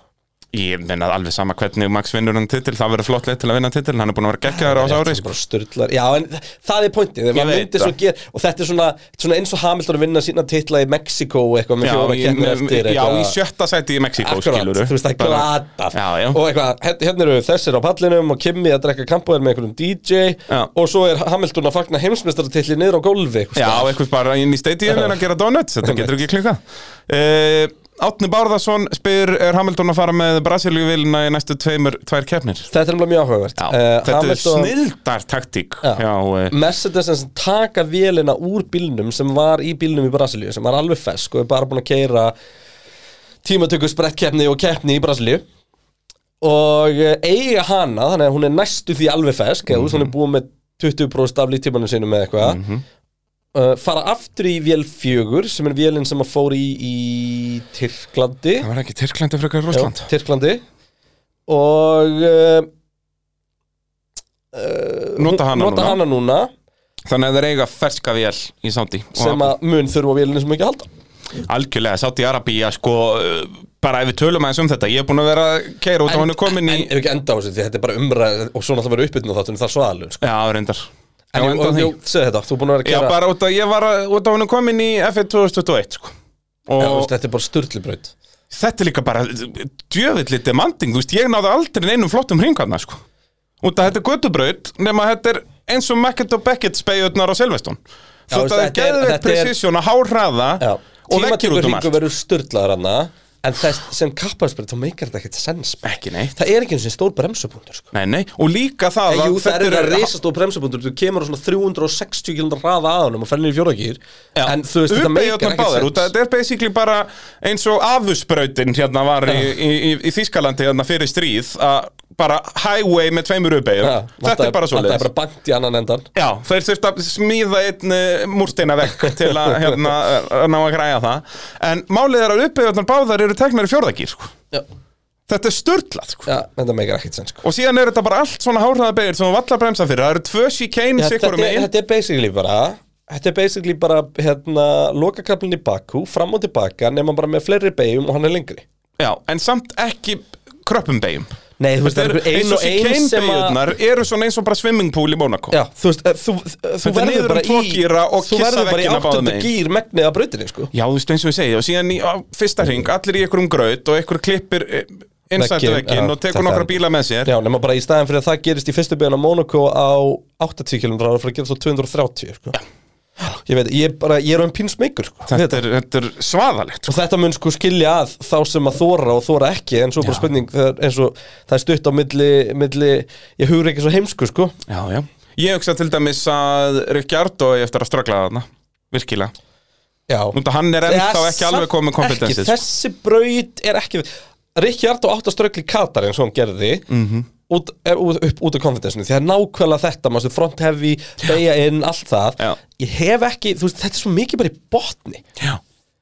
Speaker 2: Ég minna alveg sama hvernig Max vinnur hann titil það verður flott leið til að vinna titil, hann er búin að vera geggjaður á þessu ári
Speaker 1: Þetta er
Speaker 2: sko.
Speaker 1: bara styrlar, já en það er pointið þegar
Speaker 2: Ég
Speaker 1: maður
Speaker 2: veit
Speaker 1: myndi
Speaker 2: það.
Speaker 1: svo gera og þetta er svona, þetta er svona eins og Hamilton að vinna sína titla í Mexiko og eitthvað með
Speaker 2: Já,
Speaker 1: fjóra
Speaker 2: í-
Speaker 1: keppnir eftir
Speaker 2: já,
Speaker 1: eitthvað.
Speaker 2: í sjötta sæti í Mexíkó
Speaker 1: Akkurat,
Speaker 2: skilurðu.
Speaker 1: þú veist það er
Speaker 2: Bara-
Speaker 1: glatað
Speaker 2: Já, já.
Speaker 1: og eitthvað, hér- hérna eru þessir á pallinum og Kimi að drekka kampóðir með einhverjum DJ
Speaker 2: Já.
Speaker 1: og svo er Hamilton að fagna heimsmestaratilli niður á gólfi einhvers
Speaker 2: Já,
Speaker 1: staðar.
Speaker 2: eitthvað bara inn í stadium en að gera donuts, þetta getur ekki klikkað uh, Átni Bárðarsson spyr er Hamilton að fara með Brasilíuvilina í næstu tveimur, tvær keppnir
Speaker 1: Þetta er náttúrulega mjög áhugavert
Speaker 2: Já,
Speaker 1: Eh,
Speaker 2: þetta
Speaker 1: Hamilton-
Speaker 2: er snildar taktík
Speaker 1: Já.
Speaker 2: eh, Já, já
Speaker 1: Mercedes sem sagt taka vélina úr bílnum sem var í bílnum í Brasilíu sem var alveg fesk og er bara búin að keira tímatöku sprettkeppni og keppni í Brasilíu og eh, eiga hana þannig að hún er næstu því alveg fesk mm -hmm. hún
Speaker 2: Mhm.
Speaker 1: er búin með 20% af lítímanum sínum með eitthvað uh, fara aftur í vél fjögur sem er vélin sem að fór í í Tyrklandi
Speaker 2: Það var ekki Tyrklandi frekar Rússland
Speaker 1: Já, Tyrklandi og uh,
Speaker 2: Nota hana
Speaker 1: nota
Speaker 2: núna
Speaker 1: hana núna
Speaker 2: Þannig að þeir eiga ferska vél í Sáti
Speaker 1: sem að mun þurfa á vélinu sem ekki halda
Speaker 2: Algjörlega, Sáti Arabía sko uh, bara ef við tölum aðeins um þetta ég er búin að vera að keira út og hann er komin í
Speaker 1: en, ef ekki enda á þessu, því þetta er bara umræð og svona það verður uppbytun á þáttunum, það er svo aðlun sko.
Speaker 2: Já, reyndar Já,
Speaker 1: en ég,
Speaker 2: enda á
Speaker 1: og,
Speaker 2: því.
Speaker 1: ég, segðu þetta, þú er búin að vera að
Speaker 2: Já,
Speaker 1: gera
Speaker 2: bara út að ég var að- út að hann er komin í F1 2021 sko.
Speaker 1: Já,
Speaker 2: og
Speaker 1: þú veist, þetta er bara sturlubraut
Speaker 2: þetta er líka bara djöfilli demanding, þú veist, ég náði aldrei neinum flottum hringarna, sko út að þetta er göttubraut, nema þetta er eins og Mackett og Beckett speigjurnar á Selveston
Speaker 1: Já,
Speaker 2: þetta
Speaker 1: veist, þetta
Speaker 2: er
Speaker 1: er-
Speaker 2: geðveikt
Speaker 1: þetta er-
Speaker 2: precision að háhraða
Speaker 1: Já.
Speaker 2: og vekkir út um
Speaker 1: Tímatökuhringur
Speaker 2: allt
Speaker 1: verður sturlaður hana en þess, sem kappaðsbraut, þá meikar þetta ekkert sens bara.
Speaker 2: ekki neitt,
Speaker 1: það er ekki eins og stór bremsupunktur sko.
Speaker 2: nei, nei, og líka það
Speaker 1: Jú, það er
Speaker 2: þetta
Speaker 1: það reysastór bremsupunktur, þú kemur á svona 360 km hraða aðanum og fennir í fjórakýr
Speaker 2: Já.
Speaker 1: en þú veist, þetta meikar
Speaker 2: uppeygjurnar báðar,
Speaker 1: ekkert
Speaker 2: út að
Speaker 1: sens
Speaker 2: þetta er basically bara eins og afusbrautin hérna var í, í, í, í Þískalandi hérna fyrir stríð að bara highway með tveimur uppeyjur
Speaker 1: Já,
Speaker 2: þetta
Speaker 1: vantaði-
Speaker 2: er bara svo
Speaker 1: vantaði bara bankt í annan endan
Speaker 2: Já, þeir þurft að smíða einn eh, múrsteina vekk til að hérna, eh, ná að græja það En málið er að uppeyðunar báðar eru teknar í fjórðagýr sko.
Speaker 1: Já,
Speaker 2: Þetta er störtlað sko.
Speaker 1: Já, þetta meikar ekkert sens sko.
Speaker 2: Og síðan eru þetta bara allt svona hárhraðabeir sem þú valla bremsa fyrir Það eru tvö síkein
Speaker 1: Já, þetta,
Speaker 2: sikkur um
Speaker 1: er,
Speaker 2: einn
Speaker 1: þetta er basically bara Þetta er basically bara hérna, lokakablin í Bakú, fram og tilbaka nema bara með fleiri beigjum og hann er lengri
Speaker 2: Já, en samt ekki kröppum beigum
Speaker 1: Nei, þú veist, það er einhver ein
Speaker 2: Eins og
Speaker 1: og ein
Speaker 2: síkein
Speaker 1: sem að
Speaker 2: beigurnar eru svona eins og bara swimmingpool í Monaco
Speaker 1: Já, þú veist, eh, þú, þú
Speaker 2: Þetta er niður
Speaker 1: verður
Speaker 2: um
Speaker 1: bara
Speaker 2: tvo
Speaker 1: í
Speaker 2: gíra og
Speaker 1: Þú
Speaker 2: kissa
Speaker 1: verður bara í
Speaker 2: veggina báðum
Speaker 1: áttundu
Speaker 2: megin.
Speaker 1: gýr megnið af brautinni, sko
Speaker 2: Já, þú veist eins og ég segi, og síðan í á, fyrsta hring, allir í einhverjum graut og einhver klippir
Speaker 1: Vegginn, já,
Speaker 2: innsættuvegginn og
Speaker 1: þetta
Speaker 2: tekur
Speaker 1: er-
Speaker 2: nokkra bíla með sér
Speaker 1: Já, nema bara í staðin fyrir að það gerist í fyrstu beigjum á Monaco á 80 km Það er að fara að gera svo 230, sko Ég veit, ég er bara, ég er um pín smeykur, sko
Speaker 2: Þetta er, þetta er svaðalegt
Speaker 1: Og þetta mun sko skilja að þá sem að þóra og þóra ekki en svo bara
Speaker 2: Já.
Speaker 1: spurning þegar, eins og það er stutt á milli, milli ég hugur ekki svo heimsku sko
Speaker 2: Já, já Ég hugsa til dæmis að Ricciardo eigi eftir að ströggla þarna Virkilega
Speaker 1: Já
Speaker 2: Nú þetta hann er ennþá ekki alveg komið kompetensið sko.
Speaker 1: Þessi braut er ekki Ríkjart og átt að ströggli Katar eins og hann gerði
Speaker 2: Mhm.
Speaker 1: -hmm. út, eh, út, upp, út af konfidensinu því það er nákvæmlega þetta, maður sem front heavy beigja inn, allt það
Speaker 2: Já.
Speaker 1: Ég hef ekki, þú veist, þetta er svo mikið bara í botni
Speaker 2: Já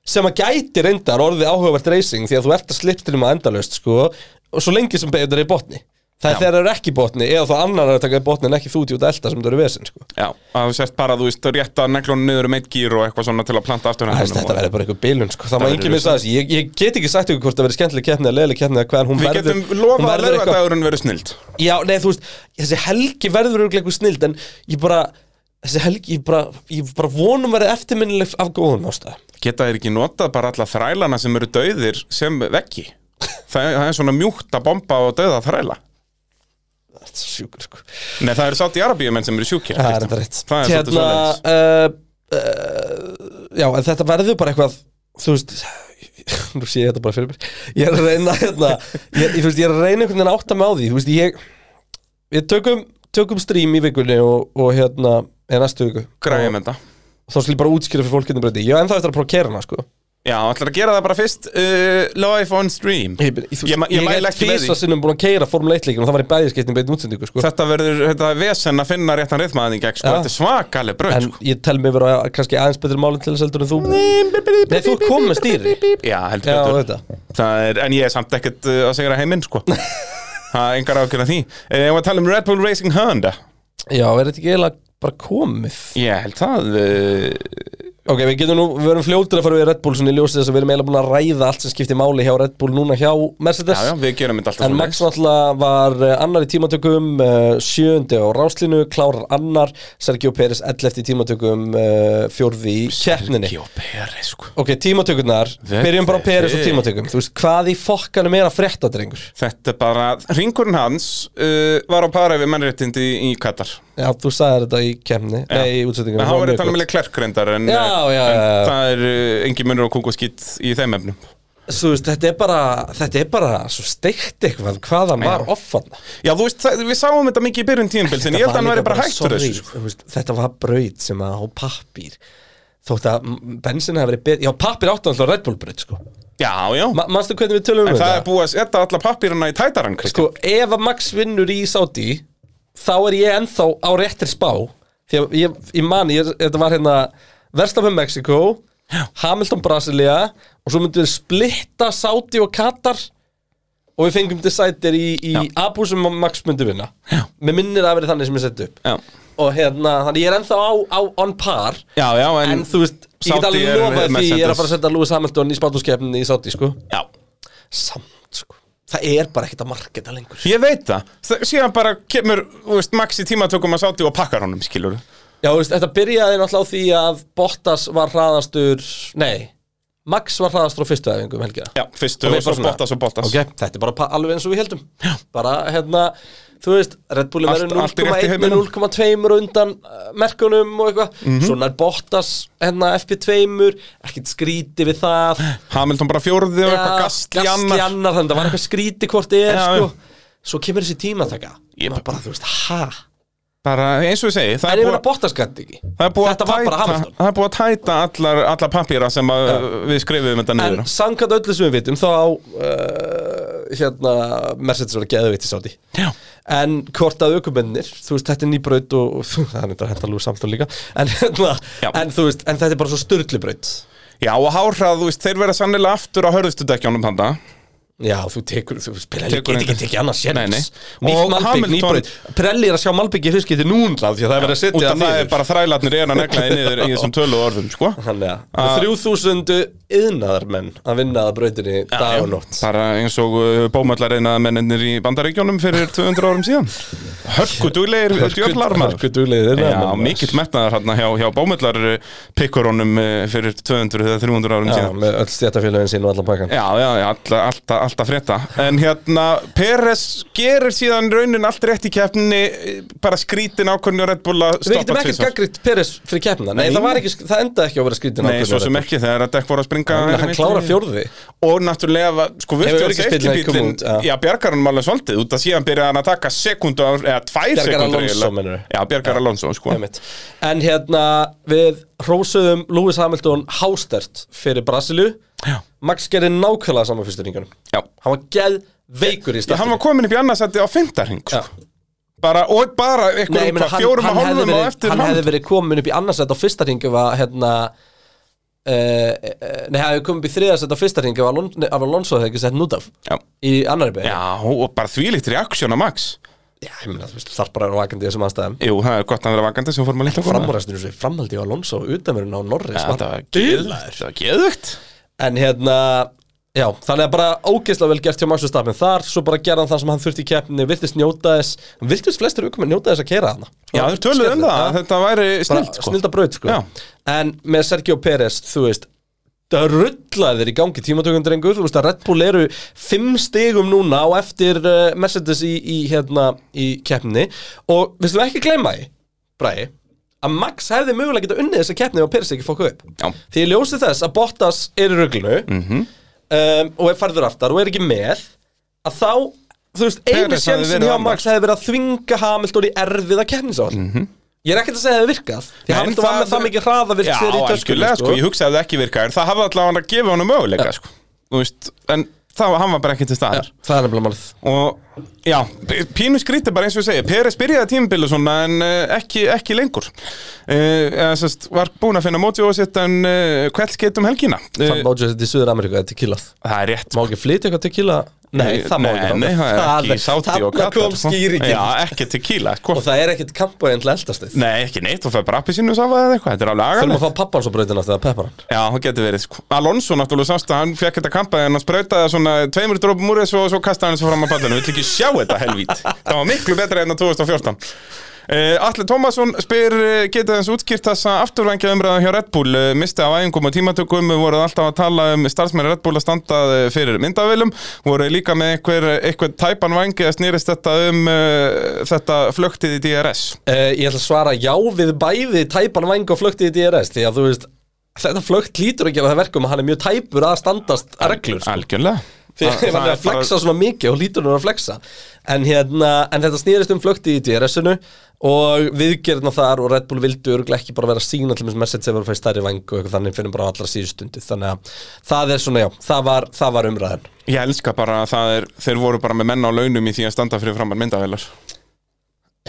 Speaker 1: sem að gæti reyndar orðið áhugavert racing því að þú ert að slipstreama endalaust sko, og svo lengi sem beigður er í botni það er
Speaker 2: Já.
Speaker 1: þegar þeir eru ekki í botni eða þá annar er að taka í botni en ekki þú út í út að elda sem þú eru vesinn sko.
Speaker 2: Já, að þú sést bara að þú veist rétt að neglunum niður um eitt gýr og eitthvað svona til að planta aftur
Speaker 1: Æst, þetta verður bara einhver bilun sko. það má
Speaker 2: verður
Speaker 1: engin missa þess ég, ég get ekki sagt ykkur hvort það verður skemmtileg keppni eða leiðileg keppni eða hvað en hún
Speaker 2: Við
Speaker 1: verður
Speaker 2: getum
Speaker 1: hún
Speaker 2: lofað að
Speaker 1: verður eitthvað-
Speaker 2: lögadagurinn verður snild
Speaker 1: já, nei, þú veist, þessi helgi verður örugglega eitthvað snild en ég bara þessi helgi, ég bara, ég bara vonum verið eftirminnileg af góðum ástæða
Speaker 2: Geta þeir ekki notað bara alla þrælana sem eru dauðir sem veggi Það það er svona mjúkt að bomba og dauða þræla
Speaker 1: þetta er sjúkur sko.
Speaker 2: Nei, það eru sátt í Arabíumenn sem eru sjúkir
Speaker 1: Það er
Speaker 2: Kristján.
Speaker 1: þetta rétt
Speaker 2: Það er svolítið svoleiðis.
Speaker 1: uh, uh, Hérna, eh, Já, en þetta verður bara eitthvað Þú veist Nú sé ég þetta bara fyrir mér Ég er að reyna hérna Ég, ég, þú veist, ég er að reyna einhvern veginn að átta mig á því Þú veist, ég Við tökum, tökum stream í vikunni og, og hérna eða næstu viku
Speaker 2: Græjum þetta
Speaker 1: Og Þá skal ég bara útskýra fyrir fólkinu breyti Ég er ennþá eftir að prófa að kera hana, sko
Speaker 2: Já, ætlar að gera það bara fyrst uh, Live on stream
Speaker 1: Ég, ég, þú veist,
Speaker 2: Ég ma- ég
Speaker 1: ég
Speaker 2: mæli
Speaker 1: er
Speaker 2: ekki með því.
Speaker 1: tvisvar sinnum búin að keira Formule 1 leikinn og það var í bæðiskeittinu beitt útsendingu, sko
Speaker 2: Þetta verður, þetta er vesen að finna réttan rithmaðin í gegn, sko,
Speaker 1: Já.
Speaker 2: þetta er svakaleg sko. bröð,
Speaker 1: En ég tel mig vera kannski aðeins betri málinn til þess heldur en þú Nei, þú ert kominn með stýri
Speaker 2: sko. Já, heldur
Speaker 1: Já,
Speaker 2: betur.
Speaker 1: þetta
Speaker 2: Það er, en ég er samt ekkert uh, að segja heiminn, sko. Það er engar ákjörna því. Eh, Ég var að tala um Red Bull Racing Honda.
Speaker 1: Já, er þetta ekki eiginlega bara komið?
Speaker 2: Ég held það, uh,
Speaker 1: Ok, við getum nú, við verum fljótur að fara við Red Bull svona í ljósið þess að við erum eiginlega búin að ræða allt sem skiptir máli hjá Red Bull núna hjá Mercedes
Speaker 2: já, já, við gerum þetta alltaf
Speaker 1: En
Speaker 2: svona.
Speaker 1: Max náttúrulega var eh, annar í tímatökum, eh, sjöundi á ráslinu, klárar annar, Sergio Pérez 11 í tímatökum, eh, fjórði í keppninni
Speaker 2: Sergio Pérez, sko.
Speaker 1: Ok, tímatökurnar,
Speaker 2: Þetta
Speaker 1: byrjum bara á
Speaker 2: er
Speaker 1: Pérez og
Speaker 2: þitt.
Speaker 1: tímatökum Þú veist, hvað í fokkanum er að frétta, drengur?
Speaker 2: Þetta er bara, ringurinn hans uh, var á para við mennréttindi í, í Katar.
Speaker 1: Já, þú sagði þetta í kemni, nei, í útsendingum
Speaker 2: En hann var að tala um leik klerk reyndar, en,
Speaker 1: Já, já,
Speaker 2: en
Speaker 1: já, já.
Speaker 2: það er uh, engin munur á kúk og skýtt í þeim efnum.
Speaker 1: þú veist, þetta er bara þetta er bara svo steikt eitthvað hvað hann var
Speaker 2: Já.
Speaker 1: offan
Speaker 2: Já, þú veist, það- við sáum þetta mikið í byrjun tíðanbils en ég held að hann væri bara hættur þessu sko.
Speaker 1: veist, þetta var braut sem að á pappír þótt að m- bensin hafi verið bet... já, pappír áttu alltaf Red Bull braut sko.
Speaker 2: Já, já,
Speaker 1: Ma manstu hvernig við tölum um
Speaker 2: en það er
Speaker 1: þetta
Speaker 2: búið að setja alla pappiruna í tætaran Kristján.
Speaker 1: sko, ef að Max vinnur í Saudi þá er ég ennþá á réttir spá því að ég, ég man, ég, þetta var hérna Verstafum Mexiko Hamilton Brasilia og svo myndum við splitta Saudi og Katar og við fengum decider í, í
Speaker 2: Já.
Speaker 1: Abu sem Max myndi vinna Já. með minnir að verið þannig sem ég sett upp
Speaker 2: Já.
Speaker 1: og hérna, þannig ég er ennþá á, á on par
Speaker 2: Já, já, en,
Speaker 1: en, þú veist, ég get
Speaker 2: Saudi
Speaker 1: alveg
Speaker 2: er-
Speaker 1: lofað því ég er
Speaker 2: Mercedes.
Speaker 1: að fara að setja Lewis Hamilton í spátumskeppninni í Saudi, sko
Speaker 2: Já,
Speaker 1: samt, sko, það er bara ekkert að marketa lengur
Speaker 2: ég veit það Þa- Síðan bara kemur, þú veist, Max í tímatökum að sátti og pakkar honum, skilur
Speaker 1: Já, veist, þetta byrjaði náttúrulega á því að Bottas var hraðastur, nei Max var hraðastur á fyrstu æfingu um helgina
Speaker 2: Já, fyrstu
Speaker 1: Og
Speaker 2: og
Speaker 1: við
Speaker 2: svo
Speaker 1: bara svona-
Speaker 2: bóttas og bóttas
Speaker 1: Ok, þetta er bara pa- alveg eins og við heldum Já. bara, hérna, þú veist Red Bulli
Speaker 2: Allt-
Speaker 1: verður
Speaker 2: allt í rétti
Speaker 1: 0,1
Speaker 2: heiminum. Mhm.
Speaker 1: 0,2 undan uh, merkunum og eitthvað, svona er Bottas hérna FP2, ekkert skríti við það
Speaker 2: Hamilton bara fjórði og eitthvað gastli
Speaker 1: gastli
Speaker 2: annar
Speaker 1: annar þannig, það var eitthvað skríti hvort er,
Speaker 2: Já,
Speaker 1: sko Svo kemur þessi tímataka
Speaker 2: Ég-
Speaker 1: Maður bara, þú veist, ha
Speaker 2: Bara eins og ég segi,
Speaker 1: En
Speaker 2: það er
Speaker 1: ég
Speaker 2: búið
Speaker 1: verið að Bottas gæti ekki
Speaker 2: Það er búið að
Speaker 1: Þetta var bara
Speaker 2: tæta,
Speaker 1: Hamilton.
Speaker 2: það er búið að tæta allar, allar pappýra sem að, við skrifum þetta niður
Speaker 1: En samkvæmt öllu sem við vitum þá á uh, hérna Mercedes var að geða veit í sáti
Speaker 2: Já,
Speaker 1: En hvort að aukumennir, þú veist, þetta er nýbraut og, og þú- það er þetta hendalúi samtál líka en, hérna,
Speaker 2: Já.
Speaker 1: en þú veist, en þetta er bara svo styrlibraut
Speaker 2: Já og hárhrað, þú veist, þeir vera sannilega aftur á hörðustu dekkjónum panda
Speaker 1: Já, þú tekur, þú spilar, ég get
Speaker 2: Tekur
Speaker 1: ekki
Speaker 2: engan.
Speaker 1: tekið annars
Speaker 2: Nei, nei.
Speaker 1: sjens
Speaker 2: Og
Speaker 1: Nýtt Malbygg,
Speaker 2: Hamilton-
Speaker 1: nýbraut Prelli er að sjá Malbygg í fyrskiti núna því að það er verið að
Speaker 2: Út
Speaker 1: setja
Speaker 2: af það er bara þrælarnir er að neglaði niður í þessum tölu orðum, sko
Speaker 1: Þannig að og 3000 yðnaðarmenn að vinna að brautinni dag og nótt
Speaker 2: Bara eins og uh, bómallarina mennir í bandaríkjónum fyrir 200 árum síðan Hörku duglegir djöflar maður
Speaker 1: Hörku duglegir
Speaker 2: Já,
Speaker 1: iðnaðarmenn, maður.
Speaker 2: mikill metnaðar hérna hjá, hjá bómallar pikkurunum fyrir 200 eða 300 árum
Speaker 1: Já,
Speaker 2: síðan
Speaker 1: með öll stjætafélagin sín og allan pakkan
Speaker 2: Já, já, já, alltaf, alltaf, alltaf frétta En hérna, Peres gerir síðan raunin allt rétt í keppninni eh, bara skrítin ákvörni og Red Bull að
Speaker 1: Við
Speaker 2: stoppa
Speaker 1: getum ekkert
Speaker 2: tvisvar.
Speaker 1: gaggritt Peres fyrir keppna Nei,
Speaker 2: Nei.
Speaker 1: það, var ekki, það enda ekki á að vera skrítin
Speaker 2: Nei, svo sem ekki, þegar að dekk voru að springa
Speaker 1: Hann klára fjórði
Speaker 2: Og náttúrulega, var- sko, virtual
Speaker 1: öryggisbíllinn
Speaker 2: safety
Speaker 1: ekki komið
Speaker 2: bílinn
Speaker 1: út, já.
Speaker 2: Já, bjargar hann alveg svolítið Út að síðan byrjaði hann að taka sekundu Eða tvær
Speaker 1: Bjargar
Speaker 2: sekundur
Speaker 1: Alonso,
Speaker 2: eiginlega.
Speaker 1: meinarðu?
Speaker 2: Já, bjargar Alonso, sko
Speaker 1: einmitt. En hérna, við hrósuðum Lewis Hamilton hástert fyrir Brasilu
Speaker 2: Já.
Speaker 1: Max gerði nákvæmlega saman fyrstu ringunum
Speaker 2: Já,
Speaker 1: Hann var geð veikur í
Speaker 2: Já, hann
Speaker 1: startinu
Speaker 2: var komin upp í annarsætti á fintarhing
Speaker 1: Já.
Speaker 2: Bara, og bara eitthvað
Speaker 1: Nei,
Speaker 2: um
Speaker 1: meni,
Speaker 2: hvað,
Speaker 1: hann,
Speaker 2: fjórum
Speaker 1: hann,
Speaker 2: og
Speaker 1: hefði
Speaker 2: hálfum á
Speaker 1: verið,
Speaker 2: eftir
Speaker 1: hann
Speaker 2: Hamilton.
Speaker 1: hefði verið komin upp í annarsætt á fyrsta ringu var hérna Uh, nei, hann hefði komið upp í þriðarsætt á fyrsta ringu af Alon- nei, af Alonso hefði ekki sett nút af
Speaker 2: Já.
Speaker 1: í annari beigð
Speaker 2: Já, og bara þvílíkt reaksjón á Max
Speaker 1: Já, ég meina, þú veist, þarf bara að vera vakandi í þessum aðstæðum
Speaker 2: Jú, það er gott að vera vakandi sem fórum að lilla kona
Speaker 1: framúræstinu sem framhaldi á Alonso og utanverðin á Norris
Speaker 2: Þetta var geðvægt Það var geðvægt
Speaker 1: en hérna já, þannig að bara ógeðslega vel gert hjá Max Verstappen þar, svo bara gerði hann það sem hann þurfti í keppni virtist njóta þess, hann virtist flestir aukumenn njóta þess að keira hana
Speaker 2: Já, þeir töluðu um það, að þetta væri snilt sko.
Speaker 1: snilda braut sko
Speaker 2: Já.
Speaker 1: en með Sergio Pérez, þú veist það rullaði þeir í gangi tímatökum drengur þú veist að Red Bull eru fimm stigum núna á eftir uh, Mercedes í, í hérna í keppni og við slum ekki gleyma því Bræði að Max hefði mögulega geta unnið þessa keppni og Pérez ekki fokku upp
Speaker 2: Já.
Speaker 1: því ég ljósi þess að Bottas er í ruglunu
Speaker 2: Mhm.
Speaker 1: um, og er farður aftar og er ekki með að þá, þú veist, einu
Speaker 2: Perez hafði
Speaker 1: sjensin
Speaker 2: verið
Speaker 1: hjá
Speaker 2: annar.
Speaker 1: Max hefði verið að þvinga Hamilton í erfiða keppnisál Ég er ekkert að segja að það hefði virkað Því
Speaker 2: Mhm. Nei,
Speaker 1: Hamilton var
Speaker 2: það-
Speaker 1: með það mikið hraða virkt
Speaker 2: Já,
Speaker 1: sér í töskunni
Speaker 2: algjörlega, sko, ég hugsaði að það ekki virkaði en það hafði allavega hann að gefa honum möguleika sko. Þú veist, en það hann var bara ekki til staðar
Speaker 1: Það er nefnilega málið
Speaker 2: og já, p- pínu skríti bara eins og ég segi Peres byrjaði tímabili svona en uh, ekki, ekki lengur uh, eða, sest, var búin að finna móti og sitt en uh, kvelds getum helgina
Speaker 1: Fann
Speaker 2: uh,
Speaker 1: bótið þetta í Suður Ameríku, þetta er killað
Speaker 2: það er
Speaker 1: Eh,
Speaker 2: rétt sko.
Speaker 1: Má ekki flytja eitthvað til killa? Nei, það má
Speaker 2: nei,
Speaker 1: ekki
Speaker 2: nei, það er ekki í sáti og sko.
Speaker 1: Þarna kom skýringin
Speaker 2: já, ekki tequila sko.
Speaker 1: Og það er ekkert kampu eða eldast þið
Speaker 2: nei, ekki neitt, þú fær bara appi sínu sáfa eða eitthvað, þetta er alveg
Speaker 1: Þurfum
Speaker 2: agalegt
Speaker 1: að fá pappan svo brautin aftur að peppa hann
Speaker 2: Já, það getur verið sko. Alonso náttúrulega sást að hann fekk þetta kampaði en hann sprautaði svona tveimur drópum úr þessu og svo kastaði hann þessu fram að ballinu. Við ætlum ekki sjá þetta helvít. Það var miklu betra hérna enn á 2014. Uh, Alli Tómasson spyr eh, getið þessu útskýrt þessa afturvængja umræða hjá Red Bull uh, misti af æfingum og tímatökum við voruð alltaf að tala um starfsmenn Red Bull að standa eh, fyrir myndavélum voru líka með einhver, einhver tæpan vangi að snýrist þetta um uh, þetta flöktið í DRS
Speaker 1: Eh, Uh, ég ætla að svara já við bæði tæpan væng og flöktið í DRS því að þú veist þetta flögt lítur að gera það verkum að hann er mjög tæpur að standast reglur sko.
Speaker 2: Algjörlega
Speaker 1: Þegar hann er að flexa svona mikið og lítur hann að flexa en, hérna, en þetta snýrist um flögt í DRS-unu og viðgerðna þar og Red Bull vildu örgulega ekki bara vera að sína til þess message sem var að fæði stærri vang og eitthvað þannig fyrir bara á allra síðustundi þannig að það er svona já, það var, það var umræðan
Speaker 2: Ég elska bara að það er, þeir voru bara með menn á launum í því að standa fyrir framar myndavélar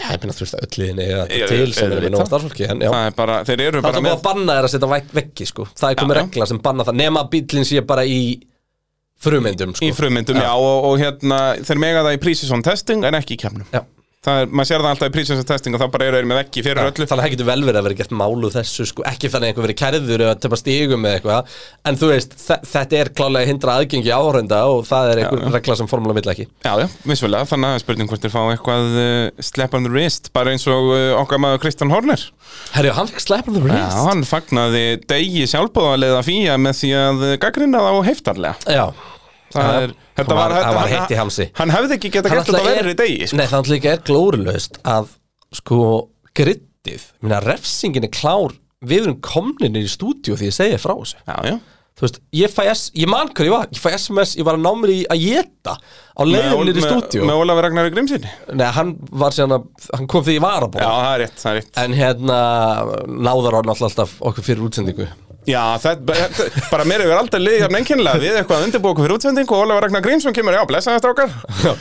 Speaker 1: Já, ég minna þú veist að öll liðin eiga
Speaker 2: Ég-
Speaker 1: þetta til sem er
Speaker 2: auðvitað.
Speaker 1: með nóg starfsfólki en já,
Speaker 2: Það er bara, þeir
Speaker 1: það
Speaker 2: eru
Speaker 1: er
Speaker 2: bara
Speaker 1: það búið
Speaker 2: með
Speaker 1: að banna þér að setja væk- veggi sko, það er komið
Speaker 2: Já, já.
Speaker 1: regla sem banna það nema að bílinn sé bara í frumyndum
Speaker 2: í
Speaker 1: sko
Speaker 2: frumyndum, já, og, og hérna þeir mega það í prísisón testing en ekki í kemnum
Speaker 1: Já.
Speaker 2: Það er, maður sér það alltaf í prísisón testing og þá bara eru þeir með veggi fyrir öllu
Speaker 1: Þannig að það getur vel verið að vera gert málu þessu sko, ekki þannig að einhver verið kærður eða tepa stígum eða eitthvað, en þú veist þe- þetta er klálega hindra aðgengi áhörenda og það er einhver regla sem formúla vill ekki
Speaker 2: Já, já, vissulega, þannig að það er spurning hvort þeir fá eitthvað uh, slap on the wrist, bara eins og uh, okkar maður Kristján Horner
Speaker 1: Herri, hann fekk slap on the
Speaker 2: Já,
Speaker 1: wrist
Speaker 2: hann fagnaði degi sjálfbóðarlega fíja með því að gaggrina þá heiftarlega
Speaker 1: Já,
Speaker 2: Það
Speaker 1: Já.
Speaker 2: er, þetta
Speaker 1: Hann
Speaker 2: var,
Speaker 1: var- hann var
Speaker 2: hann-
Speaker 1: heitt í hamsi.
Speaker 2: Hann hefði ekki getað gert þetta á verri degi sko.
Speaker 1: Nei, þannig líka er glórulegust að sko grittið, minna refsingin er klár við erum komninir í stúdíu því ég segi frá þessu
Speaker 2: Já, já
Speaker 1: þú veist, ég fæ S, ég man hvað ég var ég fæ SMS, ég var að ná mér í að geta á leiðum nýri í stúdíu
Speaker 2: Með Ólafur Ragnar í Grimsinn Já,
Speaker 1: Nei, hann var síðan að, hann kom því ég var að bóða
Speaker 2: það er rétt, það er rétt
Speaker 1: En hérna, náðar hann alltaf okkur fyrir útsendingu
Speaker 2: Já, það, þetta- bara mér hefur aldrei liðið hérna enginlega Við eitthvað að undirbúa okkur fyrir útsendingu og Ólafur Ragnar Grímsson kemur, já, blessa þetta okkar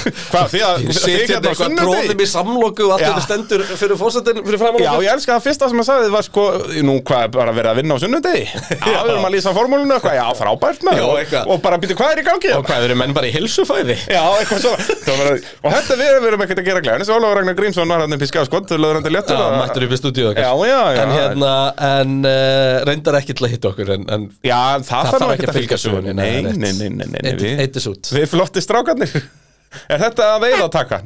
Speaker 2: Hvað, því að þið
Speaker 1: Sittir
Speaker 2: hérna á
Speaker 1: eitthvað
Speaker 2: sunnudegi?
Speaker 1: bróðum í samloku og allt
Speaker 2: Já.
Speaker 1: þetta stendur fyrir fórsetin, fyrir framan
Speaker 2: Já,
Speaker 1: okkur.
Speaker 2: ég elska það fyrsta sem að sagði var sko, nú hvað er bara verið að vinna á sunnudegi? Já, við erum að lýsa formúlinu eitthvað, já, frábært með
Speaker 1: Já,
Speaker 2: og,
Speaker 1: eitthvað.
Speaker 2: og bara býtu hvað er í gangi? hérna?
Speaker 1: Og hvað, eru menn bara í hilsufæði?
Speaker 2: Já, eitthvað svo Það var að- Og þetta við við erum ekkert að gera glæðin Þessi Ólafur Ragnar Grímsson var hann upp í skjáskott Löður hann til
Speaker 1: Já,
Speaker 2: léttur að-
Speaker 1: mættur upp í stúdíu okkar
Speaker 2: Já, já, já
Speaker 1: En hérna, en uh, reyndar ekki til að hitta okkur En, en
Speaker 2: Já, það, það þarf ekki að fylgja sögunni Nei,
Speaker 1: nei,
Speaker 2: nei,
Speaker 1: rétt.
Speaker 2: nei, nei, nei, nei
Speaker 1: Eitt-
Speaker 2: við-
Speaker 1: eitt er sút.
Speaker 2: Við flotti strákarnir Er þetta að veiða taka?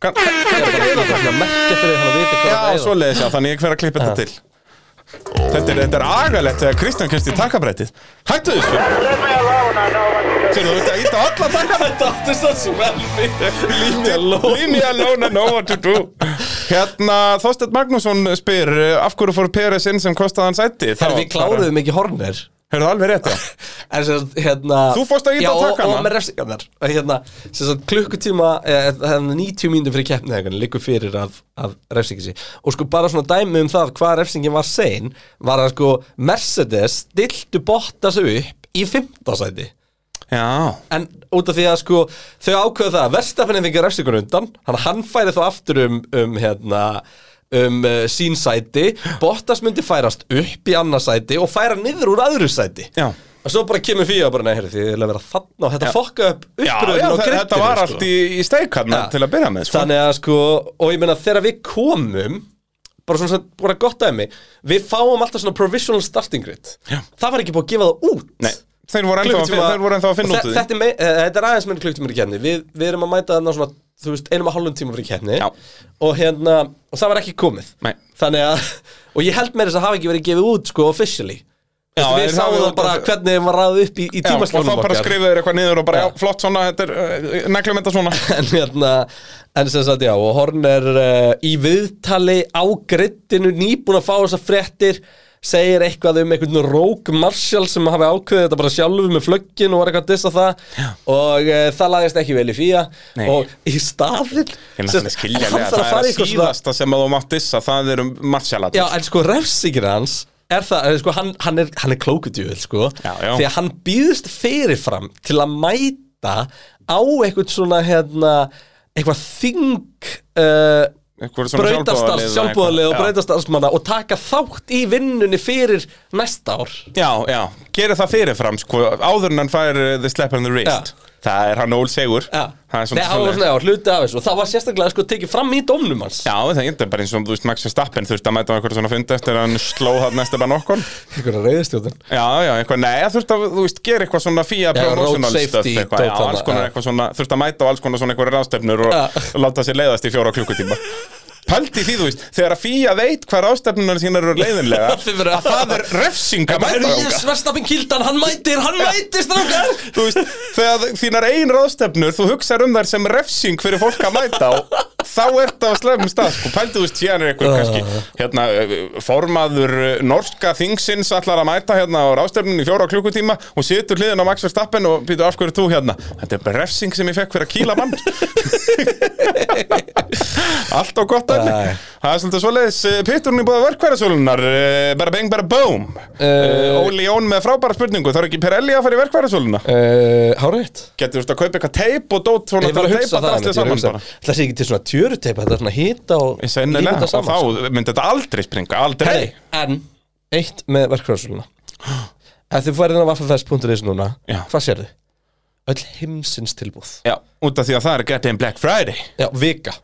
Speaker 2: Kann, kann,
Speaker 1: ég er bara að svona merkja fyrir hann að vita hvað
Speaker 2: já,
Speaker 1: það er.
Speaker 2: svo leiðis já, þannig ég hver að klippa þetta til Þetta er, þetta er agalegt þegar Kristján kemst í takabrættið Hættu þessu
Speaker 3: Leave me alone, I know what to do.
Speaker 2: Þegar þú ert að íta alla takana
Speaker 1: Þetta áttist það svo vel fyrir Leave me alone
Speaker 2: Leave me alone, I know what to do Hérna, Þorstedt Magnússon spyr eh, Af hverju fór Peres inn sem kostaði hann sæti?
Speaker 1: Þegar við kláruðum ekki hornir
Speaker 2: Hörðu alveg rétt, já
Speaker 1: En sem sagt, hérna
Speaker 2: Þú fórst að ýta
Speaker 1: Já,
Speaker 2: á
Speaker 1: og-
Speaker 2: takkana.
Speaker 1: og með refsingarnar Og Hérna, sem sagt, klukkutíma eh, það er 90 mínútur fyrir keppni eða eitthvað, Liggur fyrir af, af refsingi sí Og sko bara svona dæmi um það hvað refsingin var sein Var að sko Mercedes Stiltu Bottas upp Í fimmtasæti
Speaker 2: Já
Speaker 1: En út af því að sko Þau ákveðu það að Verstafinn fengi refsingun undan Hann, hann færi þá aftur um, um hérna um uh, sínsæti, Bottas myndi færast upp í annarsæti og færa niður úr öðru sæti
Speaker 2: Já,
Speaker 1: Og svo bara kemur fyrir og bara, nei, heyrðu, þið er að vera þann og þetta fokka upp
Speaker 2: já,
Speaker 1: uppröðin
Speaker 2: já
Speaker 1: og
Speaker 2: þe-
Speaker 1: grittinu,
Speaker 2: þetta var allt í, í steikarna
Speaker 1: Já.
Speaker 2: til að byrja með sko.
Speaker 1: Þannig að, sko, og ég meina, þegar við komum, bara svona, svona bara gott dæmi, við fáum alltaf svona provisional starting grid. Já. Það var ekki búið að gefa það út.
Speaker 2: Nei, þeir voru ennþá, að,
Speaker 1: Klukkutíma-
Speaker 2: þeir voru ennþá að
Speaker 1: og
Speaker 2: finna út
Speaker 1: þe-
Speaker 2: úr því
Speaker 1: Þetta er, mei- eh, þetta er aðeins meira klukktíma fyrir kefni. Við, við erum að mæta þarna svona, þú veist, einum að hálfum tíma fyrir kefni.
Speaker 2: Já.
Speaker 1: Og hérna, og það var ekki komið.
Speaker 2: Nei.
Speaker 1: Þannig að, og ég held meira þess að hafa ekki verið gefið út, sko, officially.
Speaker 2: Já,
Speaker 1: Já, við
Speaker 2: en
Speaker 1: sáum
Speaker 2: það-
Speaker 1: það bara hvernig þeim var ráðið upp í, í
Speaker 2: Já, og þá
Speaker 1: tímaslónum
Speaker 2: bara
Speaker 1: okkar
Speaker 2: skrifuðu þeir eitthvað niður og bara,
Speaker 1: Já.
Speaker 2: já, flott svona, þetta er, uh, neglum þetta svona
Speaker 1: en hérna, en sem sagt já og Horn er uh, í viðtali á grittinu nýbúin að fá þessar fréttir segir eitthvað um einhvern Rogue Marshall sem hafi ákveðið þetta bara sjálfu með flöggin og var eitthvað að dissa það og uh, það lagðist ekki vel í fíja
Speaker 2: Nei.
Speaker 1: og í staðin
Speaker 2: Ég er skilja lega,
Speaker 1: þarf að
Speaker 2: Hérna, það
Speaker 1: fara
Speaker 2: er
Speaker 1: í
Speaker 2: að
Speaker 1: eitthvað svona
Speaker 2: síðasta sem að þú mátt dissa, það eru marsjalat
Speaker 1: Já, en sko refsingir hans er það, eh, sko, hann, hann er, hann er klókudjúvel sko,
Speaker 2: Já, já.
Speaker 1: því að hann býðist fyrirfram til að mæta á eitthvað svona hérna, eitthvað þing uh, brautastarf, sjálfbúðarlega og brautastarfsmanna og taka þátt í vinnunni fyrir næsta ár
Speaker 2: Já, já, gera það fyrirfram sko, áður en hann fær uh, the slap on the wrist Það er hann ól segur
Speaker 1: Já,
Speaker 2: Það er
Speaker 1: Nei,
Speaker 2: svona
Speaker 1: hann var
Speaker 2: svoleiðis.
Speaker 1: svona, já, hluti af þessu og það var sérstaklega sko tekið fram í dómnum hans
Speaker 2: Já, það er bara eins og þú veist Max Verstappen þurfti að mæta á eitthvað svona fund eftir að hann sló hann næsta bara nokkon
Speaker 1: Einhverja reyðistjóðin
Speaker 2: Já, já, eitthvað, nei, þurfti að, þú veist, gera eitthvað svona fía
Speaker 1: road
Speaker 2: promotional
Speaker 1: safety,
Speaker 2: stuff eitthvað, já,
Speaker 1: dót þarna,
Speaker 2: alls konar
Speaker 1: já.
Speaker 2: eitthvað svona, þurfti að mæta á alls konar svona eitthvað ráðstefnur og
Speaker 1: Já.
Speaker 2: láta sér leiðast í fjóra klukkutíma Paldi því, þú veist, þegar að fýja veit hvað rástefnunar sínar eru leiðinlega
Speaker 1: Þið verður-
Speaker 2: að það er refsing að mæta
Speaker 1: Herru,
Speaker 2: þangað.
Speaker 1: yes, Verstappen kildan, hann mætir, hann mætir strákar
Speaker 2: Þú veist, þegar þínar ein ráðstefnur þú hugsaður um þær sem refsing fyrir fólk að mæta á þá ert það á slefum stað sko, pældu þú veist, hérna er einhver kannski
Speaker 1: Ah.
Speaker 2: hérna, eh, formaður eh, norska þingsins allar að mæta hérna á ráðstefnun í fjóra klukkutíma og situr hliðin á Max Verstappen og býtur af hverju ert þú hérna þetta er bara refsing sem ég fekk fyrir að kýla mann allt á gott enni
Speaker 1: Æ.
Speaker 2: það er svolítið svoleiðis eh, pitturinn í búða verkværasölunar bara beng bara boom
Speaker 1: Eh.
Speaker 2: Óli Jón með frábæra spurningu þarf ekki Pirelli að fara í verkværasöluna
Speaker 1: uh, Hárið
Speaker 2: Getur þú veist að kaupa eitthvað teip og dót svona
Speaker 1: Ég var
Speaker 2: til
Speaker 1: að hugsa það
Speaker 2: drastið
Speaker 1: einmitt, ég var að
Speaker 2: saman
Speaker 1: hugsa
Speaker 2: bara
Speaker 1: Það sé ekki til svona tjöruteipa, þetta er svona hita og
Speaker 2: Ég segi neina,
Speaker 1: þetta
Speaker 2: og
Speaker 1: saman sko.
Speaker 2: þá myndi þetta aldrei springa, aldrei
Speaker 1: Herri, en Eitt með verkkrásuluna Ef þið færið inn á vaffafest.is núna
Speaker 2: Já.
Speaker 1: Hvað sérðu? Öll heimsins tilbúð
Speaker 2: Já, út af því að það er getið en Black Friday
Speaker 1: Já, vika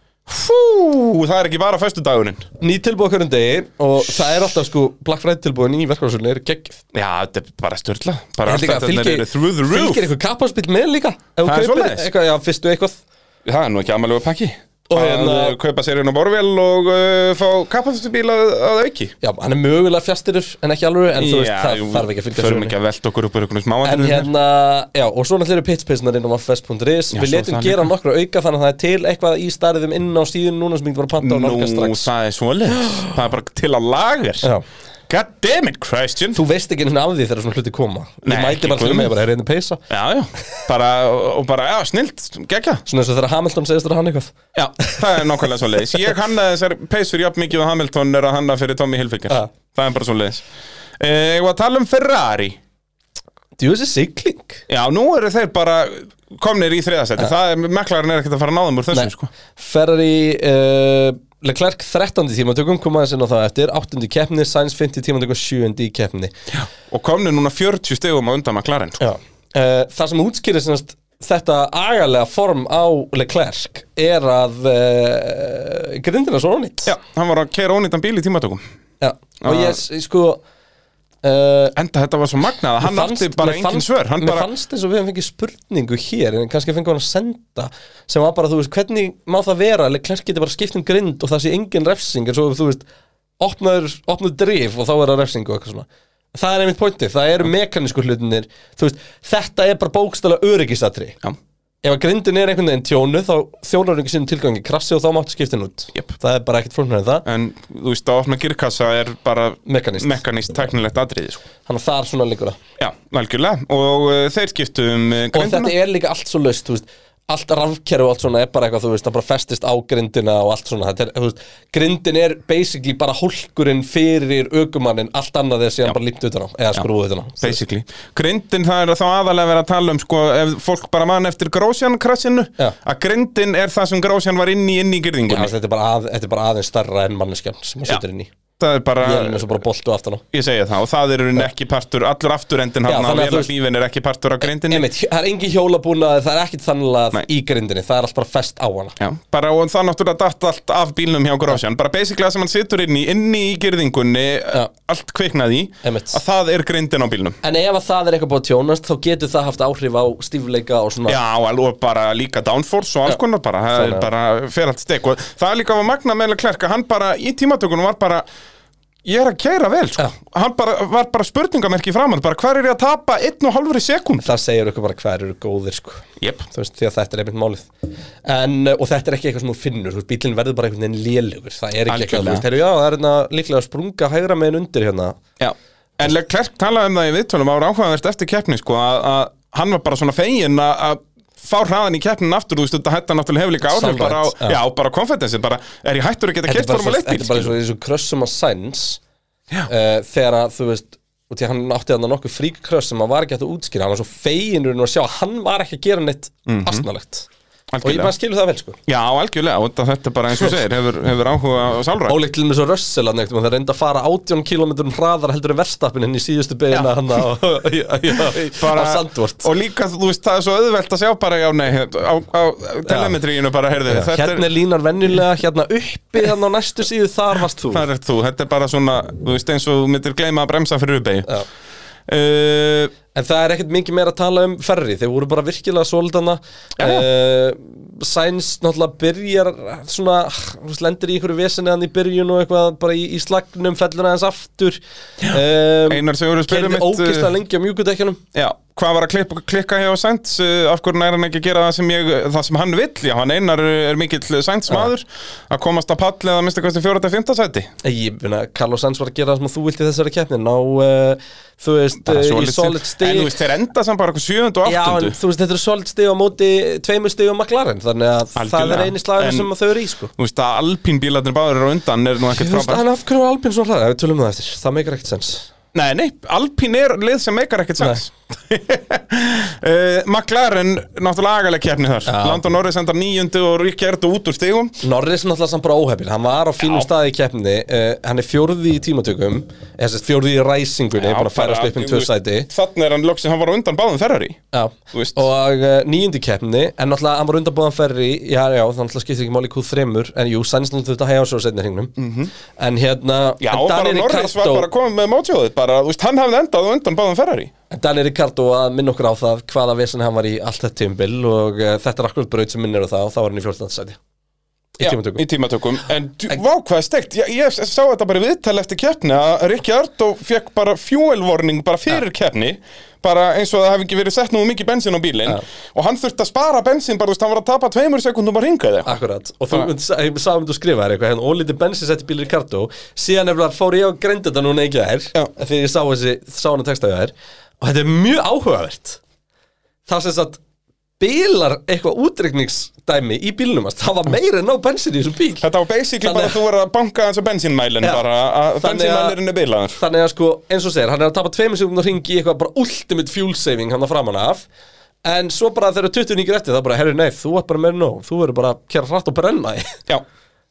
Speaker 2: Fú, það er ekki bara föstudagurinn
Speaker 1: Ný tilbúð á hverjum degi og það er alltaf sko Black Friday tilbúðin í verkkrásuluna eru geggjöf
Speaker 2: Já, þetta er bara störla Bara
Speaker 1: En líka
Speaker 2: alltaf þetta
Speaker 1: fylgir,
Speaker 2: eru through the roof
Speaker 1: fylgir eitthvað kappaspill með líka Ef þú
Speaker 2: Það er
Speaker 1: kaupir
Speaker 2: svoleiðis.
Speaker 1: eitthvað, já, fyrstu eitthvað
Speaker 2: Það er nú ekki amalegu pakki
Speaker 1: Og
Speaker 2: Og hérna
Speaker 1: hérna-
Speaker 2: Kaupa sér inn á borvél og uh, fá kappaðustubíl að, að auki
Speaker 1: Já, hann er mögulega fjastirur en ekki alveg En þú veist, það
Speaker 2: jú,
Speaker 1: þarf ekki að fylgja
Speaker 2: Förum
Speaker 1: sögunni
Speaker 2: ekki að velta okkur upp úr einhvern
Speaker 1: En
Speaker 2: smáatriðum hérna,
Speaker 1: hérna, já, og svo náttúrulega eru pitspilsnar inn á vaffes.is
Speaker 2: Já,
Speaker 1: Við
Speaker 2: svo
Speaker 1: letum
Speaker 2: það
Speaker 1: gera
Speaker 2: líka.
Speaker 1: nokkra auka þannig að það er til eitthvað í starðum inn á síðun núna sem ég var að panta á
Speaker 2: Nú,
Speaker 1: nálgast strax
Speaker 2: það er svoleiðis Það er bara til að lager
Speaker 1: Já.
Speaker 2: God damn it, Christian
Speaker 1: Þú veist ekki hérna af því þegar svona hluti koma
Speaker 2: Nei,
Speaker 1: Ég mæti
Speaker 2: ekki
Speaker 1: bara til
Speaker 2: guðmund.
Speaker 1: mig, ég bara er reyndi peysa
Speaker 2: Já, já, bara, og bara, já, snilt, geggja
Speaker 1: Svona eins og þegar Hamilton segist þér að hann eitthvað
Speaker 2: Já, það er nákvæmlega svo leiðis Ég hannaði þessar peysur jafn mikið og Hamilton er að hanna fyrir Tommy Hilfiger
Speaker 1: Ja.
Speaker 2: Það er bara svo leiðis e, Og að tala um Ferrari
Speaker 1: Djúsi sigling
Speaker 2: Já, nú eru þeir bara komnir í þriðasæti Það er, meklarinn er ekkert að fara að náðum úr þessu, sko
Speaker 1: Ferrari uh, Leclerc 13. tímatökum kom aðeins inn á það eftir 8. keppni, Sainz 50 tímatökum 7. í keppni
Speaker 2: Og komnir núna 40 stegum á undan meklarinn, sko
Speaker 1: uh, Það sem útskýrir semast þetta agalega form á Leclerc er að uh, grindina svo ónýtt
Speaker 2: Já, Ah. hann var að keira ónýttan bíl í tímatökum
Speaker 1: Já. og ég s- sko uh,
Speaker 2: Enda þetta var svo magnað að hann átti bara engin svör Hann
Speaker 1: Mér
Speaker 2: bara,
Speaker 1: fannst eins og við hefum fengið spurningu hér en kannski fengið hann að senda sem var bara, þú veist, hvernig má það vera Leclerc geti bara skipt um grind og það sé engin refsing en svo, þú veist, opnaður opnaður drif og þá er það refsing og eitthvað svona það er einmitt pointið, það eru mekanísku hlutinir þú veist, þetta er bara bókstala öryggisatri
Speaker 2: já,
Speaker 1: ef að grindin er einhvern veginn tjónu þá þjónar ekki sinni tilgangi krassi og þá máttu skipta hann út
Speaker 2: Jep.
Speaker 1: það er bara ekkert fórnir en það
Speaker 2: en þú veist að opna girkassa er bara
Speaker 1: Mekanist.
Speaker 2: mekanist tæknilegt atriði, sko
Speaker 1: hann þar svona líkur það
Speaker 2: Já, algjörlega, og uh, þeir skiptu um uh,
Speaker 1: og þetta
Speaker 2: grindina
Speaker 1: er líka allt svo laust þú veist, allt rafkerfi og allt svona er bara eitthvað þú veist, það bara festist á grindina og allt svona þetta er, þú veist, grindin er basically bara hólkurinn fyrir ökumannin allt annað þegar síðan bara límt utan á eða skrúið utan á Þú veist.
Speaker 2: Basically, grindin það er þá aðalega verið að tala um sko, ef fólk bara mann eftir Grósjan krassinu,
Speaker 1: Já.
Speaker 2: að grindin er það sem Grósjan var inn í, inn í
Speaker 1: Já,
Speaker 2: gyrðingunni
Speaker 1: þetta, er bara að, þetta er bara aðeins starra en manneskjan sem maður
Speaker 2: Já.
Speaker 1: setur inn í
Speaker 2: það er bara,
Speaker 1: ég er eins og bara boltu aftan á
Speaker 2: ég segja það og það er í rauninni ekki partur, allur afturendin
Speaker 1: Já, þannig að
Speaker 2: hann að
Speaker 1: þú
Speaker 2: vela
Speaker 1: veist- E-
Speaker 2: lífin er ekki partur á grindinni
Speaker 1: Einmitt, það er engin hjólabúnaði, það er ekkit þannlega
Speaker 2: Nei.
Speaker 1: í grindinni, það er allt bara fest á hana
Speaker 2: Já, bara og það náttúrulega datt allt af bílnum hjá Grósjan bara basically það sem hann situr inn í, inni í gyrðingunni
Speaker 1: Já.
Speaker 2: allt kviknaði í,
Speaker 1: Einmitt.
Speaker 2: að það er grindin á bílnum
Speaker 1: En ef að það er eitthvað búið að tjónast, þá getur það haft áhrif á stífleika og svona
Speaker 2: Já, alveg bara líka downforce og alls
Speaker 1: Já.
Speaker 2: konar bara, það er
Speaker 1: Þannig að-
Speaker 2: bara fer allt stek og það er líka var magna meðlega klerka, hann bara í tímatökunum var bara ég er að kæra vel, sko.
Speaker 1: Já.
Speaker 2: hann bara, var bara spurningamerki framann, bara hver er ég að tapa einn og halvri sekund?
Speaker 1: það segir okkur bara hver eru góðir sko
Speaker 2: Jep.
Speaker 1: þú veist, því að þetta er einmitt málið en, uh, og þetta er ekki eitthvað sem þú finnur þú veist, bílinn verður bara einhvern veginn lélugur það er ekki eitthvað, þú
Speaker 2: Algjörlega.
Speaker 1: veist, heyrðu, já, það er hérna líklega að sprunga hægra meginn undir hérna
Speaker 2: Já. En Leclerc talaði um það í viðtölum ára áhugaverst eftir keppni sko að, að hann var bara svona fegin að, að fá hraðan í keppnin aftur, þú veist þetta hættan náttúrulega hefur líka áhrif
Speaker 1: Sálrænt,
Speaker 2: bara á,
Speaker 1: já.
Speaker 2: já, bara konfetensi, bara er ég hættur að geta
Speaker 1: bara
Speaker 2: kert fórum
Speaker 1: svo-
Speaker 2: að leitt
Speaker 1: þetta er bara eins og- eins og krössum að sæns uh, þegar að, þú veist og því að hann átti þarna nokkuð frík kröss sem hann var ekki hægt að útskýra, hann var svo feginur að sjá að hann var ekki að gera neitt mm
Speaker 2: Mhm.
Speaker 1: og ég
Speaker 2: Algjörlega.
Speaker 1: bara skilur það vel sko
Speaker 2: Já, algjörlega, og þetta er bara eins og þú segir, hefur, hefur áhuga á sálrækt.
Speaker 1: Ólíkt til með svo Russell hann eitthvað, það reyndi að fara 18 km hraðar heldur en verstapin inn í síðustu beina hann á, á Sandvort
Speaker 2: og líka þú veist það er svo auðvelt að sjá bara já nei hérna, á, á telemetríinu bara heyrðu þetta
Speaker 1: hérna er
Speaker 2: er
Speaker 1: línar venjulega, hérna uppi þannig á næstu síðu, þar varst þú
Speaker 2: það er þú þetta er bara svona þú veist eins og þú myndir gleyma að bremsa fyrir uppegi
Speaker 1: Já.
Speaker 2: uh,
Speaker 1: En það er ekkert mikið meira að tala um ferri, þeir voru bara virkilega svolítana
Speaker 2: Já.
Speaker 1: uh, Sainz náttúrulega byrjar svona, þú veist, lendir í einhverju veseni hann í byrjun og eitthvað bara í, í slagnum fellur aðeins aftur um,
Speaker 2: Einar Sigurður spurði
Speaker 1: Kerði
Speaker 2: mitt,
Speaker 1: ógislega
Speaker 2: eh,
Speaker 1: lengi á mjúkudekjunum
Speaker 2: Já, hvað var að klippa, klikka hjá Sainz uh, af hverju er hann ekki að gera það sem, ég, það sem hann vill, já hann einar er mikill Sainz maður að komast að palli eða minnst eitthvað til 4.5. sæti
Speaker 1: Ég finna, Carlos Sainz var að gera það sem þú vilt í þessari keppni Ná, uh, þú veist, uh,
Speaker 2: Bara
Speaker 1: í
Speaker 2: svolítið-
Speaker 1: solid
Speaker 2: En
Speaker 1: stig
Speaker 2: þú veist, þeir enda samt bara eitthvað 7. og
Speaker 1: Já, en
Speaker 2: 8.
Speaker 1: þú veist, þetta er solid stig á móti tveimur stig á McLaren Þannig að það
Speaker 2: Algjörlega.
Speaker 1: er eini slagur
Speaker 2: En-
Speaker 1: sem að þau eru í, sko
Speaker 2: Þú veist að alpínbílarnir báður eru á undan er nú ekkert
Speaker 1: Þú veist,
Speaker 2: frábært
Speaker 1: en af hverju var Albin svo hraðar? Við tölum um það eftir, það meikar ekkert sens
Speaker 2: Nei, nei, alpín er lið sem meikar ekkert sens uh, McLaren, náttúrulega agaleg kjarni þar
Speaker 1: Já.
Speaker 2: Landon Norris endar níundu og Ríkja Erdu út úr stigum
Speaker 1: Norris er náttúrulega samt bara óhefin, hann var á fínum
Speaker 2: Já.
Speaker 1: staði í keppni uh, Hann er fjórði í tímatökum, eða sérst fjórði í ræsingunni,
Speaker 2: Já,
Speaker 1: bara að færast upp um
Speaker 2: þú
Speaker 1: tvö
Speaker 2: veist,
Speaker 1: sæti
Speaker 2: Þannig er hann loksins, hann var á undan báðum Ferrari
Speaker 1: Já,
Speaker 2: Þú veist.
Speaker 1: og uh, níundi keppni En náttúrulega hann var undanbúðan ferri Já, já, þannig náttúrulega skiptir ekki máli í Q3 En jú, Sainz náttúrulega þurfti að hægja á svo setni hringnum -hmm. En hérna
Speaker 2: Mhm. Já,
Speaker 1: en
Speaker 2: bara Norris var bara komið með mótjóðið bara, þú veist, hann hafði endað á undan báðum Ferrari
Speaker 1: En Daniel Ricardo að minna okkur á það hvaða vesen hann var í allt þetta tímbil og uh, þetta er akkurat braut sem minnir á það og þá var hann í 14. sæti í
Speaker 2: Já,
Speaker 1: tímatökum
Speaker 2: Í tímatökum, en djú- vá hvað er steikt ég, ég sá þetta bara í viðtal eftir keppni að Ríkja Erdu fekk bara fuel warning bara fyrir keppni bara eins og það hefði ekki verið sett nú mikið bensín á bílinn
Speaker 1: Já.
Speaker 2: og hann þurfti að spara bensín bara, þú veist, hann var að tapa tveimur sekundum að ringa þig
Speaker 1: Akkurat, og þú ég sá um þú skrifaðir eitthvað hérna, ólítið bensin setti bíl Ricardo síðan nefnilega fór ég að greinda þetta núna ekki þær
Speaker 2: Já.
Speaker 1: þegar ég sá, þessi, sá hann að texta þér og þetta er mjög áhugavert það sem sagt bílar eitthvað útreikningsdæmi í bílnum hans, það var meira en ná bensin í þessum bíl
Speaker 2: Þetta var basically
Speaker 1: Þannig-
Speaker 2: bara að þú verður að banka eins og bensínmælin
Speaker 1: Já.
Speaker 2: bara
Speaker 1: Þannig
Speaker 2: að
Speaker 1: að-
Speaker 2: bensínmælirinn er bilaður
Speaker 1: þannig að sko, eins og segir, hann er að tapa tveimur sekundar hringi í eitthvað bara ultimate fuel saving hann að framan af en svo bara þegar 20 nýgur eftir, það bara, herri nei, þú ert bara meira en nóg, þú verður bara að kera hratt og brenna þig
Speaker 2: Já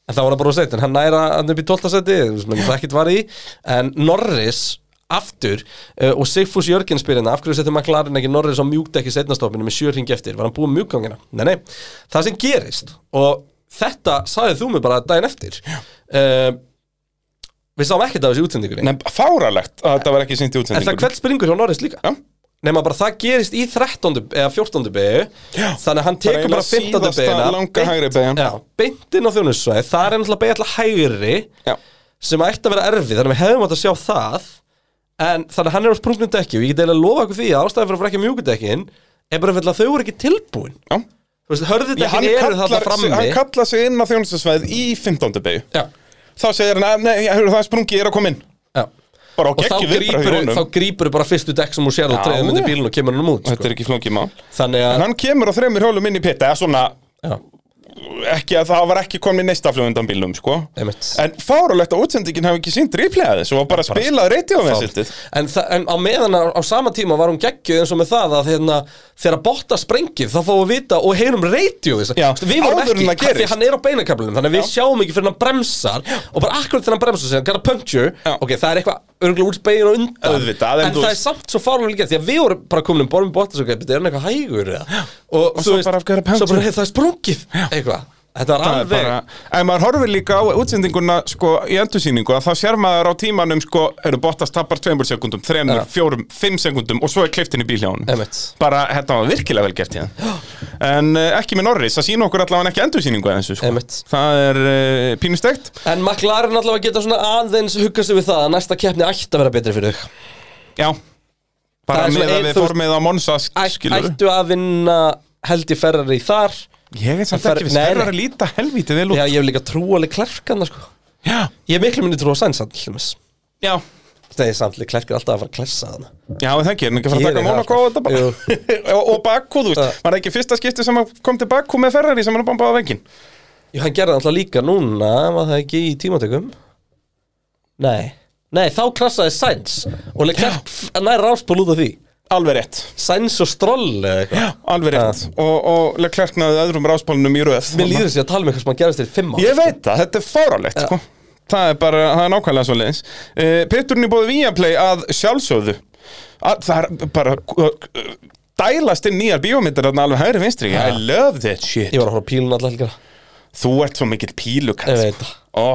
Speaker 1: En það var það bara úr setin, hann næra hann upp í 12. seti, þú veist, menn það ekkert var í En Norris, aftur, uh, og Sigfús Jörgen spyr hérna Af hverju setjum McLaren ekki Norris á mjúkdekki setnastofninu með sjörring eftir Var hann búið um mjúkgangina? Nei, nei, það sem gerist Og þetta sagði þú mig bara daginn eftir uh, Við sáum ekkert af þessu útsendingunni
Speaker 2: Nei, fáralegt að þetta var ekki sýnt í
Speaker 1: En það
Speaker 2: útsendingur
Speaker 1: kveld springur hjá Norris líka
Speaker 2: Já.
Speaker 1: Nefna bara það gerist í 13. eða 14. begu Þannig að hann tekur
Speaker 2: eiginlega
Speaker 1: bara 15.
Speaker 2: síðasta
Speaker 1: begina
Speaker 2: langa hægri beygjan.
Speaker 1: Já, beint inn á þjónusvæði Það er náttúrulega beigja alltaf hægri
Speaker 2: Já.
Speaker 1: sem ætti að vera erfið Þannig að við hefum átt að sjá það En þannig að hann er á sprungnum dekki og ég get eiginlega að lofa ykkur því að ástæðan fyrir að frekja mjúkudekkin er bara fyrir að þau voru ekki tilbúin
Speaker 2: Já.
Speaker 1: Þú veist,
Speaker 2: Já, hann,
Speaker 1: hörðudekkin eru
Speaker 2: kallar,
Speaker 1: þarna frammi
Speaker 2: hann kallar sig inn á þjónustasvæð í 15. begu
Speaker 1: Já,
Speaker 2: Þá segir hann, "Nei, nei, hefur það er sprungi, ég er að koma inn
Speaker 1: já
Speaker 2: Bara á
Speaker 1: Og þá
Speaker 2: geggjum viðbrögð
Speaker 1: grípur,
Speaker 2: hjá honum.
Speaker 1: þá grípur bara fyrstu dekk sem hún sér og
Speaker 2: Já,
Speaker 1: treður myndi
Speaker 2: já.
Speaker 1: bílun og kemur hann út
Speaker 2: Þetta
Speaker 1: sko.
Speaker 2: er ekki flókið mál
Speaker 1: Þannig
Speaker 2: En
Speaker 1: að,
Speaker 2: hann kemur á þremur hjólum inn í pitta eða svona
Speaker 1: já,
Speaker 2: ekki að það var ekki komin í neista flug undan bílum sko.
Speaker 1: einmitt
Speaker 2: en fáralegt að útsendingin hafi ekki sínt replayaði svo var bara spilað reytjóðvensildið
Speaker 1: en, þa- en á meðan á, á sama tíma var hún geggjuð eins og með það að hérna, þegar botta sprengið þá fáum við vita og heyrum radio við
Speaker 2: Já,
Speaker 1: vorum
Speaker 2: áður
Speaker 1: ekki,
Speaker 2: en það gerist.
Speaker 1: því hann er á beinakablinum þannig að við
Speaker 2: Já.
Speaker 1: sjáum ekki fyrir hann bremsar og bara akkurat þegar hann bremsar sér, hann gera puncture
Speaker 2: Já.
Speaker 1: ok, það er eitthvað örgulega út beginn og undan
Speaker 2: Auðvitað, en
Speaker 1: en,
Speaker 2: þú
Speaker 1: það er
Speaker 2: veist-
Speaker 1: samt svo fárlega gert því að við vorum bara komin um borðum botta svo gæti, er hann eitthvað hægur eða? og, og
Speaker 2: svo bara, "Af hverju er puncture?"
Speaker 1: svo bara, hey, það er sprungið eitthvað, þetta var
Speaker 2: Það er
Speaker 1: alveg
Speaker 2: bara, ef maður horfir líka á útsendinguna sko, í endursýningu að þá sér maður á tímanum sko, eru Bottas tapar tveimur sekundum, þremur,
Speaker 1: Já.
Speaker 2: fjórum, fimm sekundum og svo er kliftin í bíl hjá hann
Speaker 1: Einmitt.
Speaker 2: bara þetta var virkilega vel gert hérna en uh, ekki með Norris, það sína okkur allavega ekki endursýningu eins og sko,
Speaker 1: Einmitt.
Speaker 2: það er uh, pínustegt
Speaker 1: En McLaren allavega geta svona aðeins hugga sig við það að næsta keppni ætti að vera betri fyrir þau
Speaker 2: já,
Speaker 1: Það
Speaker 2: bara
Speaker 1: er svo
Speaker 2: með
Speaker 1: ein- þú
Speaker 2: að við
Speaker 1: veist-
Speaker 2: formið á Monsa
Speaker 1: Ætt,
Speaker 2: skilur
Speaker 1: ættu að vinna held í Ferrari þar
Speaker 2: ég er samt
Speaker 1: Fer-
Speaker 2: ekki við
Speaker 1: Nei, nei.
Speaker 2: sferðar að líta helvítið vel
Speaker 1: Já,
Speaker 2: út
Speaker 1: ég hef líka trúaleg klerkana sko
Speaker 2: já,
Speaker 1: Ég er miklu minni trúa sænsamt hlumis
Speaker 2: já,
Speaker 1: Það er samtlig klerkir alltaf að fara að klessa hana
Speaker 2: já, en það ekki, er hann ekki að fara að
Speaker 1: Gerir
Speaker 2: taka
Speaker 1: það,
Speaker 2: Monaco á
Speaker 1: sko.
Speaker 2: þetta bara
Speaker 1: Jú.
Speaker 2: og, og Bakú, þú
Speaker 1: Já.
Speaker 2: veist, var það ekki fyrsta skipti sem hann kom til Bakú með Ferrari sem hann bombaði á vengin
Speaker 1: Jú, hann gerði alltaf líka núna Var það ekki í tímatökum? Nei Nei, þá klassaði Sainz Og Leclerc nær ráspól út af því
Speaker 2: alveg rétt,
Speaker 1: Sainz og Stroll eða eitthvað
Speaker 2: alveg rétt og, og Leclerc náði öðrum ráspálunum í röð
Speaker 1: Mér líður sér að tala um eitthvað sem hann gerðist til fimm ára
Speaker 2: ég veit það, þetta er fárálegt sko. það er bara, það er nákvæmlega svo leiðis uh, Pitturinn í bóði Viaplay að sjálfsögðu að, það er bara uh, dælast inn nýjar bíómyndir þarna alveg hægri vinstri I love that shit
Speaker 1: Ég var að horfa á pílun alltaf helgina
Speaker 2: þú ert svo mikill pílukall
Speaker 1: Ég
Speaker 2: sko.
Speaker 1: veit það
Speaker 2: Ó,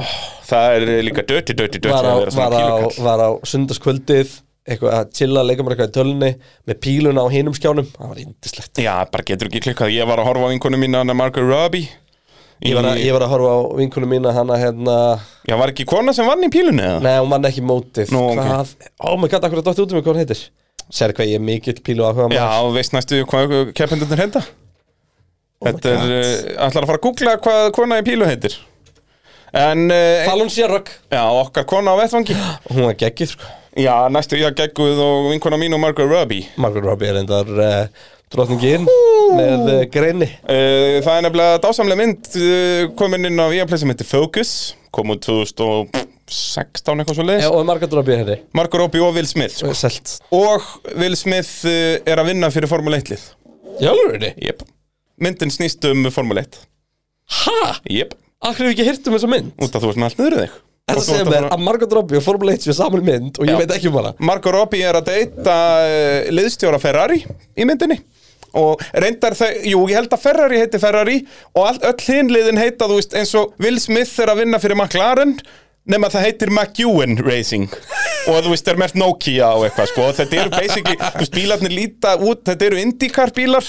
Speaker 2: það er líka döti, döti, döti
Speaker 1: var á,
Speaker 2: að vera
Speaker 1: var á,
Speaker 2: svona pílukall
Speaker 1: var á sundarskvöldið eitthvað að chilla að leika mér eitthvað í tölunni með píluna á hinum skjánum það var indislegt
Speaker 2: Já, bara getur ekki klikkað Ég var að horfa á vinkonu mín Anna Margaret Robbie
Speaker 1: ég var, að, ég var að horfa á vinkunum mína hana hérna
Speaker 2: Já, var ekki kona sem vann í pílunni eða?
Speaker 1: Nei, hún mann ekki mótið
Speaker 2: Nú, ok.
Speaker 1: Hvað? Oh my god, akkur að dóttu út um mig hvað hún heitir Sér hvað ég er mikill pílu áhuga
Speaker 2: Já, þú veist næstu hvað keppendurnir heita
Speaker 1: Oh my
Speaker 2: Þetta er,
Speaker 1: God.
Speaker 2: uh, ætlar að fara að googla hvað kona í pílu heitir En, uh,
Speaker 1: Fallon Sherrock
Speaker 2: já, okkar kona á vettvangi
Speaker 1: Hún var geggið, sko
Speaker 2: Já, næstu ég að gegguð og vinkona mín og Margaret Robbie
Speaker 1: Margot Robbie er endar uh, drotningin með uh, greinni
Speaker 2: Uh, það er nefnilega dásamlega mynd uh, komin inn á Viaplay sem heitir Focus kom út 2016 eitthvað svo leiðis
Speaker 1: og Margot Robbie henni eh,
Speaker 2: Margot Robbie og Will Smith sko.
Speaker 1: Selt
Speaker 2: og Will Smith uh, er að vinna fyrir Formule 1 lið
Speaker 1: Jálfurinni?
Speaker 2: yep. myndin snýst um Formule 1
Speaker 1: Ha?
Speaker 2: yep.
Speaker 1: Akkur hefur ekki hirt um þessa mynd?
Speaker 2: út af þú ert með allt niður í þig
Speaker 1: Þetta
Speaker 2: Og þú
Speaker 1: segir
Speaker 2: ert að
Speaker 1: mér
Speaker 2: fara-
Speaker 1: að Margot Robbie og Formule 1 séu saman í mynd og ég
Speaker 2: Já.
Speaker 1: veit ekki um hana
Speaker 2: Margot Robbie er að deyta uh, liðstjóra Ferrari í myndinni og reyndar þau, jú, ég held að Ferrari heiti Ferrari og all, öll hinliðin heita, þú veist, eins og Will Smith er að vinna fyrir McLaren nema það heitir McEwen Racing og þú veist, er mert Nokia og eitthvað sko, og þetta eru basically, þú veist, bílarnir líta út, þetta eru IndyCar bílar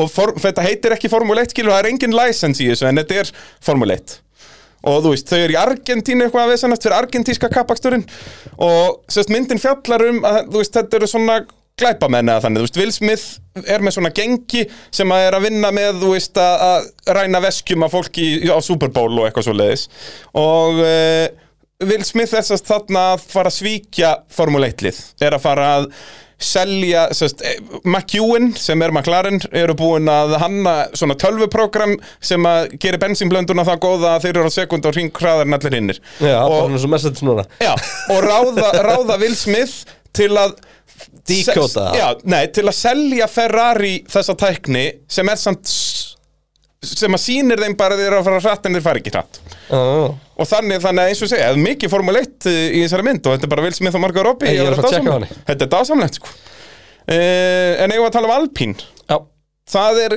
Speaker 2: og for, þetta heitir ekki Formule 1 skilur, það er engin license í þessu, en þetta er Formule 1 og þú veist, þau eru í Argentínu eitthvað að vesanast fyrir argentíska kappaksturinn og sérst myndin fjallar um að þú veist, þetta eru svona glæpamenn eða þannig, þú veist, Will Smith er með svona gengi sem að er að vinna með, þú veist, að, að ræna veskjum að fólki í- á Super Bowl og eitthvað svo leiðis og uh, Will Smith er sérst þarna að fara að svíkja Formule 1 lið, er að fara að selja, sérst, McEwen sem er McLaren, eru búin að hanna svona tölvuprogram sem að gerir bensínblönduna það góða að þeir eru á sekund og hring hraðar en allir hinnir
Speaker 1: Já, og... bara
Speaker 2: og,
Speaker 1: hún er svo message núna
Speaker 2: já, og ráða, ráða Will Smith til að
Speaker 1: Decode það.
Speaker 2: já, nei, til að selja Ferrari þessa tækni sem er samt s- sem að sýnir þeim bara að þeir eru að fara hratt en þeir fara ekki hratt
Speaker 1: oh.
Speaker 2: og þannig, þannig að eins og segja, það er mikið Formule 1 í þessari mynd og þetta er bara Will Smith og Margot Robbie
Speaker 1: Ég er að fara að
Speaker 2: þetta
Speaker 1: tjekka á
Speaker 2: dásamlegt. Þetta er dásamlegt sko. uh, En eigum við að tala um Alpín
Speaker 1: Já,
Speaker 2: Það er,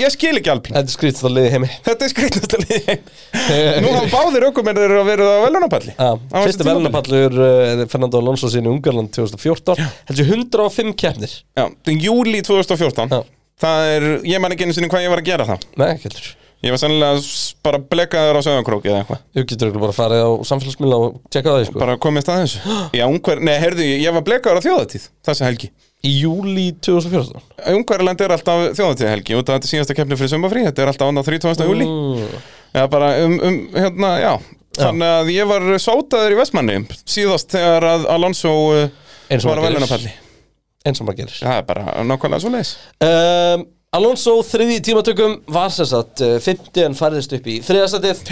Speaker 2: ég skil ekki Alpín
Speaker 1: þetta er skrýtt þá liði heimi
Speaker 2: Þetta er skrýtnasta lið í heim. Nú hafa báðir aukumennir að vera á velunapalli
Speaker 1: Já,
Speaker 2: Á þessu
Speaker 1: Fyrsti
Speaker 2: tímabili.
Speaker 1: velunapallur uh, Fernando Alonso sín í Ungarland 2014 heldur 105 keppnir
Speaker 2: Já, þetta er júli 2014
Speaker 1: Já.
Speaker 2: Það er, ég man ekki einu sinni hvað ég var að gera þá
Speaker 1: Nei, ekki heldur
Speaker 2: Ég var sennilega s- bara blekaður á söðankróki eða eitthvað
Speaker 1: Þú getur ekki bara að fara á samfélagsmiðla og tjekka það sko.
Speaker 2: Bara komið stað þessu Já, ungar, nei, heyrðu, ég var blekaður á þjóðatíð Þessa helgi
Speaker 1: Í júli 2014
Speaker 2: Ungverjaland er alltaf þjóðatíðahelgi út af þetta er síðasta keppni fyrir sömbafrí, þetta er alltaf annað 30. júli
Speaker 1: Mm,
Speaker 2: eða bara um, um hérna, já þannig að ég var sótaður í Vestmanni síðast þegar að Alonso uh,
Speaker 1: Eins og
Speaker 2: var á
Speaker 1: maður gerir.
Speaker 2: velunapalli
Speaker 1: Eins og maður gerir
Speaker 2: það er bara nákvæmlega svo leis
Speaker 1: um, Alonso þriði í tímatökum var sem sagt eh, 50 en færðist upp í þriðastætið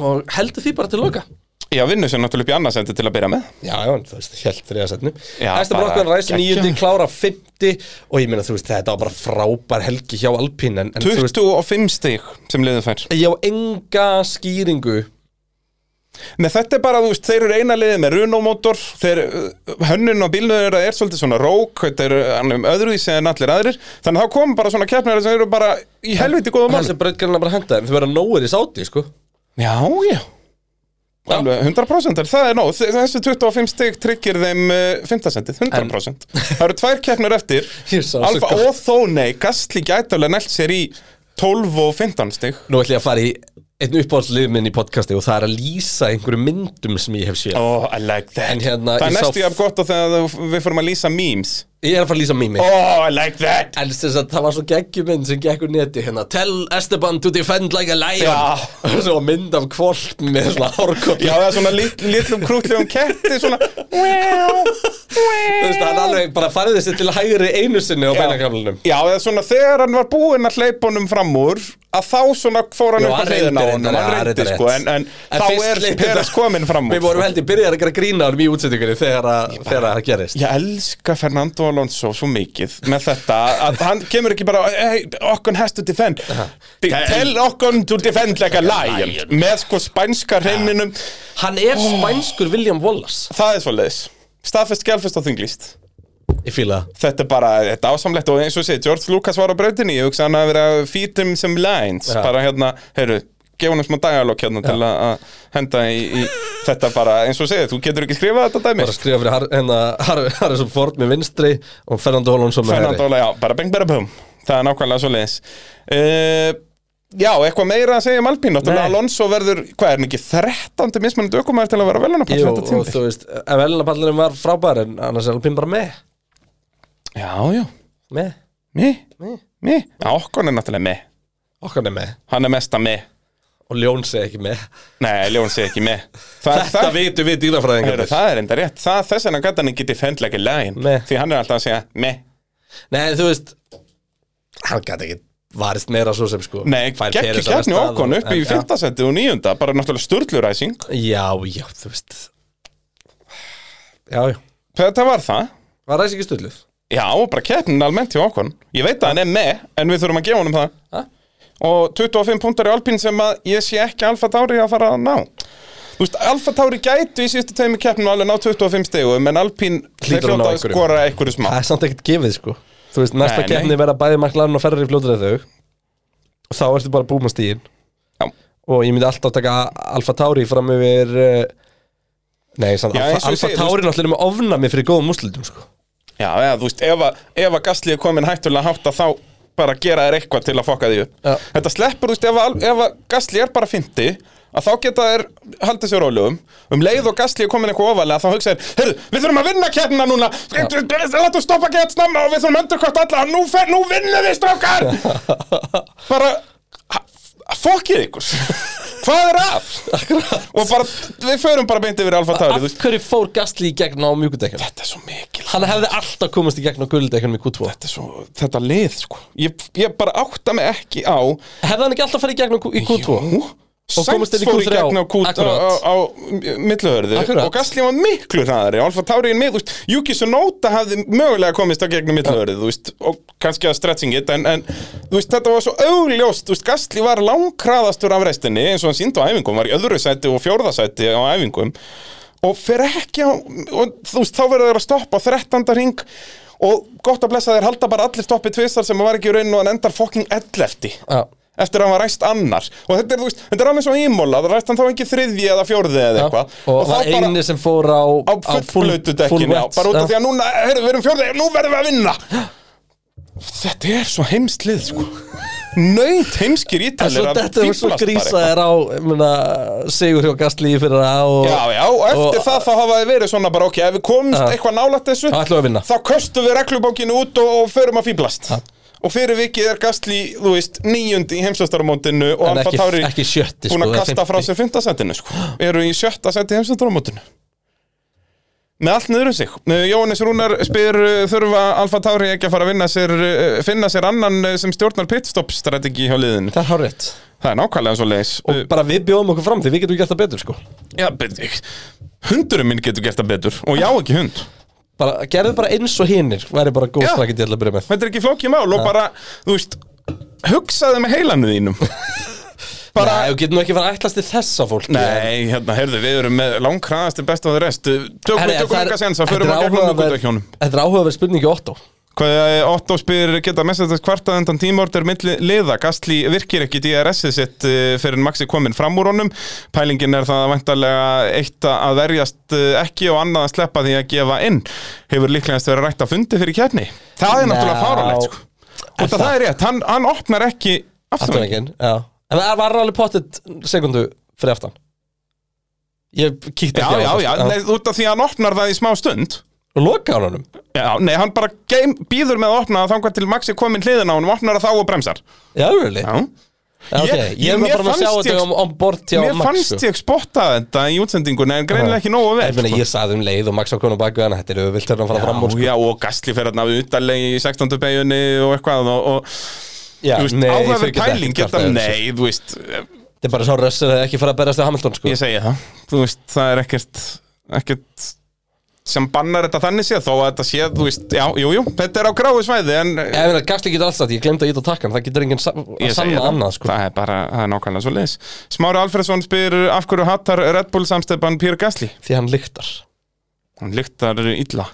Speaker 1: og heldur því bara til loka
Speaker 2: Já, vinnu sem náttúrulega upp í annarsendi til að byrja með
Speaker 1: Já, já, en þú veist, held þriðastætinu
Speaker 2: Já,
Speaker 1: Æstum
Speaker 2: bara
Speaker 1: brokkvæðan ræsi
Speaker 2: geggjað.
Speaker 1: nýjundi, klára 50 og ég meina, þú veist, þetta var bara frábær helgi hjá Alpín en, en þú veist,
Speaker 2: 25 stig sem liðið fær
Speaker 1: ég á enga skýringu
Speaker 2: Nei, þetta er bara, þú veist, þeir eru eina liðið með runómótor þeir, uh, hönnun á bílnum þeirra er svolítið svona rók þetta er uh, hann er öðruvísi en allir aðrir þannig að þá kom bara svona keppnir sem eru bara í helviti góða mál
Speaker 1: Þessi brautgarinn að bara henda þeim, þau verða nóir í sáti, sko
Speaker 2: Já, já
Speaker 1: Já.
Speaker 2: Alveg, 100% er, það er nóg, Þe- þessi 25 stig tryggir þeim uh, 5. sendið, 100% Það eru tvær keppnir eftir
Speaker 1: Ég sá svo
Speaker 2: Alfa
Speaker 1: gott.
Speaker 2: og þó nei, Gastli gætalega nælt sér í 12 og 15 stig
Speaker 1: Nú ætlum ég að fara í einn uppáhaldslið minn í podcasti og það er að lýsa einhverjum myndum sem ég hef séð
Speaker 2: Oh, I like that
Speaker 1: En hérna,
Speaker 2: Það er
Speaker 1: ég sá-
Speaker 2: næstu jafn gott og þegar þú- við fórum að lýsa memes
Speaker 1: Ég er að fara að lýsa mými
Speaker 2: Oh, I like that
Speaker 1: En þess að það var svo geggjumynd sem gekk úr neti hérna Tell Esteban to defend like a lion
Speaker 2: Já.
Speaker 1: Og svo mynd af kvolp með svona hárkopp
Speaker 2: Já, það er svona lit- litlum krútlegum ketti svona Wow,
Speaker 1: Þú
Speaker 2: wow
Speaker 1: veist, hann alveg bara farið þessi til hægri einu sinni á beinakaflunum
Speaker 2: Já, eða svona þegar hann var búinn að hleypa honum fram úr að þá svona fór hann
Speaker 1: Já,
Speaker 2: upp
Speaker 1: hann
Speaker 2: að hliðina á
Speaker 1: reyndi
Speaker 2: honum
Speaker 1: reyndar,
Speaker 2: hann
Speaker 1: já, hann
Speaker 2: reyndi
Speaker 1: reyndi
Speaker 2: sko,
Speaker 1: rétt.
Speaker 2: en, en,
Speaker 1: En
Speaker 2: þá
Speaker 1: fyrst
Speaker 2: er
Speaker 1: leit
Speaker 2: Peres
Speaker 1: þetta-
Speaker 2: kominn fram úr sko.
Speaker 1: Við vorum heldur byrjaði að gera grína á honum í útsendingunni þegar að þegar að það gerist
Speaker 2: Ég elska Fernando Alonso svo mikið með þetta að hann kemur ekki bara hey, Okkon has to defend Tell Okkon to defend like a lion með sko spænska hreininum
Speaker 1: Hann er spænskur William Wallace
Speaker 2: það er svoleiðis staðfest, gelfest og þunglist
Speaker 1: Ég fíla það
Speaker 2: þetta er bara, þetta er ásamlegt og eins og sé, George Lucas var á brautinni, ég hugsa hann að vera feed him um some lines,
Speaker 1: Já.
Speaker 2: bara hérna, heyrðu gefa honum smá dagalokk hérna til að að henda í, í þetta bara eins og segið, þú getur ekki skrifað þetta dæmi
Speaker 1: bara að skrifa fyrir Har- hérna, Har- Harrison Ford með vinstri og Fernando Alonso með
Speaker 2: Fernando,
Speaker 1: hægri
Speaker 2: já, bara bing bara bum það er nákvæmlega svo leiðis Já, eitthvað meira að segja um Alpín Náttúrulega
Speaker 1: Nei.
Speaker 2: Alonso verður, hvað er hann ekki 13. mismunandi ökumæður til að vera velunapall
Speaker 1: Jú,
Speaker 2: þetta
Speaker 1: og
Speaker 2: tímabil?
Speaker 1: þú veist, ef elnapallurinn var frábær en annars er Alpín bara með
Speaker 2: Já, já,
Speaker 1: með,
Speaker 2: mi,
Speaker 1: með,
Speaker 2: mi Ákon er náttúrulega mi,
Speaker 1: okkar er með
Speaker 2: hann er mesta mi
Speaker 1: og Ljón segi ekki með
Speaker 2: Nei, Ljón sé ekki mi
Speaker 1: Þetta vitum við
Speaker 2: Heru,
Speaker 1: dýrafræðingarnir
Speaker 2: það er enda rétt, það, þess vegna gæti hann ekki defendla ekki lægin,
Speaker 1: Nei.
Speaker 2: því hann er alltaf að segja meh,
Speaker 1: Nei, en þú veist Hann gæti ekki varist meira svo sem sko
Speaker 2: nei,
Speaker 1: Fær
Speaker 2: geggjur
Speaker 1: Peres að
Speaker 2: kjarni
Speaker 1: versta
Speaker 2: okon
Speaker 1: að-
Speaker 2: upp í
Speaker 1: en-
Speaker 2: fyrtasetti og nýjunda, bara náttúrulega sturluræsing
Speaker 1: Já, já, þú veist Já, já
Speaker 2: þetta var það,
Speaker 1: Var ræs ekki stulluð?
Speaker 2: já, og bara keppnin almennt hjá okon, ég veit að hann er meh en við þurfum að gefa honum það
Speaker 1: Ha?
Speaker 2: og 25 punktar í Alpín sem að ég sé ekki Alfa Tauri að fara að ná Þú veist, Alfa Tauri gætu í síðustu teimu keppnum alveg ná 25 stegum en Alpín þeir
Speaker 1: Hlýtur að ná
Speaker 2: hljóta að
Speaker 1: einhverju.
Speaker 2: skora einhverju smá
Speaker 1: Það er samt ekkert gefið sko Þú veist, næsta
Speaker 2: Nei, nei.
Speaker 1: keppni verða bæði maklarinn og ferri fljótur eða þau og Þá ertu bara búin að stíðin
Speaker 2: Já.
Speaker 1: Og ég myndi alltaf taka Alfa Tauri fram yfir uh, Nei, samt,
Speaker 2: Já,
Speaker 1: Alfa,
Speaker 2: eins og ég
Speaker 1: Alfa
Speaker 2: segi, þú
Speaker 1: Tauri náttúrulega með ofnami fyrir góðum úslitum sko
Speaker 2: Já, eða, þú veist, ef að, ef að Gasly er komin hættulega hátt að þá bara gera þér eitthvað til að fokka því upp.
Speaker 1: Já.
Speaker 2: Þetta sleppur, þú veist, ef að, ef að Gasly er bara 50 að þá geta þér haldið sér rólegum um leið og Gasly er komin eitthvað ofalega þá hugsa þér, heyrðu, við þurfum að vinna kérna núna láttu stoppa gett snemma og við þurfum endurkvæmt alla, nú, fer, nú vinnum við strókar bara ha- fokkið ykkur hvað er að? og bara, við förum bara beint yfir Alfa Tauri,
Speaker 1: Af
Speaker 2: þú veist,
Speaker 1: hverju fór Gastli í gegn á mjúkudekkan?
Speaker 2: þetta er svo mikil
Speaker 1: Hann hefði alltaf komast í gegn á guldekkanum í Q2
Speaker 2: þetta, er svo, þetta lið sko ég, ég bara átta mig ekki á
Speaker 1: Hefði hann ekki alltaf farið í gegn á Q- í Q2? Og
Speaker 2: Samt
Speaker 1: komist inn í
Speaker 2: fór í
Speaker 1: Q3
Speaker 2: gegn á, kút, á,
Speaker 1: Akkurat.
Speaker 2: á, á milluhörðu
Speaker 1: Akkurat.
Speaker 2: og Gasly var miklu hraðari Alfa Tauri en mig, þú veist, Juki Sonota hafði mögulega komist á gegnum milluhörðu þú veist, og kannski að stretching it en, en þú veist, þetta var svo augljóst þú veist, Gasly var langkraðastur af restinni eins og hann síndi á æfingum, var í öðru sæti og fjórða sæti á æfingum og fer ekki á, og þú veist, þá verður þeir að stoppa á 13. ring og gott að blessa þeir halda bara allir stoppi tvisar sem var ekki í rauninu og hann endar fucking 11
Speaker 1: Já.
Speaker 2: eftir að hann var ræst annar og þetta er, þú veist, þetta er alveg svo ímóla það ræst hann þá ekki þriðji eða fjórði eða
Speaker 1: Já.
Speaker 2: eitthvað
Speaker 1: Og, það
Speaker 2: þá
Speaker 1: eini sem fór á á
Speaker 2: á
Speaker 1: full-
Speaker 2: fullblötu
Speaker 1: full
Speaker 2: dekkinu já,
Speaker 1: wet,
Speaker 2: bara út af því
Speaker 1: já.
Speaker 2: að núna, heyrðu, við erum fjórði nú verðum við að vinna þetta er svo heimslið sko nöyt heimskir
Speaker 1: En Svo
Speaker 2: ítalir að
Speaker 1: þetta var svo
Speaker 2: fíflast bara eitthvað.
Speaker 1: grísaðir á myrna, Sigur hjá Gastlíi fyrir það og,
Speaker 2: Já, já, og eftir
Speaker 1: og-
Speaker 2: það þá hafa þið verið svona bara ok, ef við komumst
Speaker 1: Já.
Speaker 2: eitthvað nálægt þessu
Speaker 1: Þá ætlum við að vinna.
Speaker 2: Þá köstum við reglubókinu út og, og förum að fýblast Og fyrir vikið er Gastli, þú veist, níundi í heimsvöstaramótinu og
Speaker 1: En
Speaker 2: Alfa
Speaker 1: ekki-
Speaker 2: Tauri
Speaker 1: ekki sjötti,
Speaker 2: búin að
Speaker 1: sko, eða
Speaker 2: kasta frá
Speaker 1: fimmti.
Speaker 2: sér fymtasendinu sko. Eru í sjötta sendi í heimsvöstaramótinu Með allt niður um sig Eh, Jóhannes Rúnar spyr eh, þurfa Alfa Tauri ekki að fara að vinna sér, eh, finna sér annan eh, sem stjórnar pitstop-strategi hjá liðinu
Speaker 1: Það er hárétt
Speaker 2: Það er nákvæmlega svo leis
Speaker 1: Og bara við bjóðum okkur fram því við getum gert það betur sko
Speaker 2: Já, bet- hundurinn minn getur gert það betur og ég á ekki hund
Speaker 1: bara, Gerðu bara eins og hinnir Væri bara góð
Speaker 2: Já.
Speaker 1: strakið til að byrja með
Speaker 2: Þetta er ekki flókið mál og bara, þú veist hugsaðu með heilanu þínum bara,
Speaker 1: Nei, við getum nú ekki fara að ætlast til þessa fólk
Speaker 2: nei, hérna, heyrðu, við erum með langkraðastir best og það rest tökum við tökum eitthvað sensa, förum að gegnum okkur dækjónum
Speaker 1: Þetta er áhugaverð spurningi Otto
Speaker 2: Hvað eh, Otto spyr, geta mest þetta kvartað undan tímordur milli liða, Gastli virkir ekki DRS-ið sitt eh, fyrir en Maxi komin fram úr honum, pælingin er það vantarlega eitt að verjast eh, ekki og annað að sleppa því að gefa inn hefur líklegast verið rætt að fundi fyrir kjarni það er náttúrulega
Speaker 1: Ná.
Speaker 2: fáralegt sko.
Speaker 1: Er
Speaker 2: og það, það
Speaker 1: það?
Speaker 2: er rétt, hann, hann opnar ekki afturvængin,
Speaker 1: Afturveginn, já En það var alveg pottet sekundu fyrir aftan Ég kíkti
Speaker 2: já,
Speaker 1: ekki á
Speaker 2: já, já,
Speaker 1: það,
Speaker 2: nei, út af því að hann opnar það í smá stund
Speaker 1: Og loka á honum
Speaker 2: Já, nei, hann bara geim, býður með að opna það þangar til Maxi komin hliðin á hann, opnar það þá og bremsar
Speaker 1: Já, really
Speaker 2: Já,
Speaker 1: Já, ok,
Speaker 2: Ég-
Speaker 1: ég er
Speaker 2: mér
Speaker 1: bara með að sjá
Speaker 2: fannst ég-
Speaker 1: þetta um, um bort hjá
Speaker 2: Mér
Speaker 1: Max
Speaker 2: fannst ég spotta þetta í útsendingunni en greinilega ekki nógu vel sko.
Speaker 1: Ég, meina, ég saði um leið og Max var konum baku en þetta er auðvilt þegar hann fara fram úr
Speaker 2: Já,
Speaker 1: sko.
Speaker 2: já, og Gastli fer hérna við utalegi í 16. beigunni og eitthvað og, og
Speaker 1: Já,
Speaker 2: þú veist,
Speaker 1: nei, ég
Speaker 2: áhæfur
Speaker 1: fyrir ekki
Speaker 2: pæling
Speaker 1: þetta
Speaker 2: geta,
Speaker 1: kvarta yfir þessu.
Speaker 2: nei, þú veist
Speaker 1: Þetta er bara svo rössur að ekki fara að berast við Hamilton sko.
Speaker 2: ég segi það, þú veist, það er ekkert ekkert sem bannar þetta þannig séð, þó að þetta sé, þú veist já, jú, jú, þetta er á gráu svæði en
Speaker 1: Ég meina, Gasly getur alltaf, ég glemdi að íta takkan það getur enginn sa að
Speaker 2: Ég segi
Speaker 1: sanna
Speaker 2: það.
Speaker 1: annað sko.
Speaker 2: það er bara, það er nákvæmlega svo leis Smári Alfredsson spyr af hverju hattar Red Bull samstefan Pír Gastli
Speaker 1: því hann lyktar
Speaker 2: hann lyktar illa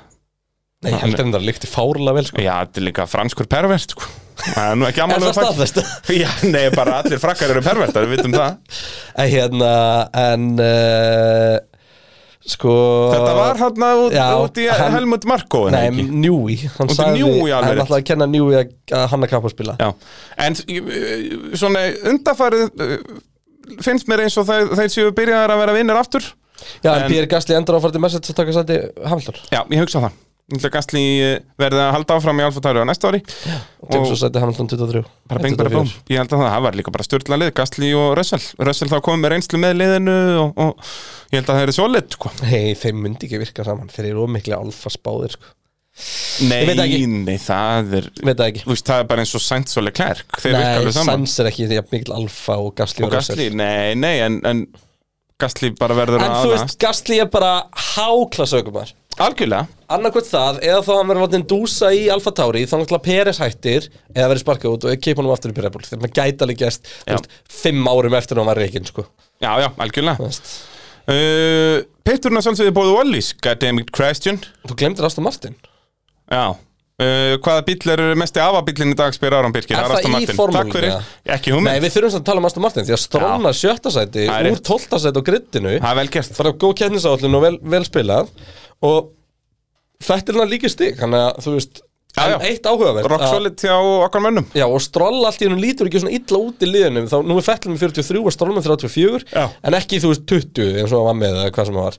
Speaker 1: Nei, ég held að þetta líkti fárlega vel sko.
Speaker 2: Já, þetta er líka franskur pervert sko. Það er nú ekki
Speaker 1: Er
Speaker 2: ammálið
Speaker 1: það staðfest?
Speaker 2: Já, nei, bara allir frakkar eru pervertar, við vitum það
Speaker 1: En hérna, en uh, Sko
Speaker 2: Þetta var hann út,
Speaker 1: Já,
Speaker 2: út í
Speaker 1: hann-
Speaker 2: Helmut Marko en
Speaker 1: Nei,
Speaker 2: ekki
Speaker 1: Njúi Hann
Speaker 2: Út í
Speaker 1: sagði,
Speaker 2: Newey alveg
Speaker 1: hann
Speaker 2: rétt.
Speaker 1: ætlaði að kenna Njúi að hann að kappa spila
Speaker 2: Já, en eh, svona undarfærið eh, finnst mér eins og þeir, þeir séu byrjaðar að vera vinnir aftur
Speaker 1: Já, en
Speaker 2: En-
Speaker 1: Pér Gasli endur áfært í message að taka sæti Hamilton
Speaker 2: Já, ég hugsa það Ég ætla Gastli eh, verði að halda áfram í Alfa Tauri á næsta ári
Speaker 1: og tekur svo sæti Hamilton 23
Speaker 2: bara bing,
Speaker 1: 24.
Speaker 2: bara búm ég held að það, það var líka bara styrla lið Gastli og Russell, Russell þá komið með reynslu með liðinu og, og ég held að það er svo lit sko.
Speaker 1: Nei, þeim myndi ekki virka saman Þeir eru ómikli alfa spáðir sko.
Speaker 2: nei,
Speaker 1: veit það ekki.
Speaker 2: nei, það er
Speaker 1: Veit það ekki
Speaker 2: þú veist, það er bara eins og Sainz og Leclerc þeir virka
Speaker 1: Nei,
Speaker 2: alveg saman
Speaker 1: Sands er ekki því að mikil alfa og Gasli
Speaker 2: og
Speaker 1: Russell.
Speaker 2: Gastli, nei, nei, en, en Gastli bara verður
Speaker 1: En þú veist, Gasli er bara háklasaukumar
Speaker 2: algjörlega,
Speaker 1: Annarkvæmt það, eða þá að hann verður látið dúsa í Alfa Tauri, þá náttúrulega Peres hættir eða verður sparkað út og keipa honum aftur upp í Red Bull þegar maður gæti alveg gæst þú
Speaker 2: Já.
Speaker 1: veist, fimm árum eftir að hann var reikinn sko.
Speaker 2: já, já,
Speaker 1: Þú
Speaker 2: algjörlega
Speaker 1: veist.
Speaker 2: uh, Pitturinn að sjálfsögðu bóðu Wallis goddammit question
Speaker 1: Þú glemdir Aston Martin
Speaker 2: Já Uh, hvaða bíll er mesti afabíllinn í dag spyr Aron Birkir
Speaker 1: Er
Speaker 2: það er
Speaker 1: það
Speaker 2: Aston
Speaker 1: í
Speaker 2: Martin.
Speaker 1: formúlunni,
Speaker 2: Takk fyrir,
Speaker 1: eða?
Speaker 2: ekki hugmynd
Speaker 1: Nei, við þurfum samt að tala um Aston Martin því að stróna sjötta sæti
Speaker 2: Það er
Speaker 1: úr
Speaker 2: rétt.
Speaker 1: tólta sæti á grittinu
Speaker 2: það er vel gert
Speaker 1: bara góð kennisáallin og vel, vel spilað og þetta er hann líka stig þannig að þú veist,
Speaker 2: Já,
Speaker 1: en
Speaker 2: já.
Speaker 1: eitt áhugavert
Speaker 2: Rock
Speaker 1: að-
Speaker 2: solid hjá okkar mönnum
Speaker 1: Já, og Stroll allt í hennum lítur ekki svona illa út í liðunum þá nú er Fettel með 43 og Stroll með 34
Speaker 2: Já.
Speaker 1: en ekki þú veist 20 eins og hann var með eða hvað sem hann var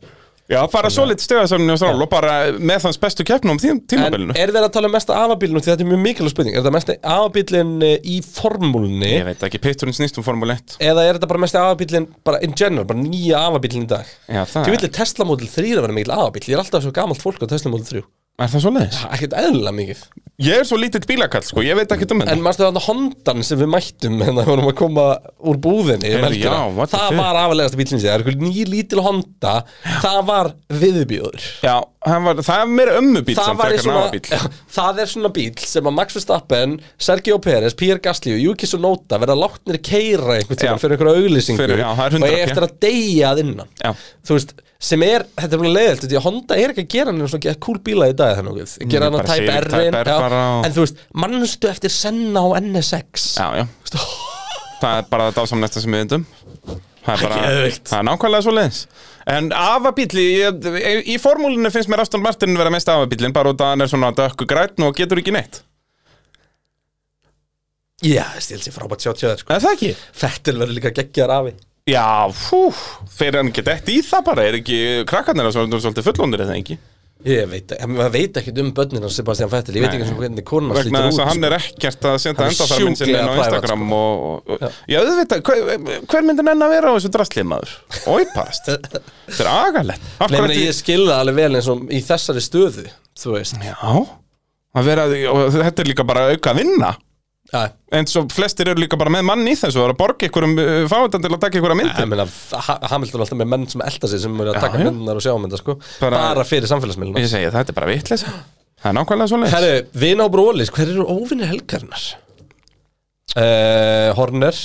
Speaker 2: Já, bara svo litið stegasamni á strál og bara með þanns bestu keppnum á tím-
Speaker 1: En
Speaker 2: tímabilinu
Speaker 1: er þeir að tala um mesta afabílunum því þetta er mjög mikilvæg spurning er þetta mesta afabílun í formúlunni
Speaker 2: Ég veit ekki, pitturinn snýst um Formule 1
Speaker 1: eða er þetta bara mesta afabílun bara in general, bara nýja afabílun í dag
Speaker 2: Já, það
Speaker 1: Þú vilja Tesla Model 3 að vera mikil afabíl ég er alltaf svo gamalt fólk á Tesla Model 3
Speaker 2: Er það svo leiðis?
Speaker 1: ekkert eðlilega mikið
Speaker 2: Ég er svo lítill bílakall, sko, ég veit ekki um þetta
Speaker 1: En mannstu þannig Hondan sem við mættum hérna við vorum að koma úr búðinni um
Speaker 2: Heyrðu,
Speaker 1: helgina.
Speaker 2: já, what the
Speaker 1: Það
Speaker 2: fuck?
Speaker 1: var afalegasta bílinn sér Ný lítil Honda, það var viðbjóður
Speaker 2: Já, hann var, það er meira ömmu bíl
Speaker 1: Það,
Speaker 2: sem
Speaker 1: var í
Speaker 2: frekar
Speaker 1: svona,
Speaker 2: náða bíl
Speaker 1: það er svona bíl sem að Max Verstappen, Sergio Perez, Pierre Gasly og Yuki Tsunoda verða látnir keira einhvern
Speaker 2: Já.
Speaker 1: tímann fyrir einhverja auglýsingu
Speaker 2: Fyrir- já, það er
Speaker 1: og
Speaker 2: 100,
Speaker 1: eiga eftir að deyja að innan
Speaker 2: Já.
Speaker 1: þú veist, sem er, þetta er mjög leiðilt því að Honda er ekki að gera hann svona cool bíla í dag þannig, að gera hann
Speaker 2: bara
Speaker 1: að Type
Speaker 2: Civic Type
Speaker 1: R-in
Speaker 2: R bara og-
Speaker 1: en þú veist, mannstu eftir Senna og NSX
Speaker 2: Já, já Það er bara það ásamnesta sem við veitum Það er bara,
Speaker 1: Geðveikt.
Speaker 2: það er nákvæmlega svo leiðis En afabíli, ég, í formúlinu finnst mér Aston Martin vera mest afabílinn bara út að hann er svona dökku grætn og getur ekki neitt
Speaker 1: Já, stíl sér frábært sjá tjóðar sko.
Speaker 2: Er það ekki?
Speaker 1: Fettil verður líka geggjar afi
Speaker 2: Já, fú, fyrir hann ekki dætt í það bara, er ekki krakkarnir að svona svolítið fullónir eða ekki?
Speaker 1: Ég veit, en maður veit ekki um börnin hans Sebastian Fettil, ég veit ekki eins og hvernig konan hans
Speaker 2: Vegna
Speaker 1: lítur út
Speaker 2: þess
Speaker 1: sko.
Speaker 2: að hann er ekkert að senda
Speaker 1: Hann er
Speaker 2: endaþarminn sinni inn á
Speaker 1: sjúklega sko.
Speaker 2: Instagram og, og, og já, auðvitað, hver, hver myndir nenn að vera á þessu drastlið maður? Óipast, þetta er agalett. Af
Speaker 1: Nei,
Speaker 2: hverju
Speaker 1: meni,
Speaker 2: ætti-
Speaker 1: ég skilða alveg vel eins og í þessari stöðu Þú veist
Speaker 2: Já, að vera, og þetta er líka bara auka vinna.
Speaker 1: ja,
Speaker 2: En svo flestir eru líka bara með mann í þessu, það er að borga ykkur um fáiðan til að taka ykkur að myndi.
Speaker 1: Ég meina, Ha- Hamilton er alltaf með menn sem elda sig sem eru að taka
Speaker 2: já.
Speaker 1: myndunar og sjá mynda sko. bara,
Speaker 2: Bara-
Speaker 1: fyrir samfélagsmiðluna
Speaker 2: Ég segi, þetta er bara vitleisa. Það er nákvæmlega svo leiðis.
Speaker 1: Herru, vina og brólis, hver eru óvinni helgarinnar? Uh, Horner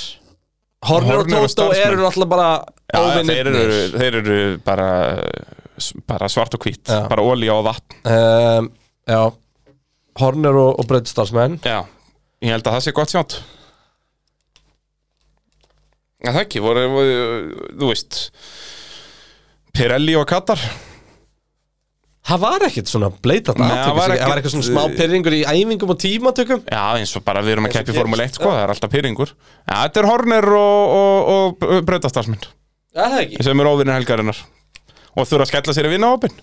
Speaker 1: Horner og
Speaker 2: Horner og
Speaker 1: Tóto
Speaker 2: starfsmenn.
Speaker 1: eru alltaf bara
Speaker 2: Já, þeir
Speaker 1: óvinnir
Speaker 2: eru, þeir eru bara, bara svart og hvít,
Speaker 1: Já.
Speaker 2: bara olja og vatn
Speaker 1: um, Já Horner og, og breytistalsmenn
Speaker 2: Já, ég held að það sé gott sjátt Já, það ekki, voru, voru, þú veist Pirelli og Katar
Speaker 1: Það var ekkert svona bleitat
Speaker 2: Nei,
Speaker 1: atvik,
Speaker 2: það var
Speaker 1: Það var
Speaker 2: ekkert- eh,
Speaker 1: ekkert svona smá pyrringur í æfingum og tímatökum
Speaker 2: Já, eins og bara við erum að
Speaker 1: Eins og
Speaker 2: keppi Formule
Speaker 1: gerist,
Speaker 2: 1, sko, það er alltaf pyringur Já, þetta er Horner og, og, og Brautastarsmynd
Speaker 1: Er það ekki?
Speaker 2: sem eru óvinnir helgarinnar og þurfa að skella sér í vinnahópin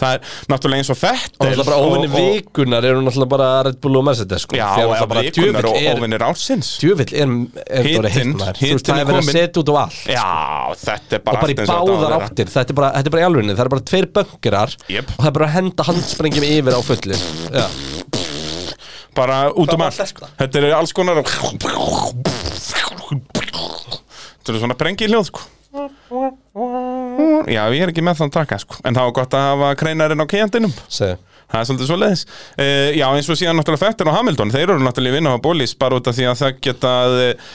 Speaker 2: Það er náttúrulega eins og fett
Speaker 1: Og náttúrulega bara óvinni vikunar eru náttúrulega bara Red Bull og Mercedes sko. Því
Speaker 2: Já,
Speaker 1: að
Speaker 2: og
Speaker 1: náttúrulega bara
Speaker 2: vikunar og
Speaker 1: djöfull er-
Speaker 2: óvinnir ársins
Speaker 1: Djöfull er, er
Speaker 2: Hitinn,
Speaker 1: Dóri heitt maður Þú veist,
Speaker 2: hitinn
Speaker 1: Það
Speaker 2: er
Speaker 1: er verið að
Speaker 2: kominn.
Speaker 1: setja út á allt
Speaker 2: Já, þetta er bara
Speaker 1: Og bara í
Speaker 2: allt eins þetta á að
Speaker 1: báðar
Speaker 2: vera.
Speaker 1: áttir Þetta er bara, þetta er bara í alvegni Það er bara tveir böngirar
Speaker 2: Jep.
Speaker 1: Og það er bara að henda handsprengjum yfir á fulli Já,
Speaker 2: Bara út um
Speaker 1: var
Speaker 2: allt
Speaker 1: þetta?
Speaker 2: Þetta er alls konar Þetta er svona prengi hljóð sko. Já, ég er ekki með þann taka sko. En það var gott að hafa kreinarinn á kejandinum
Speaker 1: segðu
Speaker 2: Það er svolítið svo leiðis Já, eins og síðan náttúrulega Fettin og Hamilton Þeir eru náttúrulega vinna á bólís bara út af því að það geta eh,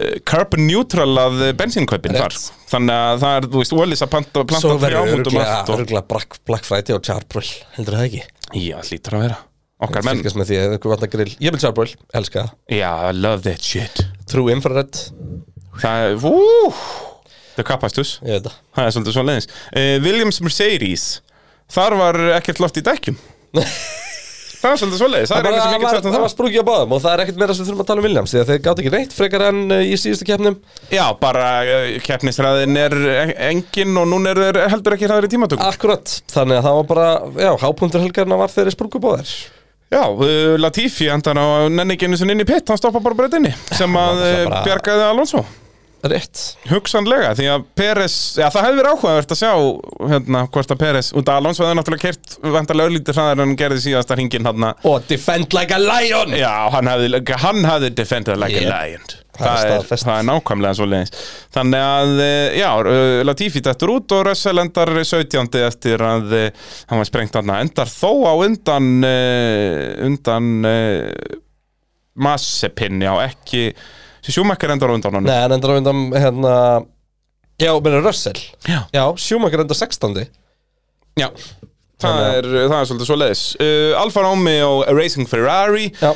Speaker 2: eh, carbon neutral að bensinkaupin
Speaker 1: Rétt.
Speaker 2: þar sko. Þannig að það er, þú veist, Wallis að
Speaker 1: Svo
Speaker 2: planta, planta
Speaker 1: verður
Speaker 2: trjám út um
Speaker 1: örugglega-
Speaker 2: allt og-
Speaker 1: örugglega Black- Black Friday og Charbrol Heldur það ekki?
Speaker 2: Já, hlýtur að vera Okkar menn
Speaker 1: Fylgjast með því eða eitthvað vatna grill Ég vil Charbroil, elska það
Speaker 2: Já, I love that shit
Speaker 1: True Infrared,
Speaker 2: Það er, vú Það kappast þús
Speaker 1: ég veit það
Speaker 2: Það er svolítið svo leiðis uh, Williams Mercedes Þar var ekkert loft í dekkjum Það var svolítið svo leiðis Það
Speaker 1: Það
Speaker 2: er
Speaker 1: bara-
Speaker 2: eitthvað sem
Speaker 1: það
Speaker 2: ekki
Speaker 1: var,
Speaker 2: sagt um
Speaker 1: það var
Speaker 2: það
Speaker 1: sprungið á báðum og það er ekkert meira sem við þurfum að tala um Williams því að þeir gátt ekki neitt frekar en uh, í síðustu keppnum
Speaker 2: Já, bara uh, keppnisræðin er e- engin og núna er þeir heldur ekki hræður í tímatökum
Speaker 1: Akkurat, þannig að það var bara, já, hápundur helgarna var þeirri sprungu báðar
Speaker 2: Já, uh, Latifi endar á nenninginu sinni inn í pitt, hann stoppa bara breytinni sem að
Speaker 1: það
Speaker 2: uh,
Speaker 1: bara-
Speaker 2: bjargaði Alonso
Speaker 1: Rétt
Speaker 2: Hugsanlega, því að Peres, já það hefði verið áhugavert að sjá hérna hvort að Peres, út að Alonso hefði náttúrulega kert vantarlega auðlítið hraðar en hann gerði síðasta hringin hann
Speaker 1: Og defend like a lion
Speaker 2: Já, hann hefði, hann hefði defended like
Speaker 1: Yep.
Speaker 2: a lion
Speaker 1: Það er
Speaker 2: það er,
Speaker 1: staðfest.
Speaker 2: það er nákvæmlega svo leiðis Þannig að, eh, já, eh, Latifi dættur út og Russell endar 17. eftir að eh, hann var sprengt hann endar þó á undan eh, undan eh, massepinni á ekki Sjúmakkar endar á undan honum
Speaker 1: Nei, en endur á undan, hérna Já, meina Russell
Speaker 2: Já.
Speaker 1: Já, Schumacher endar 16.
Speaker 2: Já, það er, eh, það er svolítið svo leiðis uh, Alfa Romeo Racing Ferrari
Speaker 1: Já,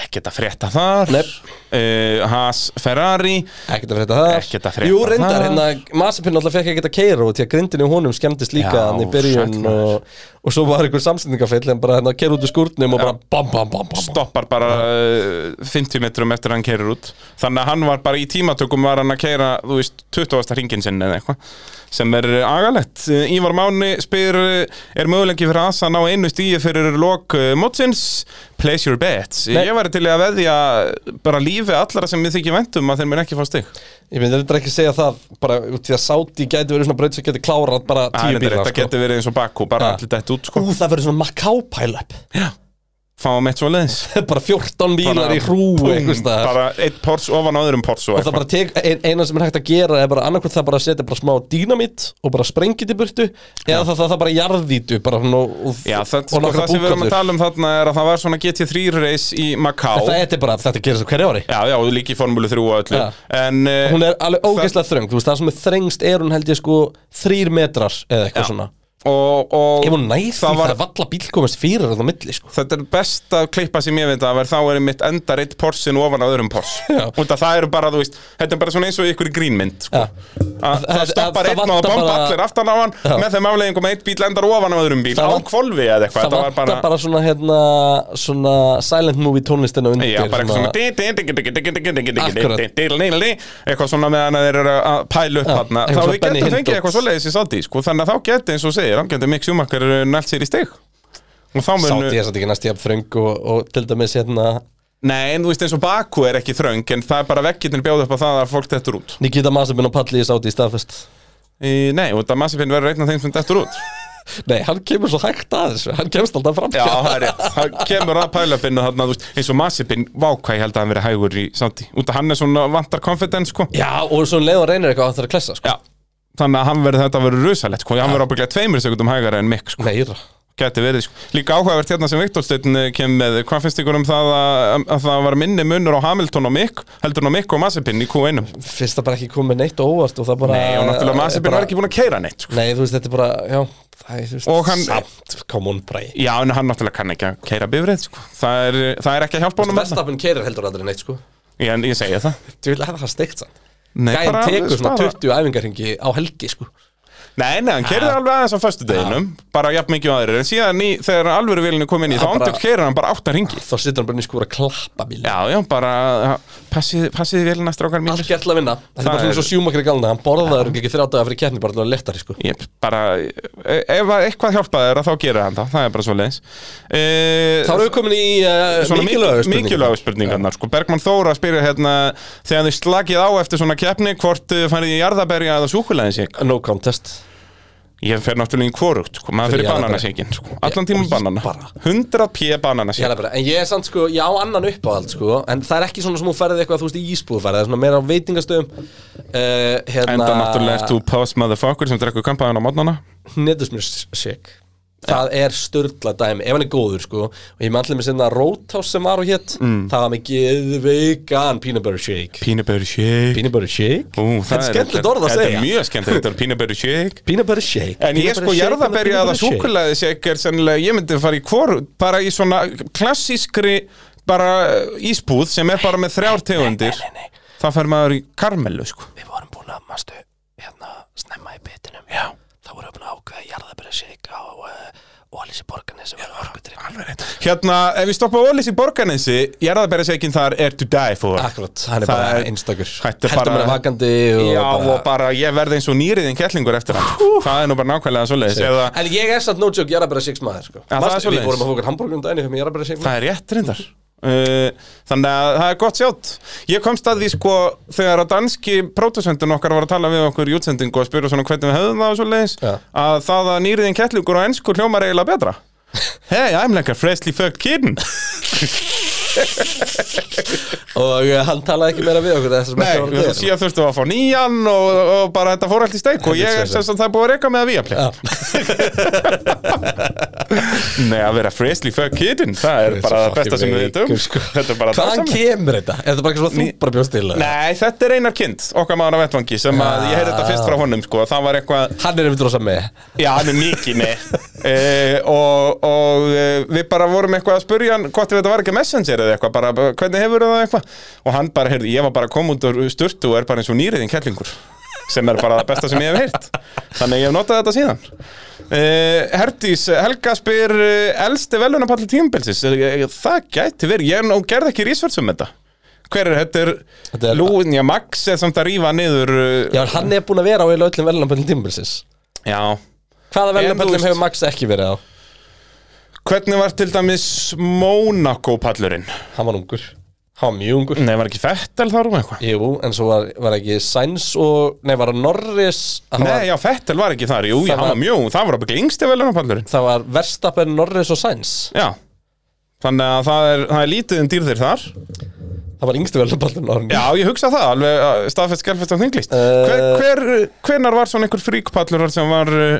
Speaker 2: Ekkert að frétta þar
Speaker 1: Nei.
Speaker 2: uh, Haas Ferrari
Speaker 1: ekkert að frétta það
Speaker 2: Ekkert að frétta
Speaker 1: Jú, reyndar,
Speaker 2: þar.
Speaker 1: hérna, Masipinn alltaf fekk ekkert að keira og því að grindin í honum skemmtist líka
Speaker 2: Já,
Speaker 1: hann í byrjun
Speaker 2: sæll maður.
Speaker 1: og, og svo var einhver samsendingafell en bara hérna keira út úr skúrnum og bara bam, bam, bam, bam, bam.
Speaker 2: Stoppar bara uh, 50 metrum eftir að hann keirir út Þannig að hann var bara í tímatökum var hann að keira Þú veist, 20. hringin sinni eða eitthvað Sem er eh, agalegt Eh, Ívar Máni spyr eh, Er möguleiki fyrir Haas að ná einu stíi fyrir lok uh, mótsins Place your bets
Speaker 1: Nei.
Speaker 2: Ég væri til í að veðja eh, bara lífi allara sem við þykir vendum að þeir mér ekki fá stig
Speaker 1: Ég myndi þetta ekki segja það bara út því að Saudi gæti verið svona braut sem geti klárað bara tíu bílar sko.
Speaker 2: Þetta getur verið eins og Bakú, bara
Speaker 1: Ja.
Speaker 2: allir dætt út sko
Speaker 1: Ú, það verður svona Macau pile-up
Speaker 2: Fáum eitt svo leiðis
Speaker 1: Bara 14 bílar í hrúu einhvers staðar
Speaker 2: Bara eitt pors ofan á öðrum pors og
Speaker 1: Og það bara tek, ein, eina sem er hægt að gera er bara annarkvæmt það bara að setja bara smá dýnamitt og bara sprengið í burtu eða það, það, það bara jarðítu bara hún og, og,
Speaker 2: Já, það,
Speaker 1: og
Speaker 2: sko,
Speaker 1: nokkra
Speaker 2: það sem við erum að
Speaker 1: búkollur.
Speaker 2: tala um þarna er að það var svona GT3 race í Macau
Speaker 1: En Það er bara, þetta gerir svo hverju ári
Speaker 2: Já, já, og líka í Formúlu 3 og öllu
Speaker 1: Ja.
Speaker 2: En eh,
Speaker 1: Hún er alveg ógeðslega þröng, þú veist, það sem er þrengst er hún held ég sko þrýr metrar eða eitthvað svona
Speaker 2: og,
Speaker 1: Ef
Speaker 2: og
Speaker 1: hún nær því,
Speaker 2: það
Speaker 1: það
Speaker 2: var-
Speaker 1: er valla bíl komast fyrir á milli sko
Speaker 2: þetta er best að klippa sem ég veit að þá er mitt endar eitt porsin ofan á öðrum pors Út að það eru bara, þú veist, þetta er bara svona eins og í ykkur grínmynd sko.
Speaker 1: Já.
Speaker 2: að,
Speaker 1: Það-
Speaker 2: Það
Speaker 1: það
Speaker 2: stoppar einn og
Speaker 1: vantar
Speaker 2: það bomba
Speaker 1: bara-
Speaker 2: allir aftan á hann
Speaker 1: Já.
Speaker 2: með þeim afleggingum að eitt bíl endar ofan á öðrum bíl
Speaker 1: Það
Speaker 2: á
Speaker 1: vant-
Speaker 2: kvolfi eða eitthvað
Speaker 1: Það
Speaker 2: Þetta
Speaker 1: vantar
Speaker 2: var
Speaker 1: bara, svona, hérna, svona silent movie tónlistina undir
Speaker 2: Já, bara
Speaker 1: svona-
Speaker 2: eitthvað svona eitthvað svona meðan að þeir eru að pæla upp
Speaker 1: Já,
Speaker 2: hann
Speaker 1: eitthvað
Speaker 2: þá
Speaker 1: svona
Speaker 2: við
Speaker 1: Benny
Speaker 2: getum fengið
Speaker 1: Hinn
Speaker 2: eitthvað
Speaker 1: dót.
Speaker 2: svoleiðis í Saudi sko, þannig að þá geti eins og þú segir, hann geti Mick Schumacher nælt sér í stig og þá munu,
Speaker 1: Sátti ég satt ekki næst jafn þröng og, og til dæmis hérna
Speaker 2: nei en þú veist eins og Baku er ekki þröng en það er bara vekkirnir bjóð upp á það að fólk dettur út
Speaker 1: Nikita Masabin og Palli í sátti í staðfest
Speaker 2: Í- nei, og það Massipin verður einn af þeim sem dettur út
Speaker 1: Nei, hann kemur svo hægt að þessu, hann kemst alltaf fram sko.
Speaker 2: Já, það er rétt, það kemur að pælapinnu þarna, þú veist, eins og Massipin vákvæ held að hann verið hægur í Saudi, út að hann er svona vantar confidence sko
Speaker 1: Já, og svo um leið og reynir eitthvað það er að klessa sko.
Speaker 2: Já, þannig að hann verður þetta verður rusalett sko. hann verður ábygglega tveimur sekundum hægara en Mick sko.
Speaker 1: Meira
Speaker 2: geti verið sko. líka áhugavert hérna sem Viktor Steinn eh, kem með hvað finnst ykkur um það að, að það var minni munur á Hamilton og Mick heldur en á Mick og Massipin í Q1
Speaker 1: Fyrst það bara ekki komið neitt á óvart og það bara
Speaker 2: Nei, og náttúrulega Massipin
Speaker 1: bara-
Speaker 2: var ekki búin að keira neitt sko.
Speaker 1: Nei, þú veist, þetta er bara, já það, er, þú veist,
Speaker 2: Og hann-
Speaker 1: Samt, come on, bræ
Speaker 2: já, en hann náttúrulega kann ekki að keira bifrið sko. það, er, það er ekki að hjálpa honum þarna.
Speaker 1: Vestafinn keirir heldur aldrei neitt, sko
Speaker 2: ég, en ég segi það
Speaker 1: Þú vil hafa það steikt sann
Speaker 2: Nei,
Speaker 1: Gæinn
Speaker 2: bara
Speaker 1: tekur svona
Speaker 2: spara-
Speaker 1: 20 æfingarhingi á helgi, sko
Speaker 2: Nei, nei, hann keirði
Speaker 1: Ah.
Speaker 2: alveg aðeins á föstudeginum bara jafn mikið og aðrir, en síðan í, þegar alvöru vilinu kom inn í, þá
Speaker 1: Hann bara-
Speaker 2: andur keirði hann bara áttan ringi
Speaker 1: Þá situr hann bara inn í skúr að klappa bíl
Speaker 2: Já, já, bara ja, passið, passið vilina strákar mínir
Speaker 1: Allt gert til að vinna Það er bara
Speaker 2: Það
Speaker 1: svona
Speaker 2: er-
Speaker 1: svo sjúmakri galna Hann borðaður ekki þrjá dagar fyrir keppni bara til að leta sko.
Speaker 2: Jep, bara, e- ef að eitthvað hjálpað er að þá gerir hann það, það er bara E, svo leiðis
Speaker 1: Þá erum við komin í uh, mikilvægu spurningar
Speaker 2: Mikilvægu spurningarnar, sko Bergmann Þóra spyrir hérna Þegar þið slakið á eftir svona keppni Hvort eh, farið í jarðaberja eða súkulæðin sig
Speaker 1: No contest
Speaker 2: Ég fer náttúrulega í kvorugt, sko Maður
Speaker 1: Fer í
Speaker 2: fyrir
Speaker 1: jarðaberja.
Speaker 2: bananasíkin, sko Allan
Speaker 1: Já,
Speaker 2: tíma
Speaker 1: og
Speaker 2: banana
Speaker 1: bara.
Speaker 2: 100p
Speaker 1: Ég
Speaker 2: bananasík
Speaker 1: held bara, En ég er samt sko, ég á annan uppáhald sko En það er ekki svona sem hún ferði eitthvað, þú veist, í ísbúð ferði Það er svona meira á veitingastöðum uh, hérna,
Speaker 2: Enda náttúrulega ert þú post motherfucker sem drekkur kampaðan á mótnana
Speaker 1: Netusmjörsshake það er störla dæmi, ef hann er góður sko og ég með allir með sinna Roadhouse sem var og hétt
Speaker 2: Mm.
Speaker 1: það var með geðveikan peanut butter shake
Speaker 2: Peanut butter shake
Speaker 1: peanut butter shake?
Speaker 2: Ú,
Speaker 1: þetta er skemmtilegt orð að
Speaker 2: Þetta
Speaker 1: segja
Speaker 2: er mjög skemmtilegt orð, peanut butter shake
Speaker 1: peanut butter shake
Speaker 2: En ég
Speaker 1: peanut butter
Speaker 2: sko
Speaker 1: shake eða
Speaker 2: jarðaberja
Speaker 1: peanut
Speaker 2: að
Speaker 1: butter shake?
Speaker 2: súkulaði shake er sennilega, ég myndi fara í hvor, bara í svona klassískri bara uh, ísbúð sem er bara með þrjár tegundir
Speaker 1: Nei, nei, nei,
Speaker 2: þá fær maður í karmelu sko
Speaker 1: við vorum búin að mastu hérna snemma í bitinum Já. þá vorum við búin að ákveða jarðaberja shake á uh, Ólísi borgarni sem var orkudrykk
Speaker 2: Hérna, ef við stoppa Ólís í Borgarnesi jarðaberja shakein þar er to die for
Speaker 1: Akkurat, hann er
Speaker 2: Það
Speaker 1: bara
Speaker 2: er-
Speaker 1: einstakur
Speaker 2: Hættu
Speaker 1: Heldur
Speaker 2: bara-
Speaker 1: mér vakandi og
Speaker 2: Já, og bara ég verði eins og nýriðin kettlingur eftir hann Það er nú bara nákvæmlega svoleiðis eða,
Speaker 1: En ég er samt no joke jarðabæra six maður sko.
Speaker 2: það er
Speaker 1: Manstu, Við
Speaker 2: svoleiðis.
Speaker 1: vorum að fókast hambúrgunum daginn Ég hef með jarðabæra six maður
Speaker 2: Það er rétt reyndar uh, Þannig að það er gott sjátt Ég komst að því sko þegar að danski prótusöndun okkar var að tala við okkur í útsendingu og spyrja svona hvernig við höfum það og svoleiðis
Speaker 1: Já.
Speaker 2: að það að nýriðin kettlingur og ensku hljómar eiginlega betra Hey, I'm like a freshly fucked kid
Speaker 1: Og uh, hann talaði ekki meira við okkur Það er sem ekki var að
Speaker 2: Nei,
Speaker 1: gera.
Speaker 2: síðan þurftu að fá nýjan og, og bara þetta fór allt í steik og ég er sem sagt það er búið að reyka með að víja
Speaker 1: Já.
Speaker 2: Nei, að vera freshly fucked kidin, það
Speaker 1: Ég
Speaker 2: er
Speaker 1: er
Speaker 2: bara
Speaker 1: svo
Speaker 2: það besta
Speaker 1: fucking
Speaker 2: sem við
Speaker 1: veikur,
Speaker 2: vitum
Speaker 1: sko.
Speaker 2: Þetta er bara
Speaker 1: Hvaðan
Speaker 2: dásamlegt.
Speaker 1: kemur þetta? Er þetta bara eitthvað svona þú bara bjóst til eða?
Speaker 2: Nei, þetta er Einar Kind, okkar maður af vettvangi sem að ég heyrði þetta fyrst frá honum sko, það var eitthvað,
Speaker 1: Hann er um drosa með
Speaker 2: já hann er mikinni e, og, og e, við bara vorum eitthvað að spurja hann hvort ef þetta var ekki messenger eða eitthvað, bara bara, hvernig hefur það eitthvað og hann bara, heyrði, ég var bara að koma út úr sturtu og er bara eins og nýriðin kellingur sem er bara það besta sem ég hef heyrt þannig að ég hef notað þetta síðan e, Herdís, Helga spyr eh, elsti velunapall tímabilsis það gæti verið, ég er nú gerði ekki research um þetta Hver er, þetta er,
Speaker 1: Þetta er-
Speaker 2: Lúin, já, Max er samt að rífa niður uh,
Speaker 1: Já, en hann er búin að vera á eiginlega öllum velunapöllum tímabilsins
Speaker 2: já.
Speaker 1: Hvaða
Speaker 2: En þú
Speaker 1: velunapöllum
Speaker 2: veist-
Speaker 1: hefur Max ekki verið á?
Speaker 2: Hvernig var til dæmis Monaco-pallurinn?
Speaker 1: Hann var ungur Hann var mjög ungur
Speaker 2: Nei, var ekki Fettel þar um eitthvað?
Speaker 1: Jú, en svo var, var ekki Sainz og Nei, var að Norris Hann var-
Speaker 2: Nei, já, Fettel var ekki þar, jú,
Speaker 1: Það
Speaker 2: hann var
Speaker 1: var-
Speaker 2: mjög, það var að byggja yngsti velunapallurinn
Speaker 1: Það var Verstappen, Norris og Sainz
Speaker 2: Já, þannig að það er, það er lítið um dýrðir þar
Speaker 1: Það var yngstu velunapöllum árið
Speaker 2: Já, ég hugsa það, alveg uh, staðfest, skelfest og þinglist
Speaker 1: Eh.
Speaker 2: hver, hver, Hvenar var svona einhver fríkpallurar sem var uh,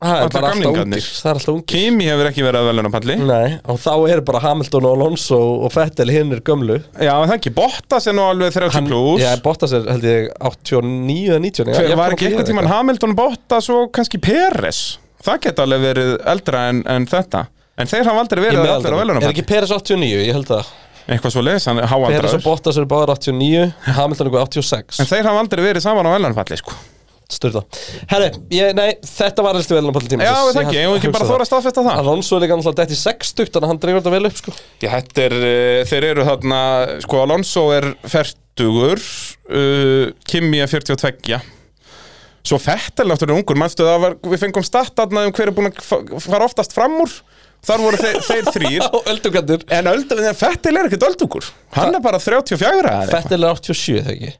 Speaker 1: Það er
Speaker 2: Allir
Speaker 1: bara alltaf
Speaker 2: gamlingarnir.
Speaker 1: ungir Það er alltaf ungir
Speaker 2: Kimi hefur ekki verið að velunapalli
Speaker 1: Nei, og þá eru bara Hamilton og Alonso og Fettel hinn er gömlu
Speaker 2: Já, en það ekki, Bottas er nú alveg 30 hann, plus
Speaker 1: Já, Bottas er held ég 89 eða 90
Speaker 2: Hver, var ekki einhvern tímann Hamilton Bottas og kannski Peres Það geta alveg verið eldra en, en þetta En þeir hafa aldrei verið allir á velunum
Speaker 1: Er ekki Peres 89, ég held að
Speaker 2: Eitthvað svo leiðis, hann er
Speaker 1: Peres og
Speaker 2: háandraður
Speaker 1: Bottas eru báðar 89 Hamilton eitthvað 86
Speaker 2: En þeir hafa aldrei verið saman á velunumfalli sko.
Speaker 1: Sturla Herri, ég, nei, þetta var helstu velunum pálum tíma
Speaker 2: Já, það ekki, ég hef ekki bara þóra að staðfesta það
Speaker 1: Alonso er líka náttúrulega dætt í 6 stukt Þannig að hann dreifur þetta vel upp, sko
Speaker 2: Já, þetta er, uh, þeir eru þarna Sko, Alonso er 40 uh, Kimi er 42 Svo Fettel náttúrulega er ungur Manstu, það var, við fengum start þarna um hver er búin að fa- fara oftast fram úr Þar voru þeir, þeir þrýr
Speaker 1: Á öldugandur
Speaker 2: En öldum, Fettil er ekkert öldugur Hann er bara 34 eða eitthvað.
Speaker 1: Fettel er 87, þegar ekki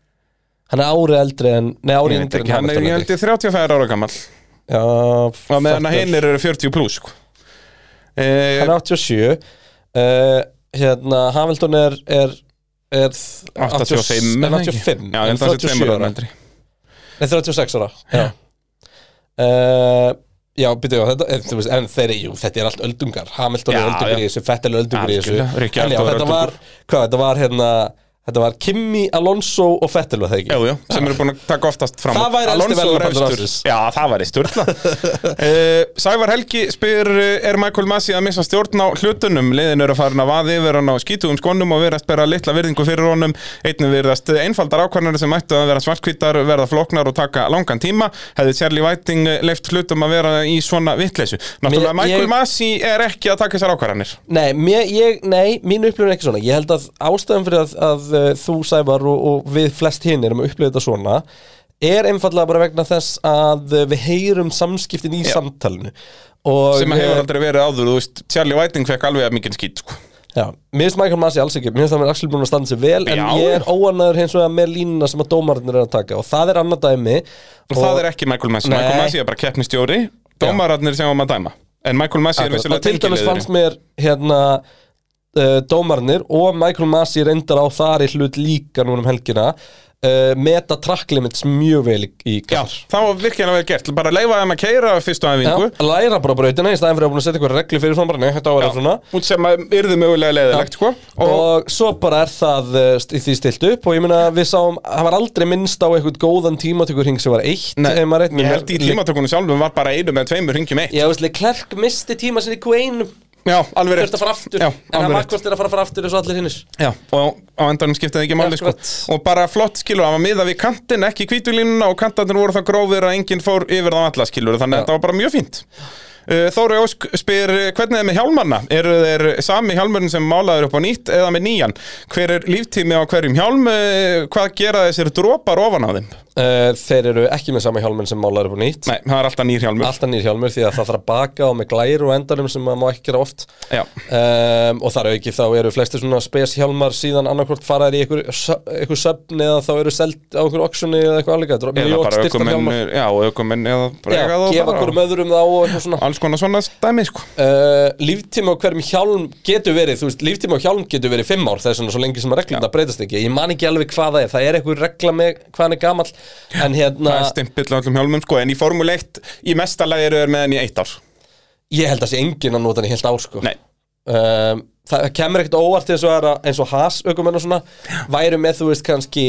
Speaker 1: Hann er árið eldri en Nei, árið
Speaker 2: Ég veit
Speaker 1: yngri
Speaker 2: ekki,
Speaker 1: en
Speaker 2: hann er
Speaker 1: Hamilton,
Speaker 2: ég
Speaker 1: held
Speaker 2: held ég 35 ára gammal
Speaker 1: ég. Já,
Speaker 2: Og meðan að
Speaker 1: Vettel.
Speaker 2: hinn eru 40 pluss sko. eh,
Speaker 1: hann er 87 uh, hérna Hamilton er, er, er
Speaker 2: 85
Speaker 1: en
Speaker 2: eða ekki?
Speaker 1: 85
Speaker 2: Já, ég held að það sé
Speaker 1: 37
Speaker 2: tveimur ára
Speaker 1: ára
Speaker 2: eldri
Speaker 1: Nei, 36 ára Já, uh, já byrju, þetta, en, þú veist, en þeir, jú, þetta er allt öldungar Hamilton
Speaker 2: Já,
Speaker 1: er öldungur
Speaker 2: já.
Speaker 1: í þessu, Fettel er öldungur í þessu
Speaker 2: Algjörlega, Ricciardo
Speaker 1: En já,
Speaker 2: er
Speaker 1: þetta
Speaker 2: öldungur.
Speaker 1: var, hvað, þetta var hérna Þetta var Kimi, Alonso og Fettel var það ekki
Speaker 2: Jú, jú, sem eru búin að taka oftast fram
Speaker 1: Það
Speaker 2: úr.
Speaker 1: væri elsti
Speaker 2: Alonso
Speaker 1: verðlaunapallur
Speaker 2: er efstur.
Speaker 1: ársins.
Speaker 2: Já, það væri sturla eh, Sævar Helgi spyr eh, Er Michael Massi að missa stjórn á hlutunum Liðin eru farin að vaði yfir hann á skítugum skonum og virðast bera litla virðingu fyrir honum Einnig virðast einfaldar ákvarðanir sem ættu að vera svartkvítar verða flóknar og taka langan tíma Hefði Charlie Whiting leift hlutum að vera í svona vitleysu Náttúrulega
Speaker 1: Mér-
Speaker 2: Michael
Speaker 1: ég-
Speaker 2: Massi er ekki að taka þessar ákvarðanir
Speaker 1: Nei, mér, ég, nei, mín upplifun er ekki svona Ég held að ástæðan fyrir að, að uh, þú, Sævar og, og við flest hinn erum að upplifa þetta svona er einfallega bara vegna þess að uh, við heyrum samskiptin í
Speaker 2: Já.
Speaker 1: samtalinu og, eh,
Speaker 2: sem hefur aldrei verið áður, þú veist, Charlie Whiting fekk alveg að mikinn skýt, sko.
Speaker 1: Já, mér finnst Michael Masi alls ekki, mér finnst það mér Axel búin að standa sér vel en
Speaker 2: Já.
Speaker 1: ég er óanæður hins vegar með línuna sem að dómararnir er að taka og það er annað dæmi
Speaker 2: og það er ekki Michael Messi,
Speaker 1: Nei.
Speaker 2: Michael Messi er bara keppnistjóri dómararnir sem um að dæma en Michael Messi er
Speaker 1: Akkurat,
Speaker 2: vissulega
Speaker 1: og til dæmis
Speaker 2: tengiliðurinn.
Speaker 1: fannst mér hérna eh, uh, dómarnir og Michael Masi reyndar á þar í hlut líka núna um helgina uh, meta track limits mjög vel í, í
Speaker 2: Já,
Speaker 1: Qatar.
Speaker 2: það var virkilega vel gert Bara leifa þeim að keira fyrstu æfingu
Speaker 1: Já, læra bara brautina í staðin fyrir að búin að setja eitthvað reglu fyrir svona bara, nei, þetta á að vera svona
Speaker 2: Út sem að yrði mögulega leiðilegt, sko
Speaker 1: og,
Speaker 2: Og
Speaker 1: svo bara er það uh, st- í því stilt upp og ég meina við sáum, það var aldrei minnst á eitthvað góðan tímatökur hring sem var eitt ef maður er-
Speaker 2: ég held í tímatökunum sjálfum var bara einu með tveimur ringjum eitt
Speaker 1: Já, veist, Klerk misti tíma sinni í Q1
Speaker 2: Já, alveg rétt
Speaker 1: þurfti að fara aftur,
Speaker 2: Já,
Speaker 1: en hann
Speaker 2: alveg rétt
Speaker 1: makkvast er að fara, fara aftur eins og allir hinnir
Speaker 2: Já, og á endanum skiptaði ekki máli sko.
Speaker 1: Akkurat.
Speaker 2: Og bara flott skilur, það var miða við kantinn, ekki kvítulínuna Og kantarnir voru það grófir að enginn fór yfir þá alla skilur Þannig að
Speaker 1: Já.
Speaker 2: þetta var bara mjög fínt Uh, Þóru Ósk spyr uh, hvernig er með hjálmanna? Eru þeir sami hjálmurinn sem málaður upp á nýtt eða með nýjan? Hver er líftími á hverjum hjálm? Uh, Hvað gera þessir dropar ofan á þeim?
Speaker 1: uh, Þeir eru ekki með sama hjálminn sem málar upp á nýtt
Speaker 2: Nei, það er alltaf nýr hjálmur
Speaker 1: Alltaf nýr hjálmur því að það þarf að baka og með glæru og endanum sem maður má ekki gera oft
Speaker 2: Já.
Speaker 1: um, Og þar auki þá eru flestir svona spes hjálmar síðan annarkvort faraðir í einhver, sö- einhver söfn eða þá eru seld á einhver auksjoni eða eitthvað alveg Þetta er
Speaker 2: Eða
Speaker 1: mjög
Speaker 2: bara
Speaker 1: styrta
Speaker 2: aukumenn,
Speaker 1: hjálmar
Speaker 2: já, aukumenn eða
Speaker 1: Já,
Speaker 2: bregað og
Speaker 1: gefa
Speaker 2: bara-
Speaker 1: hverjum öðrum þá og eitthvað svona
Speaker 2: Alls konar svona stæmi, sko
Speaker 1: Uh, líftíma á hverjum hjálm getur verið þú veist, líftíma á hjálm getur verið fimm ár það er svona svo lengi sem að reglum breytast ekki ég man ekki alveg hvað það er, það er eitthvað regla með hvað hann er gamall en hérna,
Speaker 2: Það er stimpill á öllum hjálmum, sko En í Formule 1, í mesta lagi eru þeir með henni í eitt ár
Speaker 1: ég held að sé engin að nota hann í heilt ár sko.
Speaker 2: Nei,
Speaker 1: um, það kemur ekkert óvart eins og, er að, eins og has aukumenn og svona væru með þú veist kannski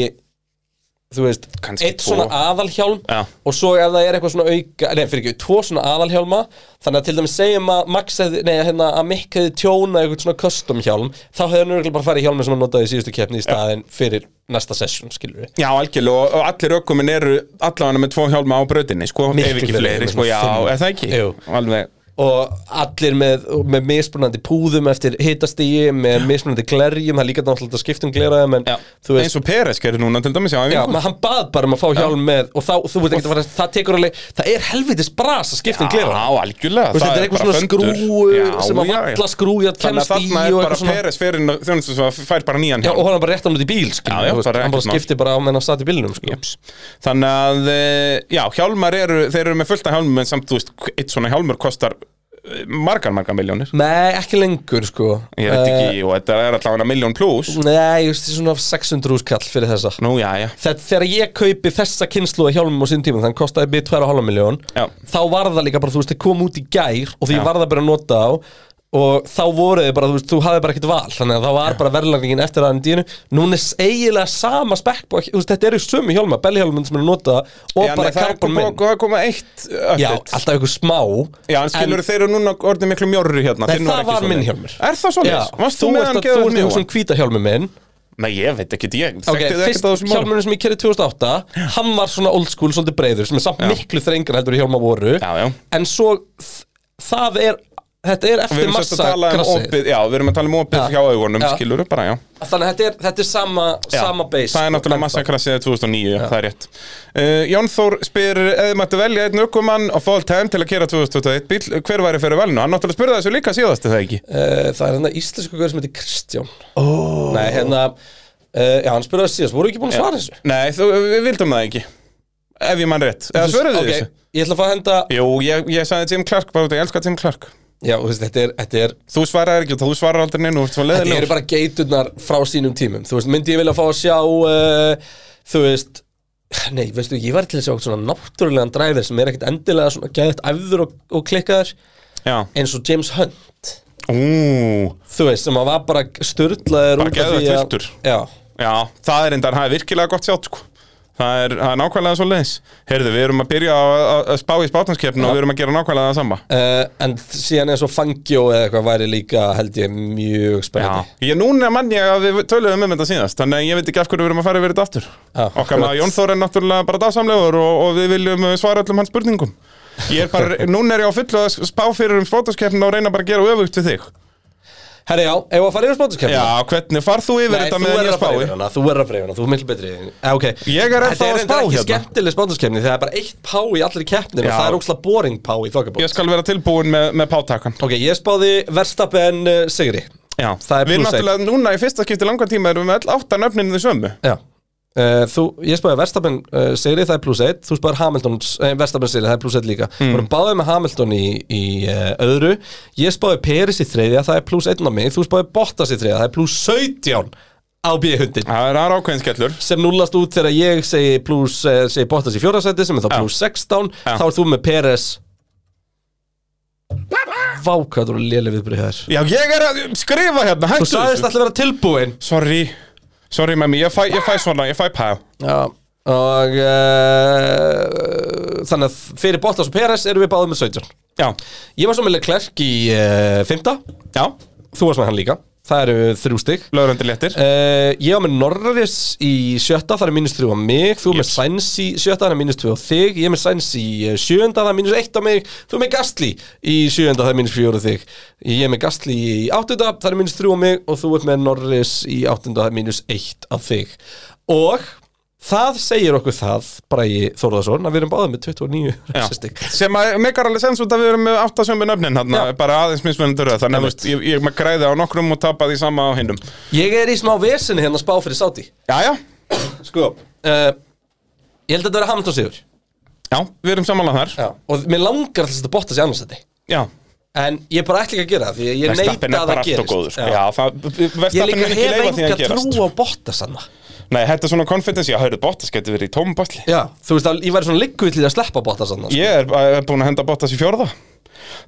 Speaker 1: þú veist,
Speaker 2: Kannski
Speaker 1: eitt
Speaker 2: tvo.
Speaker 1: svona aðalhjálm
Speaker 2: Já.
Speaker 1: og svo ef það er eitthvað svona auka nei, fyrir ekki, tvo svona aðalhjálma þannig að til dæmis segjum að Max hefði, nei, hérna, að Mick hefði tjóna eitthvað svona custom hjálm þá hefði hann örgulega bara farið í hjálmi sem hann notaði í síðustu keppni í staðin fyrir næsta session, skilur við
Speaker 2: já, algjörlega og- Og allir ökumenn eru allavega með tvo hjálma á brautinni, sko
Speaker 1: Miklu
Speaker 2: Ef ekki
Speaker 1: fleiri,
Speaker 2: fleiri, sko,
Speaker 1: svona
Speaker 2: já,
Speaker 1: fimm.
Speaker 2: er það ekki?
Speaker 1: Jú.
Speaker 2: Alveg
Speaker 1: og allir með, með mismunandi púðum eftir hitastíi, með mismunandi glerjum það er líka náttúrulega að skipta um gleraðum en þú veist,
Speaker 2: Eins og Peres gerir núna til dæmis, já,
Speaker 1: Já,
Speaker 2: já
Speaker 1: maður hann bað bara um að fá hjálm með og þá, þú veit ekki að fara, það tekur alveg það er helvitis bras að skipta um glera
Speaker 2: Já, algjörlega,
Speaker 1: Þú veist, þetta er eitthvað
Speaker 2: bara
Speaker 1: svona
Speaker 2: föndur.
Speaker 1: skrúu
Speaker 2: Já,
Speaker 1: sem að
Speaker 2: já, já.
Speaker 1: valla skrúi að
Speaker 2: Þannig að
Speaker 1: kemst í
Speaker 2: þarna
Speaker 1: og
Speaker 2: er
Speaker 1: eitthvað
Speaker 2: bara
Speaker 1: svona
Speaker 2: Peres fyrir þjónustu sem að fær bara nýjan
Speaker 1: Já,
Speaker 2: hjálm
Speaker 1: og hann bara rétt hann út í bíl, skilur
Speaker 2: Já, já,
Speaker 1: þú veist,
Speaker 2: bara
Speaker 1: hann bara
Speaker 2: ekkert mál.
Speaker 1: skipti bara á meðan hann satt í bílnum, sko
Speaker 2: Jeps. Þannig að, eh, já, hjálmar eru, þeir eru með fullt af hjálmum en samt, þú veist, eitt svona hjálmur kostar eh, margar, margar miljónir
Speaker 1: Nei, ekki lengur, sko
Speaker 2: Ég veit ekki, og þetta er allavega miljón pluss
Speaker 1: Eh, Nei, just svona 600 úrskall fyrir þessa
Speaker 2: Nú, já, já,
Speaker 1: Þetta, þegar ég kaupi þessa kynslu að hjálmum á sinn tíma, þannig kostaði byrð 2,5 miljón
Speaker 2: Já.
Speaker 1: þá var það líka bara, þú veist, þið kom út í gær og því
Speaker 2: Já.
Speaker 1: var það bara að nota á og þá voru þið bara, þú veist, þú hafði bara ekkert val þannig að það var bara verðlagningin eftir aðeins dínu núna er eiginlega sama spekk þú veist, þetta eru sömu hjálma, belljálmum sem er nota og
Speaker 2: já,
Speaker 1: bara
Speaker 2: nei, það er
Speaker 1: karbon
Speaker 2: komið-
Speaker 1: minn
Speaker 2: það er komið eitt
Speaker 1: Já,
Speaker 2: update
Speaker 1: alltaf ykkur smá
Speaker 2: Já, en skilur þeir eru núna orðið miklu mjórri hérna
Speaker 1: Nei,
Speaker 2: þinn
Speaker 1: það
Speaker 2: ekki
Speaker 1: var
Speaker 2: svoleiðis.
Speaker 1: minn hjálmur.
Speaker 2: Er það
Speaker 1: Já,
Speaker 2: svoleiðis? Varst
Speaker 1: þú
Speaker 2: þú með
Speaker 1: ert
Speaker 2: hann
Speaker 1: að þú ert
Speaker 2: geðað
Speaker 1: með
Speaker 2: mjóan?
Speaker 1: þessum hvíta hjálmum minn
Speaker 2: Nei, ég veit ekki, ég
Speaker 1: Ok,
Speaker 2: þekkti það
Speaker 1: fyrst
Speaker 2: ekkert á þessum málum
Speaker 1: hjálmurinn sem ég kerði 2008 Hann var svona old school, svolítið breiður Sem er samt miklu þrengra heldur í hjálma voru
Speaker 2: Já, já.
Speaker 1: En svo, þ- það er Þetta er
Speaker 2: Við
Speaker 1: eftir
Speaker 2: erum sérst
Speaker 1: massa
Speaker 2: að tala um
Speaker 1: grassið.
Speaker 2: opið, já, við erum að tala um opið
Speaker 1: Já.
Speaker 2: hjá augunum,
Speaker 1: Já.
Speaker 2: skilur bara, já
Speaker 1: Þannig að þetta er, þetta er sama,
Speaker 2: Já,
Speaker 1: sama base
Speaker 2: Það er náttúrulega massakrassið 2009, já. það er rétt uh, Jón Þór spyr eða mættu velja einn ökumann og fall time til að kera 2021 bíl, hver væri fyrir velinu? Hann náttúrulega spurði þessu líka síðast er það ekki
Speaker 1: Eh, Það er hérna íslensku gaur sem heitir Kristján oh. Nei, hérna uh, Já, hann spurði það síðast, voru ekki búin að svara þessu?
Speaker 2: Nei, þú, við vildum það ekki Ef ég mann rétt, eða svöruðu
Speaker 1: Ok,
Speaker 2: okay. þessu?
Speaker 1: Ég ætla að fá að henda
Speaker 2: Jú, ég, ég sagði Tim Clark bara út, ég elska Tim Clark
Speaker 1: Já, þú veist, þetta er, þetta er
Speaker 2: Þú svarar ekki, þú svarar aldrei neinu, þú ert svo
Speaker 1: Þetta eru
Speaker 2: leðilegur
Speaker 1: bara geiturnar frá sínum tímum Þú veist, myndi ég vilja fá að sjá uh, Þú veist Nei, veistu, ég var til að sjá eitthvað svona náttúrulegan dræfir sem er ekkert endilega svona gæðt æfður og, og klikkaður
Speaker 2: Já,
Speaker 1: eins og James Hunt
Speaker 2: ú,
Speaker 1: Þú veist, sem að var bara styrlaður
Speaker 2: Bara geðveikt villtur.
Speaker 1: Já,
Speaker 2: já, það er endar, það er virkilega gott sjátt, sko Það er, það er nákvæmlega svo leiðis Heyrðu, við erum að byrja að, að- að spá í spátanskeppnu og við erum að gera nákvæmlega það sama
Speaker 1: uh, en síðan eins og Fangio eða eitthvað væri líka held ég mjög
Speaker 2: Já,
Speaker 1: spennandi
Speaker 2: ég núna mann ég að við töluðum um þetta síðast Þannig að ég veit ekki af hverju við erum að fara yfir þetta aftur
Speaker 1: Já,
Speaker 2: Okkar maður
Speaker 1: akkurat.
Speaker 2: Jón Þór er náttúrulega bara dagsamlegur og, og við viljum eh, svara öllum hans spurningum Ég er bara, núna er ég á fullu að spá fyrir um spótaskeppnina og reyna bara að gera öfugt við þig
Speaker 1: Herri, já, ef að fara yfir spótuskefni
Speaker 2: Já, hvernig far þú yfir
Speaker 1: Nei,
Speaker 2: þetta
Speaker 1: þú
Speaker 2: með
Speaker 1: verður
Speaker 2: nýja
Speaker 1: að fara yfir
Speaker 2: spái?
Speaker 1: hana, þú verður að fara yfir hana, þú er miklu betri í henni. Eh, okay.
Speaker 2: Ég er ennþá
Speaker 1: Þetta
Speaker 2: að
Speaker 1: reyndar
Speaker 2: spá
Speaker 1: ekki
Speaker 2: hérna.
Speaker 1: skemmtileg spándurskefni þegar það er bara eitt pá í allir keppnir
Speaker 2: Já.
Speaker 1: og það er ógslag boring pá í þokkabók
Speaker 2: Ég skal vera tilbúin með, með pátakan
Speaker 1: Ok, ég spáði Verstappen uh, Sigri
Speaker 2: Já,
Speaker 1: Það er plús
Speaker 2: við
Speaker 1: eitt.
Speaker 2: náttúrulega núna í fyrsta skipti langan tíma erum við með öll áttan öfninu þau sömu
Speaker 1: Já Uh, þú, ég spáði Verstappen uh, Sigri, það er pluss 1 Þú spáði Hamilton, eh, Verstappen Sigri, það er pluss 1 líka Við vorum báðið með Hamilton í, í uh, öðru Ég spáði Peris í þriðja, það er pluss 1 á mig Þú spáði Bottas í þriðja, það er pluss 17 á B-hundin
Speaker 2: Það er aðra ákveðin skellur
Speaker 1: sem núlast út þegar ég segi pluss, eh, segi Bottas í fjórðarsæti sem er þá
Speaker 2: Já.
Speaker 1: pluss 16
Speaker 2: Já.
Speaker 1: þá er þú með Peres Vá, hvað þú eru léleg viðbrið hér
Speaker 2: Já, ég er að skrifa hérna, hættu
Speaker 1: Þú sagðist alltaf vera tilbúin
Speaker 2: Sorry, sorry mæmi, ég fæ, ég fæ svona, ég fæ pæl
Speaker 1: Já Og uh, þannig að fyrir Bottas og Peres erum við báðið með 17
Speaker 2: Já,
Speaker 1: Ég var svo með Leclerc í uh, 5
Speaker 2: já,
Speaker 1: Þú varst með hann líka Það eru þrjú stygg
Speaker 2: lögrandi léttir
Speaker 1: uh, Ég var með Norris í sjötta Það eru mínus þrjú á mig Þú með
Speaker 2: Yes.
Speaker 1: Sainz í sjötta Það eru mínus tvö á þig Ég er með Sainz í eh, sjöunda Það er mínus eitt á mig Þú er með Gastli í sjöunda Það er mínus fjóru á þig Ég er með Gastli í áttunda Það eru mínus þrjú á mig Og þú ert með Norris í áttunda Það er mínus eitt á þig Og Það segir okkur það, Bræði Þórðarsson, að við erum báðið með 29
Speaker 2: Já.
Speaker 1: stygg.
Speaker 2: Sem að megar alveg sens út að við erum með áttasömmu nöfnin hérna,
Speaker 1: Já.
Speaker 2: bara aðeins mismunandi röð Þannig að þú veist, ég, ég maður græði á nokkrum og tapa því sama á hinnum
Speaker 1: Ég er í smá veseni hérna að spá fyrir sáti.
Speaker 2: Já, já,
Speaker 1: Sko uh, Ég held að þetta verið Hamilton sigur
Speaker 2: já, við erum samanlega þar Já,
Speaker 1: Og mér langar alltaf að botta sér annars þetta
Speaker 2: já.
Speaker 1: En ég bara ætla ekki að gera það Því að ég
Speaker 2: Verstappen
Speaker 1: neita
Speaker 2: er
Speaker 1: að
Speaker 2: bara
Speaker 1: það
Speaker 2: allt og
Speaker 1: gerist
Speaker 2: góður, sko. Já, það,
Speaker 1: Ég
Speaker 2: Verstappen
Speaker 1: líka
Speaker 2: vil ekki
Speaker 1: hef
Speaker 2: leifa því að
Speaker 1: enga
Speaker 2: gerast
Speaker 1: trú á botta sanna
Speaker 2: Nei, þetta er svona confidence, já, hörðu, Bottas getur verið í tómum basli
Speaker 1: Já, þú veist að ég væri svona likkuðlið að sleppa botta sanna sko.
Speaker 2: Ég er, eh, er búin að henda Bottas í fjórða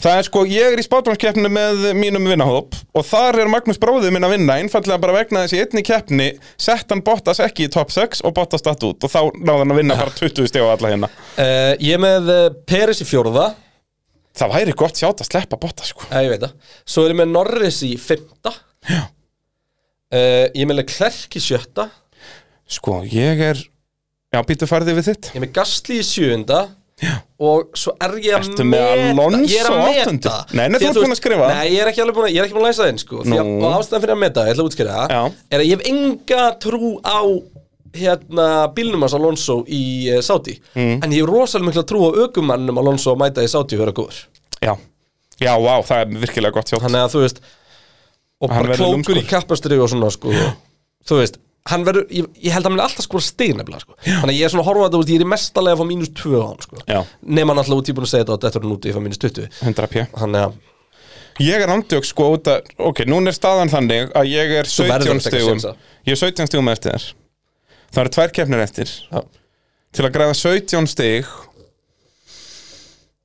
Speaker 2: Það er sko, ég er í spátbránskeppni með mínum vinnahóp og þar er Magnús bróðið minn að vinna einfallega bara vegna þessi einni keppni sett hann Bottas ekki í top 6 og Bottas datt út og þá náði hann að vinna bara 20 stig á alla hérna
Speaker 1: Eh, Ég er með uh, Peris í fjórða
Speaker 2: Það væri gott sjátt að sleppa Bottas sko
Speaker 1: eh, Ég veit það Svo er ég með Norris í fymta uh, Ég er með Leclerc í sjötta
Speaker 2: Sko, ég er, já, býtu farðið við þitt
Speaker 1: Ég er með Gastli í sjöunda Og svo er ég að
Speaker 2: Ertu með Alonso
Speaker 1: Ég er að
Speaker 2: áttundi?
Speaker 1: meta
Speaker 2: Nei, nei,
Speaker 1: Því
Speaker 2: þú ert
Speaker 1: veist-
Speaker 2: búin að skrifa.
Speaker 1: Nei, ég er ekki alveg búin að, ég er ekki búin að læsa þeim sko. Því að
Speaker 2: Nú.
Speaker 1: og ástæðan fyrir að meta, ég ætla að útskýra það,
Speaker 2: Já.
Speaker 1: Er að ég hef enga trú á hérna bílnum hans Alonso í uh, Saudi
Speaker 2: Mm.
Speaker 1: En ég hef rosalega mikla trú á ökumannum Alonso að mæta í Saudi og vera góður
Speaker 2: Já, já, vá, það er virkilega gott sjátt
Speaker 1: Þannig að þú veist Og
Speaker 2: Hann
Speaker 1: bara
Speaker 2: verður
Speaker 1: klókur í
Speaker 2: lúmskur.
Speaker 1: kappastri og svona sko Þú veist Hann verður, ég, ég held að hann muni alltaf skora stig nefnilega sko. Þannig að ég er svona að horfa á þetta út, ég er í mestalega að fá mínus 2 á hann sko.
Speaker 2: Já.
Speaker 1: Nefna náttúrulega út, ég er búin að segja þetta og þetta er hann úti, ég fá mínus 20
Speaker 2: 100 pjö
Speaker 1: Þannig að
Speaker 2: Ég er andjók sko út að, ok, núna er staðan þannig að ég er
Speaker 1: verður að
Speaker 2: 17
Speaker 1: taka
Speaker 2: stigum
Speaker 1: sénsa.
Speaker 2: Ég er 17 stigum eftir þér Það eru tvær keppnir eftir
Speaker 1: Já.
Speaker 2: Til að græða 17 stig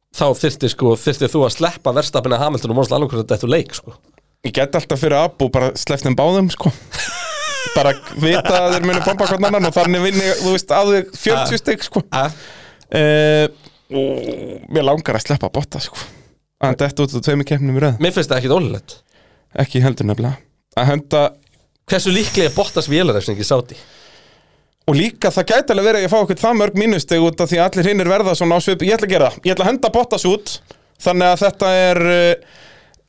Speaker 1: þá þyrfti sko, þyrfti þú að sleppa verstafinu að Hamilton og Mónsla alveg hvernig þetta er leik sko.
Speaker 2: Ég get alltaf fyrir Abu bara sleppt þeim báðum sko Bara vita að þeir munu bomba hvern annan og þannig vinni, þú veist, að þau
Speaker 1: Ah.
Speaker 2: 40 stig sko uh, Mér langar að sleppa botta sko Að hann dett út á tveimur keppnum í röð
Speaker 1: Mér finnst það ekkit ólulegt
Speaker 2: Ekki heldur nefnilega Að henda
Speaker 1: Hversu líklega er Bottas vélarefsning í Saudi?
Speaker 2: Og líka það gæti alveg verið að ég fá okkur það mörg mínusteg út af því að allir hinnir verða svona á svip Ég ætla að gera það, ég ætla að henda Bottas út Þannig að þetta er uh,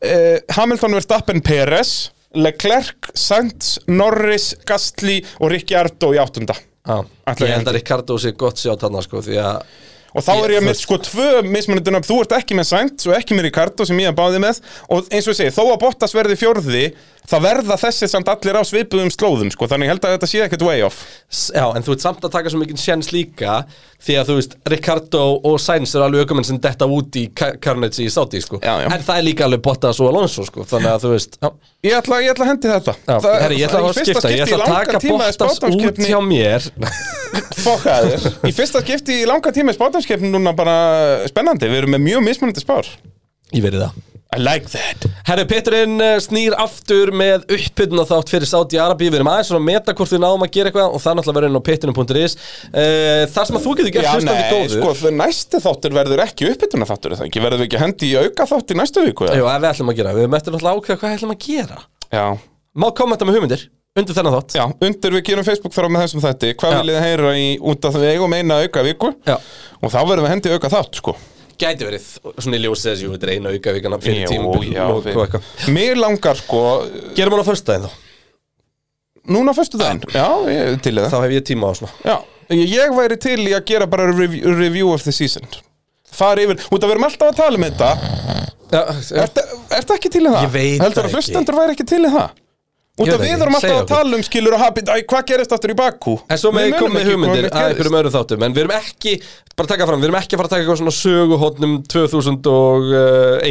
Speaker 2: uh, Hamilton Verstappen Peres Leclerc, Sainz, Norris, Gastli og Ricciardo í áttunda
Speaker 1: Já,
Speaker 2: Ætla
Speaker 1: ég
Speaker 2: ég
Speaker 1: held að Ricardo sé gott sjátt hann sko, því að
Speaker 2: Og þá er
Speaker 1: Ég-
Speaker 2: ég með sko tvö mismunandi nöfn, þú ert ekki með Sainz og ekki með Ricardo sem ég er báði með og eins og ég segi, þó að Bottas verði fjórði það verða þessi samt allir á svipuðum slóðum sko, þannig ég held að þetta sé ekkert way off
Speaker 1: S- Já, en þú ert samt að taka svo mikið sjens líka því að þú veist, Ricardo og Sainz eru alveg ökumenn sem detta út í Ca- Carnage í Saudi, sko
Speaker 2: Já, já.
Speaker 1: En það er líka alveg Bottas og Alonso, sko Þannig að þú veist, já,
Speaker 2: Ég ætla, ég ætla að hendi þetta
Speaker 1: já
Speaker 2: Það-
Speaker 1: herri, ég ætla
Speaker 2: það-
Speaker 1: að
Speaker 2: í fyrsta
Speaker 1: skipta Ég
Speaker 2: skipti í
Speaker 1: ætla að
Speaker 2: langan
Speaker 1: taka
Speaker 2: tíma er
Speaker 1: Bottas út
Speaker 2: spádagskeppni-
Speaker 1: hjá mér
Speaker 2: Fokkaðir Í fyrsta skipti í langa tíma er spátanskeppni núna bara spennandi Við erum með mjög mismunandi spár
Speaker 1: Ég verið það
Speaker 2: I like that
Speaker 1: Herri, Peturinn eh, snýr aftur með uppbytun þátt fyrir Saudi Arabi Við erum aðeins svona að meta hvort við náum að gera eitthvað og það er náttúrulega verið inn á peturinn.is Eh, Þar sem að þú getur gert
Speaker 2: Já,
Speaker 1: hlustandi
Speaker 2: nei,
Speaker 1: góður
Speaker 2: sko, þau næsti þáttur verður ekki uppbytuna þáttur er það ekki Verður við ekki að hendi í auka þátt í næstu viku eða?
Speaker 1: Jú, ef við ætlum að gera, við möttum náttúrulega ákveða hvað við ætlum að gera
Speaker 2: Já,
Speaker 1: Má kommenta með hugmyndir, undir þennan þátt
Speaker 2: já, undir við gerum Facebook þar á með þessum þætti Hvað
Speaker 1: Já.
Speaker 2: viljið þið heyra í út af því við eigum eina auka viku
Speaker 1: Já.
Speaker 2: Og þá verðum við að hendi í auka þátt, sko
Speaker 1: Gæti verið, svona í ljósið þessi, jú, þetta er eina auka vikana fyrir tímabil
Speaker 2: já,
Speaker 1: og
Speaker 2: við-
Speaker 1: og eitthvað.
Speaker 2: Mér langar, sko,
Speaker 1: Gerum hann á föstudaginn þá,
Speaker 2: núna fyrstu daginn Já, ég til í það
Speaker 1: þá hef ég tíma á svona
Speaker 2: Já, ég væri til í að gera bara review, review of the season Far yfir, út að við erum alltaf að tala um þetta
Speaker 1: Já,
Speaker 2: Ertu ertu ekki til í það?
Speaker 1: Ég veit
Speaker 2: Heldur
Speaker 1: það
Speaker 2: að
Speaker 1: ekki.
Speaker 2: hlustendur væri ekki til í það? Út
Speaker 1: Ég
Speaker 2: af
Speaker 1: veit
Speaker 2: við
Speaker 1: ekki,
Speaker 2: erum alltaf
Speaker 1: segðu
Speaker 2: að tala um skilur og happy Æ, hvað gerist aftur í Bakú?
Speaker 1: En svo með
Speaker 2: Við munum
Speaker 1: komum með
Speaker 2: ekki
Speaker 1: hugmyndir
Speaker 2: hvað
Speaker 1: að
Speaker 2: gerist.
Speaker 1: einhverjum öðrum þáttum En við erum ekki, bara að taka fram, við erum ekki að fara að taka eitthvað svona söguhotnum 2001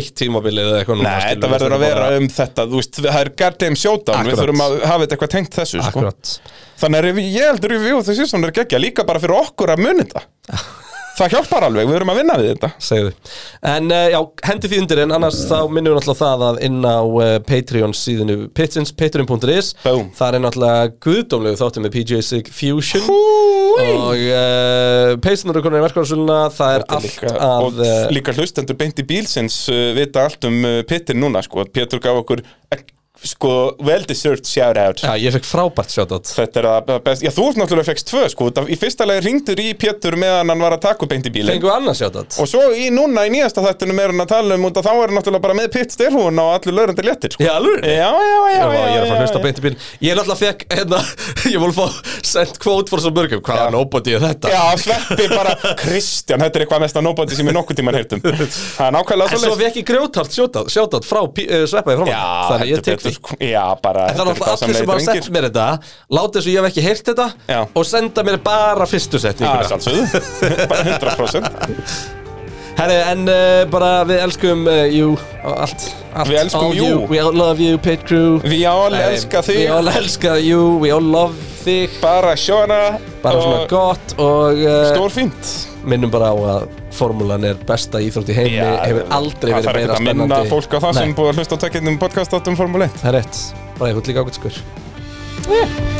Speaker 1: eh, tímabilið eða eitthvað
Speaker 2: Nei, þetta verður að vera um þetta Þú veist, það er goddamn showdown Við
Speaker 1: Akkurat.
Speaker 2: þurfum að hafa þetta eitthvað tengt þessu sko.
Speaker 1: Akkurat
Speaker 2: Þannig að revi- ég heldur við og þessi svona er geggja Líka bara fyrir okkur að muni þetta Það hjálpar alveg, við erum að vinna við þetta
Speaker 1: segðu En uh, já, hendi því undir en annars þá minnum við náttúrulega það að inn á uh, Patreon síðinu Pitsins, patreon.is
Speaker 2: Boom.
Speaker 1: Það er náttúrulega guðdómlegu þáttum með PJ Sig Fusion
Speaker 2: Húi
Speaker 1: Og uh, peysunar og konar í verkvarsöluna Það er allt
Speaker 2: líka,
Speaker 1: að eh,
Speaker 2: og líka hlustendur beint í bílsins uh, vita allt um uh, pittin núna sko. Pétur gaf okkur eh, sko, well deserved shout out
Speaker 1: Já, ég fekk frábært sjátt
Speaker 2: Þetta er að best, já þú ert náttúrulega fegst tvö sko, út af- í fyrsta lagi ringdur í Pétur meðan hann var að taka upp beint í bílinn
Speaker 1: Fengum við annars sjátt
Speaker 2: og svo í núna í nýjasta þættunum er hann að tala um út að þá er hann náttúrulega bara með pitt styrhúna og allir laurandi léttir sko.
Speaker 1: Já, alveg
Speaker 2: já, já, já,
Speaker 1: Já,
Speaker 2: já,
Speaker 1: ég er að fara að
Speaker 2: já,
Speaker 1: hlusta
Speaker 2: já.
Speaker 1: beint í bíl Ég er alltaf fekk, hérna, ég múl fá sent quote for svo mörgum Hvaða nobody er þetta?
Speaker 2: Já, sveppi bara, Kristján, þetta er eitthvað mesta nobody sem ég nokkuð tíman heyrtum Það er nákvæmlega
Speaker 1: En svo
Speaker 2: svoleiðis.
Speaker 1: fekk ég grjótart sjátt frá P- eh, Sveppa í framhann
Speaker 2: Já,
Speaker 1: Þannig að ég
Speaker 2: heldur
Speaker 1: tek því
Speaker 2: betur, sko. Já, bara
Speaker 1: En það er alltaf allir sem hafa sett mér þetta Láta þessu ég hef ekki heyrt þetta
Speaker 2: Já.
Speaker 1: Og senda mér bara fyrstu setninguna
Speaker 2: Sjálfsögðu, bara 100%
Speaker 1: Herri, en uh, bara við elskum uh, you og Allt, allt
Speaker 2: Við elskum
Speaker 1: all
Speaker 2: you.
Speaker 1: We all love you, Pit Crew
Speaker 2: Við all elska þig
Speaker 1: We all elska you, we all love þig
Speaker 2: Bara sjóna
Speaker 1: Bara svona gott og uh,
Speaker 2: Stór fínt
Speaker 1: minnum bara á að formúlan er besta íþrótt í heimi Hefur aldrei
Speaker 2: það
Speaker 1: verið
Speaker 2: þarf ekkert
Speaker 1: meira
Speaker 2: að minna
Speaker 1: spennandi
Speaker 2: fólk á það
Speaker 1: Nei,
Speaker 2: sem búið að hlusta á takkindum podcast áttum Formule 1
Speaker 1: Það er rétt, bara ég hlut líka ákvæmt skur